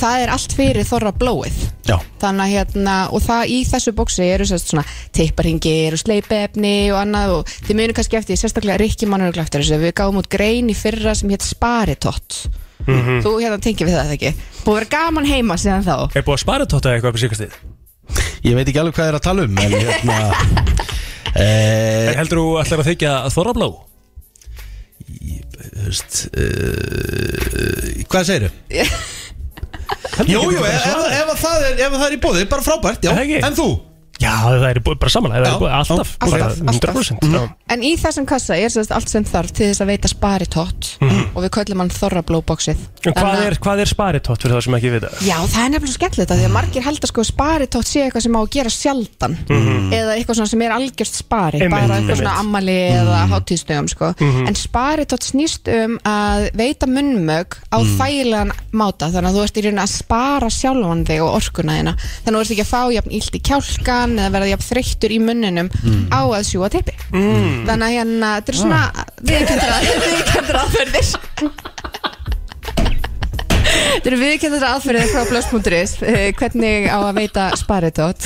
Speaker 10: það er allt fyrir þorrablóið
Speaker 1: Já,
Speaker 10: þannig að hérna og það í þessu bóksi eru sérst svona teiparingir og sleipefni og annað og þið munir kannski eftir, því, sérstaklega Rikki mannur eftir þessu, við gáum út grein í fyrra sem hétt Sparitott
Speaker 3: Mhm.
Speaker 10: þú hérna tengir við það eða ekki búið að vera gaman heima síðan þá
Speaker 3: Er búið að spara tóta eitthvað fyrir síkastíð?
Speaker 1: ég veit ekki alveg hvað það er að tala um En hérna e,
Speaker 3: En heldur þú ætlar að þykja að þorra blá?
Speaker 1: Þú veist e, Hvað segirðu? Jú, eh, jú, ef, ef, ef, að það er, ef það er í bóði, bara frábært, já
Speaker 3: Er það ekki?
Speaker 1: En þú?
Speaker 3: Já, það er búið bara samanlega, það
Speaker 1: Já,
Speaker 3: er búið alltaf,
Speaker 10: alltaf,
Speaker 3: bara
Speaker 10: alltaf.
Speaker 3: 100% já.
Speaker 10: en í þessum kassa er sérst allt sem þarf til þess að veita Sparitott og við köllum hann Þorrablóbóksið
Speaker 3: Mhm. En hvað er, hvað er sparitótt fyrir það sem ekki vita?
Speaker 10: Já, það er nefnilega skemmtilegt að því að margir halda sko sparitótt sé eitthvað sem á að gera sjaldan eða eitthvað svona sem er algjörst spari
Speaker 3: Mhm. Einmitt,
Speaker 10: bara eitthvað svona
Speaker 3: einmitt. Mhm.
Speaker 10: ammali eða hátíðstöðum sko. en sparitótt snýst um að veita munnmög á þægilegan máta þannig að þú ert í rauninni að spara sjálfan þig og orkuna þina þannig að þú ert ekki að fá jafn illt í kjálkan eða verða jafn þreyttur í munninum á að sjúa tippi
Speaker 3: Mhm.
Speaker 10: mm. þannig að hérna, þetta er svona [laughs] viðkendur aðferðir Þetta eru viðkjöndar aðferðið frá blöss.is eh, hvernig á að veita sparitótt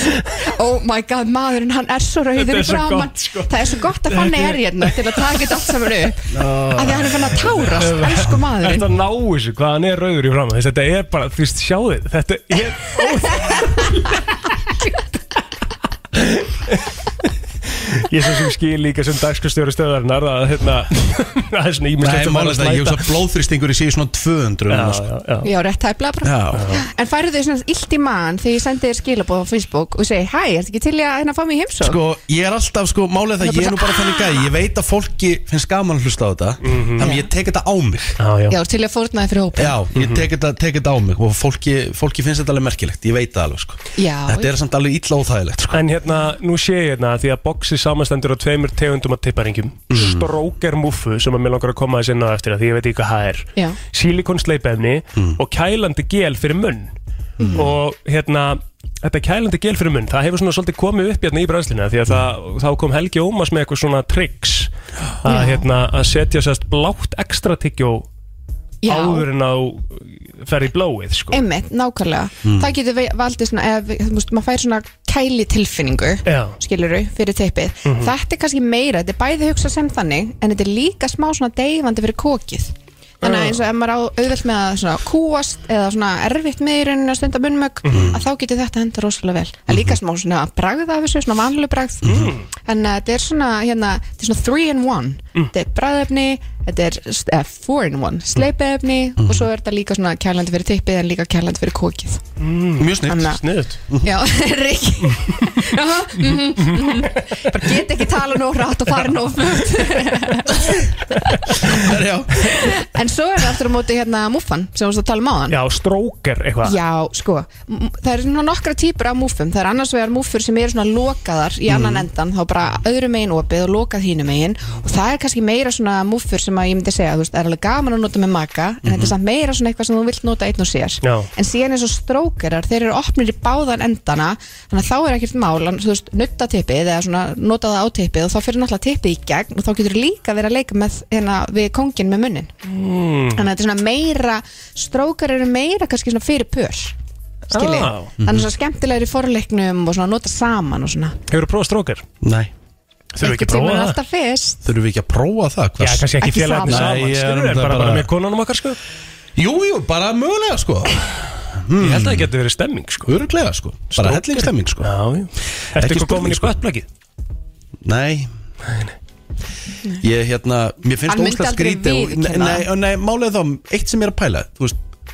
Speaker 10: Oh my god, maðurinn hann er svo rauður
Speaker 3: Þetta
Speaker 10: í
Speaker 3: er svo
Speaker 10: framan
Speaker 3: gott, sko.
Speaker 10: Það er svo gott að fannig er hérna til að taka þetta allt saman upp af því að hann er fann að tárast, elsku maðurinn
Speaker 3: Þetta ná þessu, hvað hann er rauður í fram Þess, Þetta er bara, þú veist, sjáðu þið, Þetta er Ég svo sem skil líka sem dagskustjóri stöðarinnar að hérna, [laughs] það er svona
Speaker 1: Nei,
Speaker 3: ímislegt
Speaker 1: málið það, ég hef svo blóðþrýstingur í síðu svona 200 núna, sko.
Speaker 3: Já, já, já.
Speaker 10: Já, rétt hæfla bara
Speaker 1: Já,
Speaker 10: En færðu þau svona illt í mann þegar ég sendi þér skilabóð á Facebook og segi, hæ, ertu ekki til í að hérna fá mig í heimsók?
Speaker 1: sko, ég er alltaf, sko, málið það, ég er nú bara þannig gæði Ég veit að fólki finnst gaman að hlusta á þetta Þannig ég tek þetta á mig
Speaker 3: Já, já.
Speaker 10: Já, til í að fórnaði fyrir hópa
Speaker 1: Já, ég tek þetta, tek þetta á mig Og fólki, fólki finnst þetta alveg merkilegt, ég veit það alveg, sko
Speaker 10: Já.
Speaker 1: Þetta er samt alveg illa óþægilegt, sko
Speaker 3: En hérna, nú sé ég hérna því að boxi samanstendur á tveimur tegundum af tipparingjum mm. Stróker muffu sem að mér langar að koma þess inn á eftir að því ég veit ekki hvað það er
Speaker 10: Já.
Speaker 3: Silikonsleipefni og kælandi gel fyrir munn Og hérna, þetta kælandi gel fyrir munn það hefur svona svolítið komið upp hérna í brænslinu því að það, þá kom Helgi Ómas með eitthvað svona tricks að, hérna, að setja sérst blátt ekstra tyggjó
Speaker 10: Já.
Speaker 3: áður en á fer í blóið sko.
Speaker 10: Einmitt, nákvæmlega
Speaker 3: Hmm.
Speaker 10: Það getur ve- valdið svona, ef, þú veist, maður fær svona kæli tilfinningu
Speaker 3: Já.
Speaker 10: skiluru, fyrir teipið Þetta er kannski meira, þetta er bæði hugsað sem þannig en þetta er líka smá svona deyfandi fyrir kokið Þannig að eins og ef maður á auðvelt með að svona kúast eða svona erfitt með í rauninni að stunda munnmögg að þá getur þetta henda rosalega vel Það er líka smá eh, svona bragð af þessu, svona vanlu bragð en uh, þetta er svona, hérna, þetta er svona three in one þetta er bræðefni þetta er eh, 4-in-1 sleipiðefni og svo er þetta líka svona kærlandi fyrir tippið en líka kærlandi fyrir kókið
Speaker 1: Mjög snitt
Speaker 10: Anna.
Speaker 11: Sniðut
Speaker 10: Já, [laughs] Rikki Jaha, mhm, mhm. Bara get ekki tala nóg hratt og fara nóg fljótt En svo er það aftur á móti hérna múffan sem þú veist að tala um á hann
Speaker 3: Já, stróker eitthvað
Speaker 10: Já, sko, m- það eru svona nokkra típur af múfum, það eru annars vegar múfur sem eru svona lokaðar í annan
Speaker 3: Mhm.
Speaker 10: endan þá bara öðru megin opið og lokað hínu megin og það er kannski meira svona múfur sem að ég myndi segja, þú veist, það er alveg gaman að nota með maka en þetta er samt meira svona eitthvað sem þú vilt nota einn og sér
Speaker 3: Mhm. Já.
Speaker 10: en síðan eins og strókerar, þeir eru opnir í báðan endana þannig að þá er ekkert mál að þú veist, nutta tippið eða svona nota það á tippið og þá fyrir náttúrulega tippið í gegn og þá getur líka verið að leika með, hérna, við kónginn með munnin þannig að þetta er svona meira strókar eru meira kannski svona fyrir pör skilji,
Speaker 3: Ah.
Speaker 10: þannig svona skemmtilegri forleiknum og svona nota saman og svona
Speaker 3: Hefur þú prófað stróker?
Speaker 1: Nei,
Speaker 3: Þurfum við ekki að
Speaker 10: Einhvern tímann
Speaker 3: prófa það?
Speaker 10: alltaf fyrst
Speaker 1: þurfum við ekki að prófa það sko?
Speaker 3: Já,
Speaker 1: Hvers-
Speaker 3: kannski ekki
Speaker 10: Ekki
Speaker 3: félagarnir
Speaker 10: saman.
Speaker 3: saman,
Speaker 1: Nei, ég er
Speaker 3: skilur
Speaker 1: náttúrulega
Speaker 3: bara, bara
Speaker 1: bara-
Speaker 3: með konunum okkar sko
Speaker 1: Jú, jú, bara mögulega sko
Speaker 3: Ég held að það getur verið stemming sko
Speaker 1: Öruglega sko, bara
Speaker 3: Strókar.
Speaker 1: hellingstemming sko
Speaker 3: Já, já Ertu
Speaker 1: Ekki
Speaker 3: eitthvað
Speaker 1: spurning,
Speaker 3: komin í
Speaker 1: sko.
Speaker 3: skvættblækið?
Speaker 1: Nei Ég hérna, mér finnst
Speaker 10: Hann myndi
Speaker 1: óslega
Speaker 10: aldrei
Speaker 1: skrítið og-
Speaker 10: viðurkenna.
Speaker 1: Nei, nei, nei, málið er þá, eitt sem ég er að pæla Þú veist,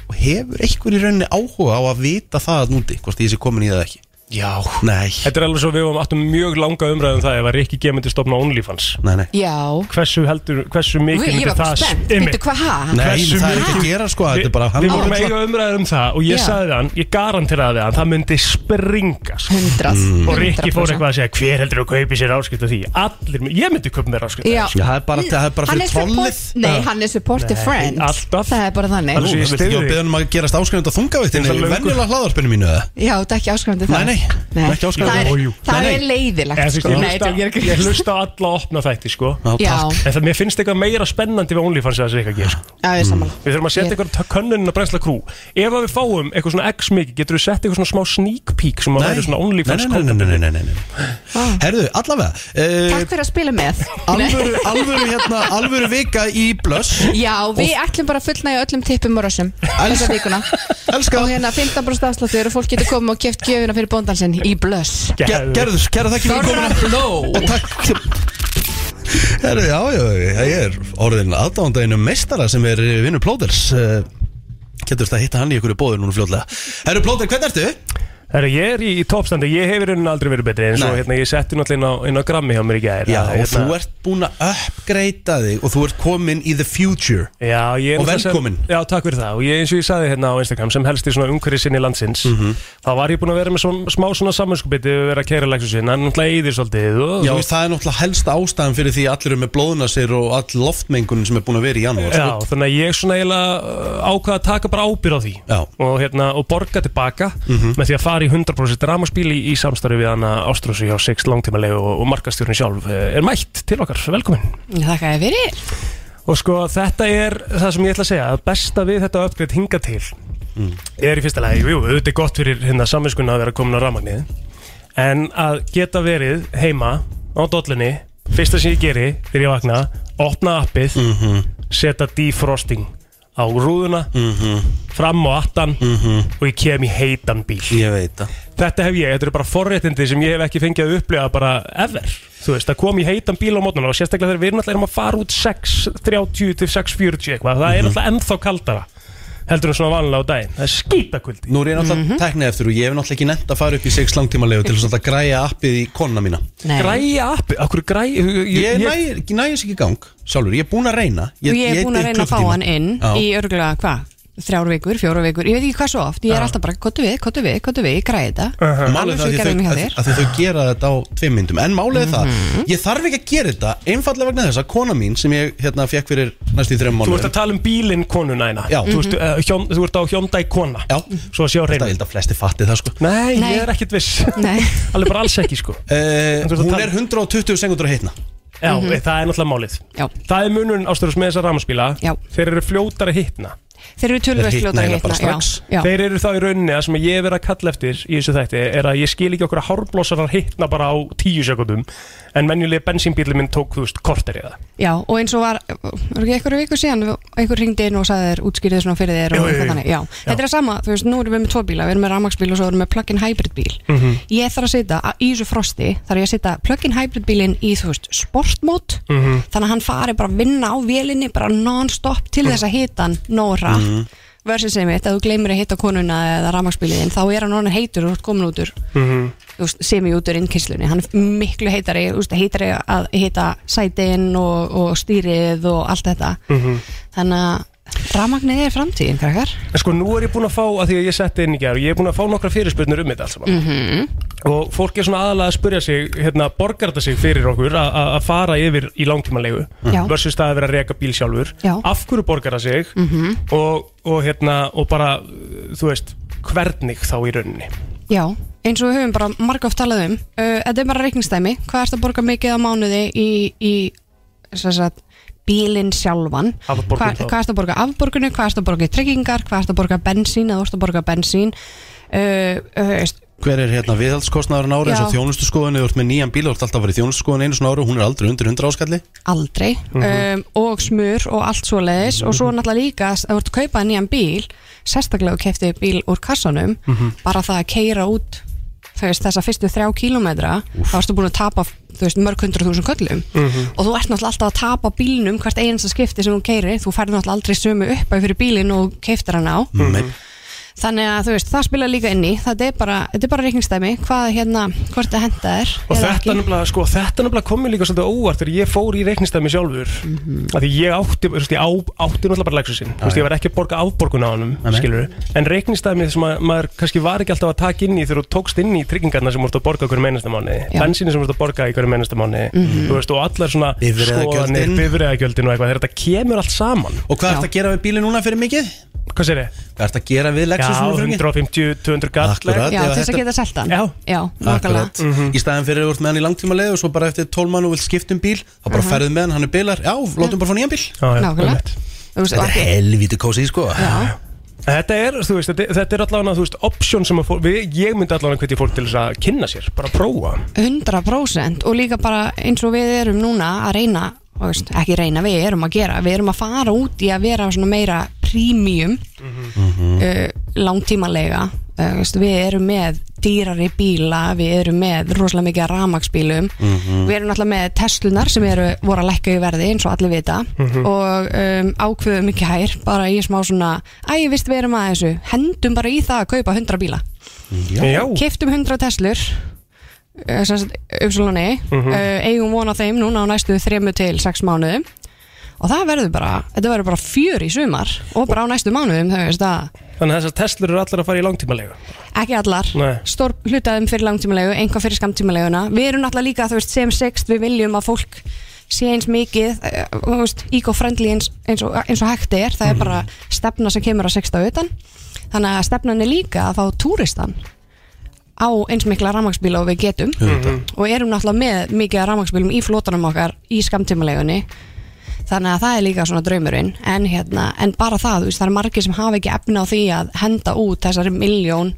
Speaker 1: og hefur einhver í rauninni áhuga á að vita það að núti Hvort ég sé komin í það ekki
Speaker 3: Já
Speaker 1: Nei,
Speaker 3: Þetta er alveg svo við varum áttum mjög langa umræðum það ef að Rikki G myndi stopna OnlyFans
Speaker 1: nei, nei
Speaker 10: já,
Speaker 3: Hversu heldur, hversu mikið
Speaker 10: Úi, ég
Speaker 3: myndi
Speaker 10: var bara
Speaker 3: það
Speaker 10: spennt,
Speaker 3: Einmitt.
Speaker 10: veitu hvað ha?
Speaker 1: Nei,
Speaker 3: Hversu
Speaker 1: það er ekki að
Speaker 3: mikið-
Speaker 1: gera sko,
Speaker 3: Vi,
Speaker 1: þetta er bara hann
Speaker 3: Við vorum
Speaker 1: á-
Speaker 3: eiga umræður um það og ég
Speaker 10: Já.
Speaker 3: sagði við hann, ég garanteraði við hann það myndi springa sko.
Speaker 10: hundrað
Speaker 3: og Rikki fór eitthvað að segja hver heldur þú kaupi sér áskipt af því allir, ég myndi kaupa mér áskipt
Speaker 1: Já,
Speaker 10: Já.
Speaker 1: Sko, það er bara, það er bara
Speaker 10: Hann
Speaker 1: fyrir
Speaker 10: er support,
Speaker 1: trollið
Speaker 10: nei, hann er supportive
Speaker 3: Nei,
Speaker 10: friend
Speaker 3: alltaf.
Speaker 10: Það er bara þannig
Speaker 1: Þú
Speaker 3: Alveg Svo ég
Speaker 1: veist ekki að
Speaker 3: styð þig.
Speaker 1: beða um að gerast áskrifund á þungavættin
Speaker 3: Eins og
Speaker 1: Í
Speaker 3: löngu.
Speaker 1: venjulega hlaðarpinu mínu eða?
Speaker 10: Já, þetta er ekki áskrifandi það
Speaker 1: Nei, nei, ekki áskrifandi.
Speaker 10: Það
Speaker 3: Jú,
Speaker 10: er,
Speaker 3: jú.
Speaker 10: það
Speaker 1: Nei,
Speaker 10: er
Speaker 1: nei.
Speaker 10: leiðilegt
Speaker 3: Eða, þú veist,
Speaker 10: sko.
Speaker 3: ég,
Speaker 10: Nei,
Speaker 3: hlusta,
Speaker 10: þetta er ekki-
Speaker 3: ég hlusta á alla opna þætti sko.
Speaker 10: Já,
Speaker 3: en það, mér finnst eitthvað meira spennandi við OnlyFans eða þessi ekki að sko.
Speaker 10: já, ég er sammála
Speaker 3: við þurfum að setja
Speaker 10: Ég-
Speaker 3: eitthvað könnunin að brensla krú ef að við fáum eitthvað svona x mikið getur við sett eitthvað svona smá sneak peek sem að
Speaker 1: Nei,
Speaker 3: vera svona
Speaker 1: nei,
Speaker 3: OnlyFans
Speaker 1: nei, nei, nei, nei, nei, nei.
Speaker 10: Ah.
Speaker 1: Herðu, allavega eh,
Speaker 10: Takk fyrir að spila með
Speaker 1: Alvöru, alvöru, hérna, alvöru vika í blöss
Speaker 10: Já, við ætlum bara að fullnægja öllum tippum og rössum Þessa
Speaker 3: [laughs]
Speaker 10: vikuna
Speaker 1: Elska.
Speaker 3: Sko-
Speaker 10: Og hérna 15% afsláttur og fólk getur komið og keft gjöfina fyrir bóndansinn í blöss
Speaker 1: Ger-
Speaker 3: Geðveikt.
Speaker 1: Gerður, kæra þakki fyrir komuna Og [laughs] takk Herru, já, já, ég er orðin aðdánda einu meistara sem er vinnu Plóters Eh, Getur þetta að hitta hann í ykkur bóður núna fljótlega Herru Plóter, hvernig ertu?
Speaker 3: Herra, ég er í, í toppstandi, ég hefur raunin aldrei verið betri eins og
Speaker 1: Nei.
Speaker 3: hérna, ég setti náttúrulega inn á, inn á grammi hjá mér í hérna, gæri
Speaker 1: Já, hérna- og þú ert búin að uppgreita þig og þú ert komin í the future
Speaker 3: Já, ég er
Speaker 1: Og
Speaker 3: náttúrulega sem-
Speaker 1: velkomin.
Speaker 3: Já, takk fyrir það og ég, eins og ég sagði hérna á Instagram sem helst í svona umhverju sinni landsins
Speaker 1: Mhm.
Speaker 3: þá var ég búin að vera með svona, smá svona samanskupiti og vera að kæra leksusinn, en náttúrulega eyðir svolítið og,
Speaker 1: Já,
Speaker 3: þú
Speaker 1: og það er náttúrulega helsta ástæðan fyrir því að allir eru með blóðuna sér og all loftmengunin sem er búin að vera í janúar
Speaker 3: Já, þannig að ég svona eiginlega uh, ákvað að taka bara ábyrð á því
Speaker 1: Já.
Speaker 3: og, hérna, og borga tilbaka með því að fara í 100% rámaspíl í, í samstarfi við hana Ástrósi hjá 6 langtímalegu og, og markastjórun sjálf eh, er mætt til okkar, velkomin
Speaker 10: Þakka ég fyrir
Speaker 3: Og sko þetta er það sem ég ætla að segja að besta við þetta uppgreitt hinga til er í fyrsta lagi, jú, auðvitað er gott fyrir hérna samvinskuna að vera komin á rafmagnið en að geta verið heima á dollunni, fyrsta sem ég geri þegar ég vakna, opna appið setja defrosting á rúðuna, fram á attan og ég kem í heitan bíl
Speaker 1: Ég veit það
Speaker 3: þetta hef ég, þetta eru bara forréttindi sem ég hef ekki fengið að upplega bara ever þú veist, að koma í heitan bíl á mótnuna og sérstaklega þegar við náttúrulega erum að fara út 6.30 til 6.40 eitthvað,
Speaker 8: Mhm.
Speaker 3: það er náttúrulega ennþá kaldara heldur en svona vanlega á daginn, það er skítakvöldi
Speaker 1: Nú er ég náttúrulega
Speaker 3: Mhm.
Speaker 1: mm teknið eftir og ég hef náttúrulega ekki nefnt að fara upp í 6 langtímalegu til svona að græja appið í konuna mína
Speaker 3: græja appi, okkur græja
Speaker 1: Ég næ- næ þess ekki í gang sjálfur, ég er búin að reyna
Speaker 8: og ég er búin að reyna að fá hann inn
Speaker 1: Já.
Speaker 8: í örgulega hvað, þrjár vikur, fjóra vikur ég veit ekki hvað svo oft, ég er alltaf bara kottu við, kottu við, kottu við, ég græði þetta
Speaker 3: Uh-huh.
Speaker 1: Aha. Málið er
Speaker 8: Alveg
Speaker 1: það
Speaker 8: svo
Speaker 1: að,
Speaker 8: gerðum
Speaker 1: þau,
Speaker 8: hjá
Speaker 1: að,
Speaker 8: þér. Mhm.
Speaker 1: að þau gera þetta á tveim myndum En málið er það, ég þarf ekki að gera þetta einfallega vegna þess að kona mín sem ég hérna fekk fyrir næstu í þreim
Speaker 3: þú ert að
Speaker 1: mánuðum
Speaker 3: tala um bílinn konuna eina
Speaker 1: Já. Mhm.
Speaker 3: þú, veist, uh, hjón, þú ert á hjóndæg kona
Speaker 1: Já.
Speaker 3: svo að sjá
Speaker 1: Þetta
Speaker 3: reyna
Speaker 1: held að flesti fatti það sko
Speaker 3: nei, ég er ekkit viss
Speaker 8: Nei.
Speaker 3: [laughs] alveg bara alls ekki sko
Speaker 1: uh,
Speaker 3: En þú ert að
Speaker 1: Hún
Speaker 3: tala-
Speaker 1: er 120 sekundur að hitna
Speaker 3: Já, það er náttúrulega málið
Speaker 8: Mhm. Já.
Speaker 3: Það er munurinn ástæður með þessar rafmagnspíla
Speaker 8: Já.
Speaker 3: Þeir eru fljótar að hitna
Speaker 10: Þeir eru tölvöld fljótari að hitna já, já.
Speaker 3: Þeir eru þá í rauninni að sem ég hef verið að kalla eftir í þessu þætti er að ég skil ekki okkur að hárblosarar hitna bara á tíu sekundum en menjulega bensínbíli minn tók þú veist korter eða
Speaker 10: já, og eins og var var ekki einhverju viku síðan einhver ringdi inn og sagði þér útskýrið svona fyrir þér
Speaker 3: Jú, jú,
Speaker 10: og
Speaker 3: jú.
Speaker 10: eitthvað þannig, já.
Speaker 3: Já.
Speaker 10: þetta er að sama, þú veist, nú erum við með tvo bíla við erum með rafmaksbíl og svo erum við með plug-in hybrid bíl
Speaker 3: Mhm.
Speaker 10: ég þarf að setja, í þessu frosti þarf ég að setja plug-in hybrid bílinn í, þú veist, sportmót
Speaker 3: Mhm.
Speaker 10: þannig að hann fari bara að vinna á vélinni bara non-stop til þess að hita hann nóg
Speaker 3: Mhm.
Speaker 10: rætt mm. versus sem eitt að þú gleymir að hita konuna eða rafmaksbíliðin þá er hann orðin heitur og þú ert komin út úr
Speaker 3: Mhm.
Speaker 10: þú veist, sem í út úr innkynslunni hann er miklu heitari, þú veist, heitari að hita sætin og, og stýrið og allt þetta
Speaker 3: Mhm.
Speaker 10: þannig að rafmagnið er framtíðin krakkar
Speaker 3: En sko nú er ég búin að fá, að því að ég setti inn í gerð ég er búin að fá nokkra fyrirspurnir um þetta allt saman
Speaker 10: -hmm.
Speaker 3: og fólk er svona aðalega að spurja sig hérna, borgar þetta sig fyrir okkur að- að að fara yfir í langtímanlegu
Speaker 10: Já.
Speaker 3: versus það að vera að reka bíl sjálfur
Speaker 10: Já.
Speaker 3: af hverju borgar það sig
Speaker 10: Mhm.
Speaker 3: og, og, hérna, og bara, uh, þú veist hvernig þá í rauninni
Speaker 10: Já, eins og við höfum bara margóft talað um uh, Þetta er bara reikningsdæmi Hvað ertu að borga mikið á mánuði í, í sem sagt, bílinn sjálfan
Speaker 3: Afborgun
Speaker 10: Hva-
Speaker 3: þá.
Speaker 10: Hvað ertu að borga afborgunu, hvað ertu að borga í tryggingar Hvað ertu að borga bensín, eða þú ertu að borga bensín uh, uh, veist,
Speaker 1: Hver er hérna viðhaldskostnaðurinn ári eins og
Speaker 10: Já.
Speaker 1: þjónustuskoðunni Þú ert með nýjan bíl, þú ert alltaf að vera í þjónustuskoðunni einu svona ári og Hún er aldrei undir 100 áskalli
Speaker 10: Aldrei um, Og smur og allt svoleiðis Og svo náttúrulega líka að þú ert að kaupa nýjan bíl Sérstaklega þú kefti bíl úr kassanum bara það að keira út þú veist, þessa fyrstu þrjá kílómetra þá erstu búin að tapa þú veist, mörg hundra þúsund köllum
Speaker 12: Mhm.
Speaker 10: og þú ert náttúrulega alltaf að tapa bílnum hvert einasta skipti sem þú keirir þú færði náttúrulega aldrei sömu upp fyrir bílinn og keiftir hann á
Speaker 1: Nei.
Speaker 10: þannig að þú veist, það spila líka inn í þetta er bara, þetta er bara reikningsdæmi hvað hérna, hvort það henda er
Speaker 3: og þetta nefnilega, sko, þetta nefnilega komið líka svolítið óvart þegar ég fór í reiknistæmi sjálfur mm
Speaker 1: Mhm.
Speaker 3: af því ég átti, þú veist, ég á, átti náttúrulega bara leiksusinn, þú veist, ég var ekki að borga afborgun á honum,
Speaker 1: Nei, nei.
Speaker 3: skilur en reiknistæmi sem að, maður kannski var ekki alltaf að taka inn í þegar þú tókst inn í tryggingarna sem þú ert að borga hverju mennasta mánuði,
Speaker 1: Já.
Speaker 3: bensinni sem þú ert að borga í hverju mennasta mánuði,
Speaker 1: Mhm.
Speaker 3: þú veist, og allar svona
Speaker 1: Bifreiðagjöldin.
Speaker 3: skoðanir, bifreiðagjöldin og eitthvað, þegar þetta kemur allt saman
Speaker 1: Og hvað ert að gera við bílinn núna fyrir mikið?
Speaker 3: Hvað sér ég?
Speaker 1: Hvað ert að gera við Lexus
Speaker 3: Já,
Speaker 1: núna fyrir mikið?
Speaker 3: 150, 200 gall
Speaker 1: Akkurat, ef
Speaker 10: já, til þess að
Speaker 1: þetta-
Speaker 10: geta selt hann
Speaker 3: já,
Speaker 10: já
Speaker 1: Akkurat,
Speaker 10: Mhm.
Speaker 1: í staðan fyrir að þú ert með hann í langtíma leið og svo bara eftir 12 mann og vilt skipta um bíl þá bara
Speaker 10: Mhm.
Speaker 1: ferðu með hann, hann er bilar, já, látum bara fá nýjan bíl
Speaker 3: já,
Speaker 10: Nákvæmlega. Þú veist,
Speaker 1: Þetta er
Speaker 10: ekki-
Speaker 1: helvítið kósið, sko
Speaker 10: Já.
Speaker 3: Þetta er, þú veist, þetta, þetta er allavega, þú veist, option sem að fólk, við, ég myndi allavega hvernig fólk til þess að kynna sér, bara að prófa.
Speaker 10: 100% og líka bara eins og við erum núna að reyna þú veist, ekki reyna, við erum að gera við erum að fara út í að vera svona meira prímjum uh, langtímalega uh, veist, við erum með dýrari bíla við erum með rosalega mikið af rafmaksbílum
Speaker 12: Mhm.
Speaker 10: við erum náttúrulega með Teslunar sem eru, voru að lækka í verði eins og allir vita
Speaker 12: Mhm.
Speaker 10: og um, ákveðum ekki hær bara í smá svona, æ, vist við erum að þessu hendum bara í það að kaupa 100 bíla
Speaker 3: Já.
Speaker 10: Keyptum 100 Teslur eh, sem sagt, Uppsaloni
Speaker 12: Mhm.
Speaker 10: eh, eigum von á þeim núna á næstu þremu til 6 mánuðum og það verður bara, þetta verður bara fjör í sumar og bara á næstu mánuðum þau veist að
Speaker 3: Þannig að þessar Teslur eru allar að fara í langtímalegu.
Speaker 10: ekki allar,
Speaker 3: Nei.
Speaker 10: stór hlutaðum fyrir langtímalegu, einhvað fyrir skamtímaleguna við erum náttúrulega líka, þú veist, sem sext við viljum að fólk sé eins mikið eh, þú veist, eco-friendly eins, eins, og, eins og hægt er, það er bara stefna sem kemur að sexta utan, þannig að stefnan er líka að fá túristan á eins mikla rafmagsbíla og við getum
Speaker 12: Auðvitað.
Speaker 10: og erum náttúrulega með mikið af rafmagsbílum í flótanum okkar í skamtímalegunni þannig að það er líka svona draumurinn en, hérna, en bara það, þú veist, það er margir sem hafa ekki efna á því að henda út þessari miljón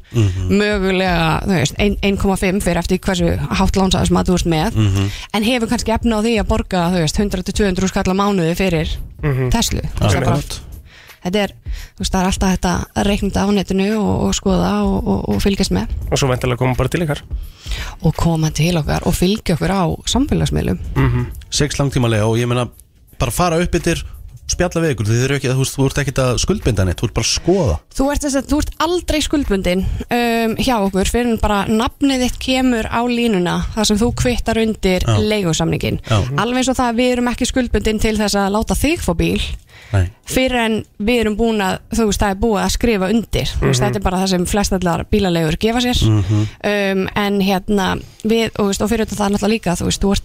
Speaker 10: mögulega, þú veist, ein- 1,5 fyrir eftir hversu hátt lánsaðar sem að þú ert með
Speaker 12: Mhm.
Speaker 10: en hefur kannski efna á því að borga, þú veist, 100-200 skall á mánuði fyrir
Speaker 12: Mhm.
Speaker 10: Tesla Þú veist, það er bara-
Speaker 12: Akkurat.
Speaker 10: þetta er, þú veist, það er alltaf þetta að reikna þetta á netinu og, og skoða og, og, og fylgjast með
Speaker 3: Og svo vendilega komum bara til ykkar.
Speaker 10: og koma til okkar og fylgja okkur á samfélagsmiðlum
Speaker 1: sex langtíma leið og ég meina bara fara upp yfir, spjalla við ykkur þið eru ekki, þú, veist, þú ert ekki að skuldbinda neitt, þú ert bara að skoða
Speaker 10: Þú ert, þess að, þú ert aldrei skuldbundin um, hjá okkur fyrir en bara nafnið þitt kemur á línuna þar sem þú kvittar
Speaker 12: Já.
Speaker 10: undir leigusamningin.
Speaker 12: Já.
Speaker 10: Alveg eins og það að við erum ekki skuldbundin til þess að láta þig fá bíl
Speaker 1: Nei.
Speaker 10: fyrir en við erum búin að, þú veist, það er búið að skrifa undir. Þú veist,
Speaker 12: Mhm.
Speaker 10: þetta er bara það sem flestallar bílalegur gefa sér.
Speaker 12: Mhm.
Speaker 10: um, en hérna, við, og, þú veist, og fyrir þetta það er náttúrulega líka, þú veist, þú ert,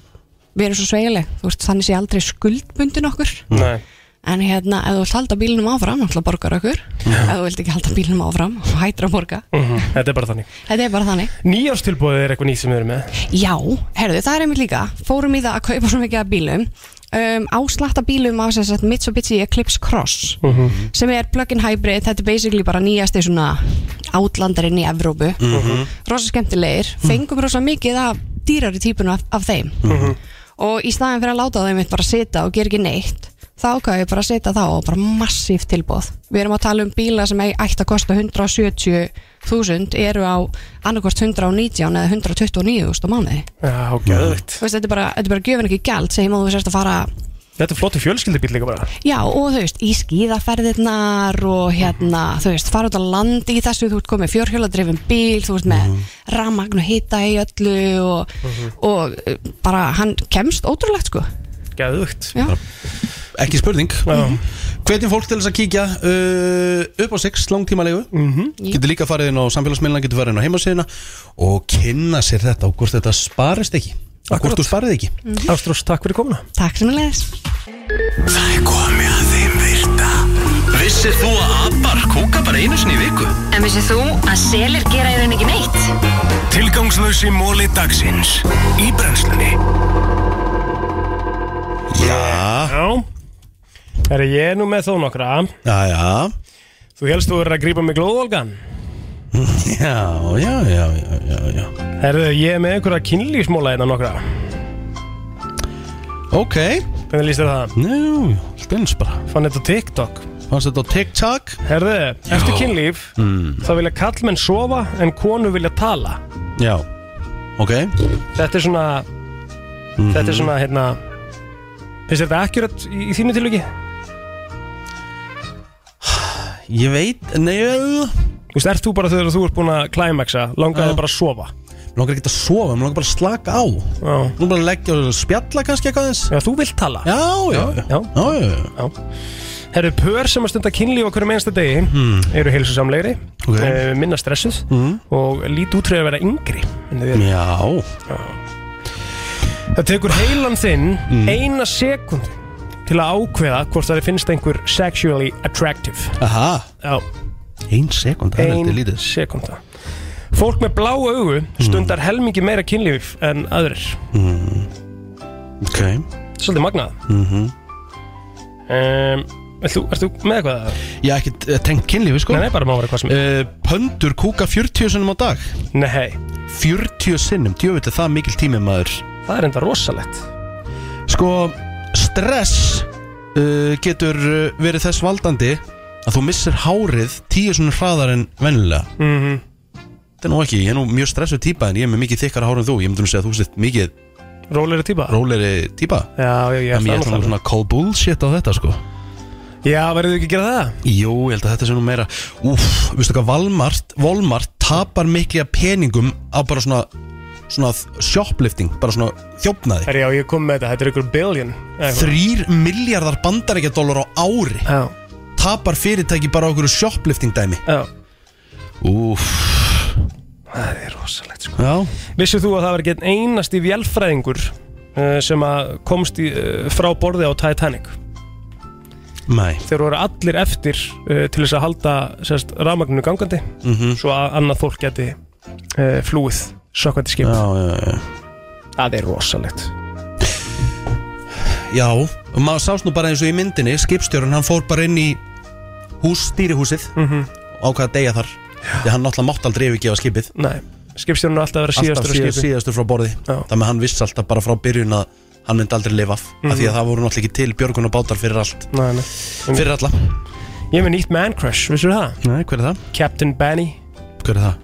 Speaker 10: við erum svo sveigileg, þú veist, þannig sé aldrei skuldbundin okkur.
Speaker 3: Nei.
Speaker 10: En hérna, ef þú vilt halda bílunum áfram, náttúrulega borgar okkur. Ef þú vilt ekki halda bílunum áfram, [laughs] þá hættir að borga.
Speaker 3: Mhm. Þetta er bara þannig.
Speaker 10: Þetta er bara þannig.
Speaker 3: Nýjárstilbúið er eitthvað nýtt sem við erum með.
Speaker 10: Já, herðu, það er einmitt líka. Fórum í það að kaupa svo mikið af bílum um, á slatta bílum af sem sagt, Mitsubishi Eclipse Cross sem er plug-in hybrid, þetta er basically bara nýjasti svona átlandarinn í Evrópu
Speaker 12: Mhm.
Speaker 10: rosa skemmtilegir, fengum rosa mikið af dýrari típuna af, af þeim og í staðin fyrir að láta þeim mitt bara sita og gera ekki neitt þá ákvað ég bara að setja þá og bara massíft tilbóð við erum að tala um bíla sem ei- ætti að kosta 170.000 eru á annarkvort 119 eða 129.000 á mánuði
Speaker 3: Já, gæðvegt
Speaker 10: Þú veist, þetta er bara, þetta er bara gjöfin ekki gælt sem þú sérst að fara
Speaker 3: Þetta er flottu fjölskyldubíl líka bara
Speaker 10: já og þú veist í skíðaferðirnar og hérna þú veist fara út á land í þessu þú ert komið fjórhjóladrifin bíl þú ert með mm. og hita í öllu og, og eh, bara hann kemst ótrúlegt sko
Speaker 3: Gæðugt
Speaker 10: Já.
Speaker 1: Ekki spurning Mhm. Hvetjum fólk til þess að kíkja uh, upp á 6 langtímalegu mm
Speaker 10: Mhm.
Speaker 1: -hmm. Getur líka farið inn á samfélagsmiðlana, getur farið inn á heimasíðina og kynna sér þetta og hvort þetta sparist ekki og hvort þú sparið ekki
Speaker 3: Ástrós, takk fyrir komuna
Speaker 10: Takk sem að leiðis
Speaker 4: Það er komið að þeim virta Vissir þú að abar kúka bara einu sinni í viku?
Speaker 13: En vissið þú að selir gera í raun ekki neitt?
Speaker 4: Tilgangslösi móli dagsins Í brennslunni
Speaker 1: Já
Speaker 3: Já Er ég er nú með þó nokkra
Speaker 1: Já, já
Speaker 3: Þú helst þú verður að grípa mig glóðvolgan
Speaker 1: Já, já, já, já, já, já.
Speaker 3: Herðu, ég er með einhverja kynlífsmóla hérna nokkra
Speaker 1: Ok
Speaker 3: Hvernig líst þér á það?
Speaker 1: Nú, spilins bara
Speaker 3: Fann þetta á TikTok
Speaker 1: Fannst þetta á TikTok?
Speaker 3: Herðu, eftir
Speaker 1: Já.
Speaker 3: kynlíf
Speaker 1: Mm.
Speaker 3: þá vilja kallmenn sofa en konu vilja tala
Speaker 1: Já, ok
Speaker 3: Þetta er svona Þetta
Speaker 1: Mhm.
Speaker 3: er svona, hérna Finnst þér þetta akkurat í, í þínu tilviki?
Speaker 1: Ég veit, nei Þú
Speaker 3: veist, ert þú bara þegar þú ert búin að climaxa Langaði bara að sofa
Speaker 1: Mér langar ekki að sofa, mér langar bara að slaka á Já Nú bara að leggja og spjalla kannski eitthvað eins
Speaker 3: Já, þú vilt tala
Speaker 1: Já, já,
Speaker 3: já, já.
Speaker 1: já, já.
Speaker 3: Herru, pör sem að stunda kynlíf á hverjum einsta degi eru heilsusamlegri,
Speaker 1: Mm. Ok. Mm.
Speaker 3: eh, minna stressuð og lít útrúið að vera yngri en þau eru.
Speaker 1: Já.
Speaker 3: Það tekur heilan þinn
Speaker 1: Mm.
Speaker 3: eina sekund til að ákveða hvort það finnst einhver sexually attractive.
Speaker 1: Aha
Speaker 3: Já.
Speaker 1: Ein sekund, það er
Speaker 3: Ein
Speaker 1: heldur lítið
Speaker 3: sekunda Fólk með blá augu stundar helmingi meira kynlíf en aðrir.
Speaker 1: mm. Ok
Speaker 3: Svolítið magnað.
Speaker 1: mm
Speaker 3: Um, ert, þú, ert þú með eitthvað?
Speaker 1: Ég hef ekki tengt kynlífi sko
Speaker 3: Nei, nei, bara má vera hvað sem
Speaker 1: er Pöndur kúka 40 sinnum á dag
Speaker 3: Nei
Speaker 1: 40 sinnum, djöfitt er það mikil tími maður
Speaker 3: Það er enda rosalegt
Speaker 1: Sko, stress uh, getur uh, verið þess valdandi að þú missir hárið tíu svona hraðar en vennilega
Speaker 3: Mhm.
Speaker 1: Þetta er nú ekki, ég er nú mjög stressuð típa en ég er með mikið þykkara hár en þú Ég myndi nú segja að þú sett mikið
Speaker 3: Róleri típa
Speaker 1: Róleri típa
Speaker 3: Já, ég, ég,
Speaker 1: En ég ætla
Speaker 3: það
Speaker 1: nú
Speaker 3: náttúrulega.
Speaker 1: svona að call bullshit á þetta sko
Speaker 3: Já, verður þú ekki að gera það?
Speaker 1: Jú, ég held að þetta sé nú meira Úff, veistu hvað, Valmart, Volmart tapar mikla peningum á bara svona svona shoplifting, bara svona þjófnaði
Speaker 3: Herri, já, ég kom með þetta, þetta er ykkur billion
Speaker 1: Þrýr miljardar bandaríkja dólar á ári
Speaker 3: Já.
Speaker 1: Tapar fyrirtæki bara okkur shoplifting dæmi
Speaker 3: Já.
Speaker 1: Úf
Speaker 3: Það er rosalegt sko
Speaker 1: Já
Speaker 3: Vissið þú að það var ekki einn einasti vélfræðingur uh, sem að komst í, uh, frá borði á Titanic
Speaker 1: Nei
Speaker 3: Þeir voru allir eftir uh, til þess að halda sérst, rafmagninu gangandi
Speaker 1: Mhm.
Speaker 3: svo að annað fólk geti uh, flúið sökkvandi skip
Speaker 1: Já, já, já
Speaker 3: Það er rosalegt
Speaker 1: Já, og maður sást nú bara eins og í myndinni Skipstjórun, hann fór bara inn í hús, stýrihúsið
Speaker 3: Mhm.
Speaker 1: og ákvað að deyja þar Því hann náttúrulega mátt aldrei yfirgefa skipið
Speaker 3: Nei, skipstjórun er alltaf að vera síðastur á
Speaker 1: síð-
Speaker 3: skipi.
Speaker 1: síðastur frá borði
Speaker 3: Já.
Speaker 1: Þannig að hann vissi alltaf bara frá byrjun að hann myndi aldrei lifa af
Speaker 3: Mhm.
Speaker 1: af Því að það voru náttúrulega ekki til björgun og bátar fyrir allt
Speaker 3: Nei, nei.
Speaker 1: Fyrir alla
Speaker 3: Ég er með nýtt man crush, vissur það?
Speaker 1: Nei, hver er það?
Speaker 3: Captain Benny
Speaker 1: Hver er það?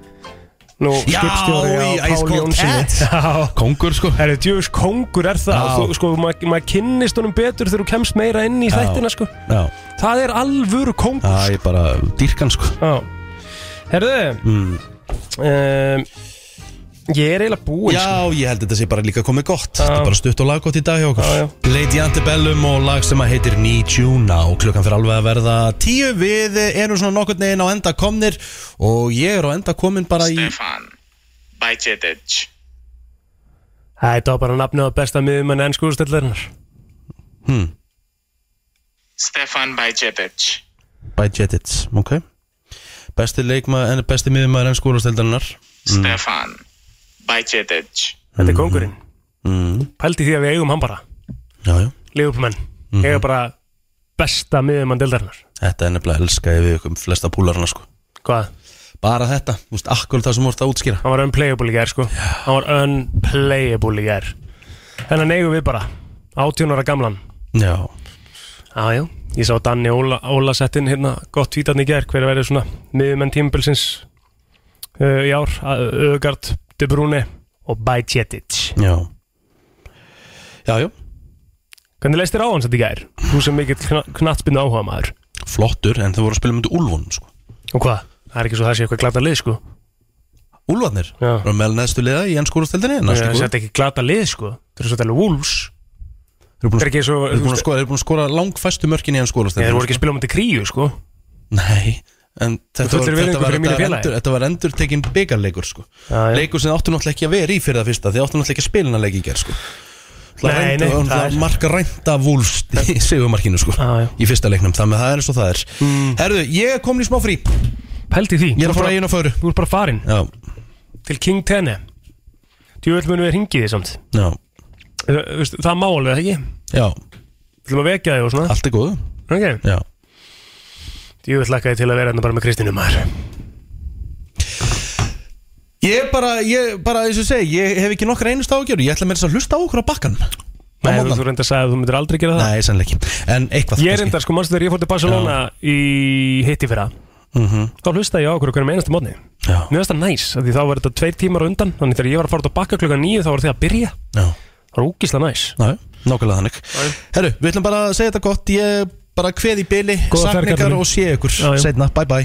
Speaker 3: Nú,
Speaker 1: Já,
Speaker 3: skipstjóri á
Speaker 1: í Ice
Speaker 3: Páli
Speaker 1: Cold Cats.
Speaker 3: [laughs] Jónssoni
Speaker 1: Kongur sko
Speaker 3: Það er djöfus kongur er það
Speaker 1: Já.
Speaker 3: þú, Sko, maður ma kynnist honum betur þegar þú kemst meira inn í
Speaker 1: Já.
Speaker 3: þættina sko.
Speaker 1: Já,
Speaker 3: Það er alvöru kongur
Speaker 1: það er bara dýrkan sko
Speaker 3: Já. Herðu
Speaker 1: mm.
Speaker 3: um, Ég er eiginlega búinn
Speaker 1: Já,
Speaker 3: sko.
Speaker 1: ég held að þetta sé bara líka komið gott Þetta er bara stutt og laggott í dag hjá okkur
Speaker 3: Já, já.
Speaker 1: Lady Antebellum og lag sem að heitir Need You Now Klukkan fyrir alveg að verða tíu Við erum svona nokkurn veginn á enda komnir Og ég er á enda komin bara í
Speaker 14: Stefan Bajcetic
Speaker 3: Þetta var bara nafnið á besta miðum en ennskúrstöldarinnar
Speaker 1: hmm,
Speaker 14: Stefan Bajcetic
Speaker 1: By Jettits, ok Besti leikmaður, en besti miðumæður en skólasteldarinnar
Speaker 14: Stefan Bajcetic
Speaker 3: Þetta er kongurinn
Speaker 1: mm.
Speaker 3: Pældi því að við eigum hann bara
Speaker 1: Já, já
Speaker 3: Leifuplumenn
Speaker 1: Mhm.
Speaker 3: mm Ég er bara besta miðjumann dildarinnar
Speaker 1: Þetta er nefnilega elskaði við ykkur flesta púlarna sko
Speaker 3: Hvað?
Speaker 1: Bara þetta, þú veist, akkur það sem voru að útskýra
Speaker 3: Hann var unplayable í gær sko Hann var unplayable í gær Þannig neigum við bara 18 ára gamlan
Speaker 1: Já
Speaker 3: Já, já, ég sá Danni Óla, Óla settin hérna gott tvítarni í gær, hver verður svona miðjumenn tímabilsins uh, í ár, Ögard, De Bruyne og Bajcetic
Speaker 1: Já Já, já
Speaker 3: Hvernig leist þér á hans þetta í gær? Þú sem mikill kn knattspinn áhuga maður
Speaker 1: Flottur, en þau voru að spila myndi Úlfun sko
Speaker 3: Og hvað? Það er ekki svo það sé eitthvað glata lið sko
Speaker 1: Úlfarnir, það er meðal neðstu liða í ennsku úrstildinni
Speaker 3: Ég, Það er ekki glata lið sko Það er svo þetta alveg Wolves
Speaker 1: Þeir eru búin
Speaker 3: Þeir eru ekki svo-
Speaker 1: Þeir eru búin að skora, þeir eru búin að skora langfæstu mörkin í ennsku
Speaker 3: Þeir
Speaker 1: úrstildinni
Speaker 3: voru ekki að spila um þetta kríu sko
Speaker 1: Nei, en þetta var,
Speaker 3: fullir
Speaker 1: þetta
Speaker 3: virðingu
Speaker 1: var,
Speaker 3: fyrir mínu
Speaker 1: þetta var,
Speaker 3: félagi.
Speaker 1: endur, þetta var endur tekin byggarleikur sko.
Speaker 3: Já, já.
Speaker 1: leikur sem áttu náttúrulega ekki að vera í fyrir það fyrsta þeir áttu náttúrulega ekki að spilina leik í gerð sko. Það
Speaker 3: Nei,
Speaker 1: rænda-
Speaker 3: nei,
Speaker 1: það
Speaker 3: það er-
Speaker 1: marka rænda vúls í
Speaker 3: [laughs]
Speaker 1: sigumarkinu sko, í fyrsta leiknum þannig að það er eins og það er
Speaker 3: Mm.
Speaker 1: Herðu, ég er komin í smá frí
Speaker 3: Pældi því
Speaker 1: Ég er
Speaker 3: Þú
Speaker 1: að fara
Speaker 3: bara-
Speaker 1: í einu og föru
Speaker 3: Þú ert bara farin
Speaker 1: Já.
Speaker 3: Til King Tene Djúvel munum við hringið því samt
Speaker 1: Já.
Speaker 3: Þú veist, Það má alveg ekki
Speaker 1: Já,
Speaker 3: Þú ætlum að vekja þig og svona
Speaker 1: Allt er góð
Speaker 3: Ok
Speaker 1: Já.
Speaker 3: Djúvel lakkaði til að vera hérna bara með Kristínu maður
Speaker 1: ég bara, ég bara eins og ég segi, ég hef ekki nokkra einust ágjör ég ætla með þess að hlusta á okkur á bakkan
Speaker 3: Nei, þú, þú reyndar að sagði að þú myndir aldrei gera það
Speaker 1: Nei, sannleik En eitthvað
Speaker 3: Ég reyndar, sko, mannstu þegar ég fór til Barcelona í hitti fyrra
Speaker 1: Mhm.
Speaker 3: Þá hlustaði ég á okkur okkur með einasta mótni
Speaker 1: Já.
Speaker 3: Mér finnst það næs, af því þá var þetta tveir tímar á undan Þannig þegar ég var að fara út á bakka klukkan níu þá var þið að byrja
Speaker 1: Já.
Speaker 3: Það var úkislega næs
Speaker 1: Næ, nákvæmlega þannig Herru, við ætlum bara að segja þetta gott Ég bara kveð í byli,
Speaker 3: Góða ferð, kallinn
Speaker 1: sakningar
Speaker 3: minn.
Speaker 1: og sé ykkur
Speaker 3: Já, já.
Speaker 1: Seinna, bye bye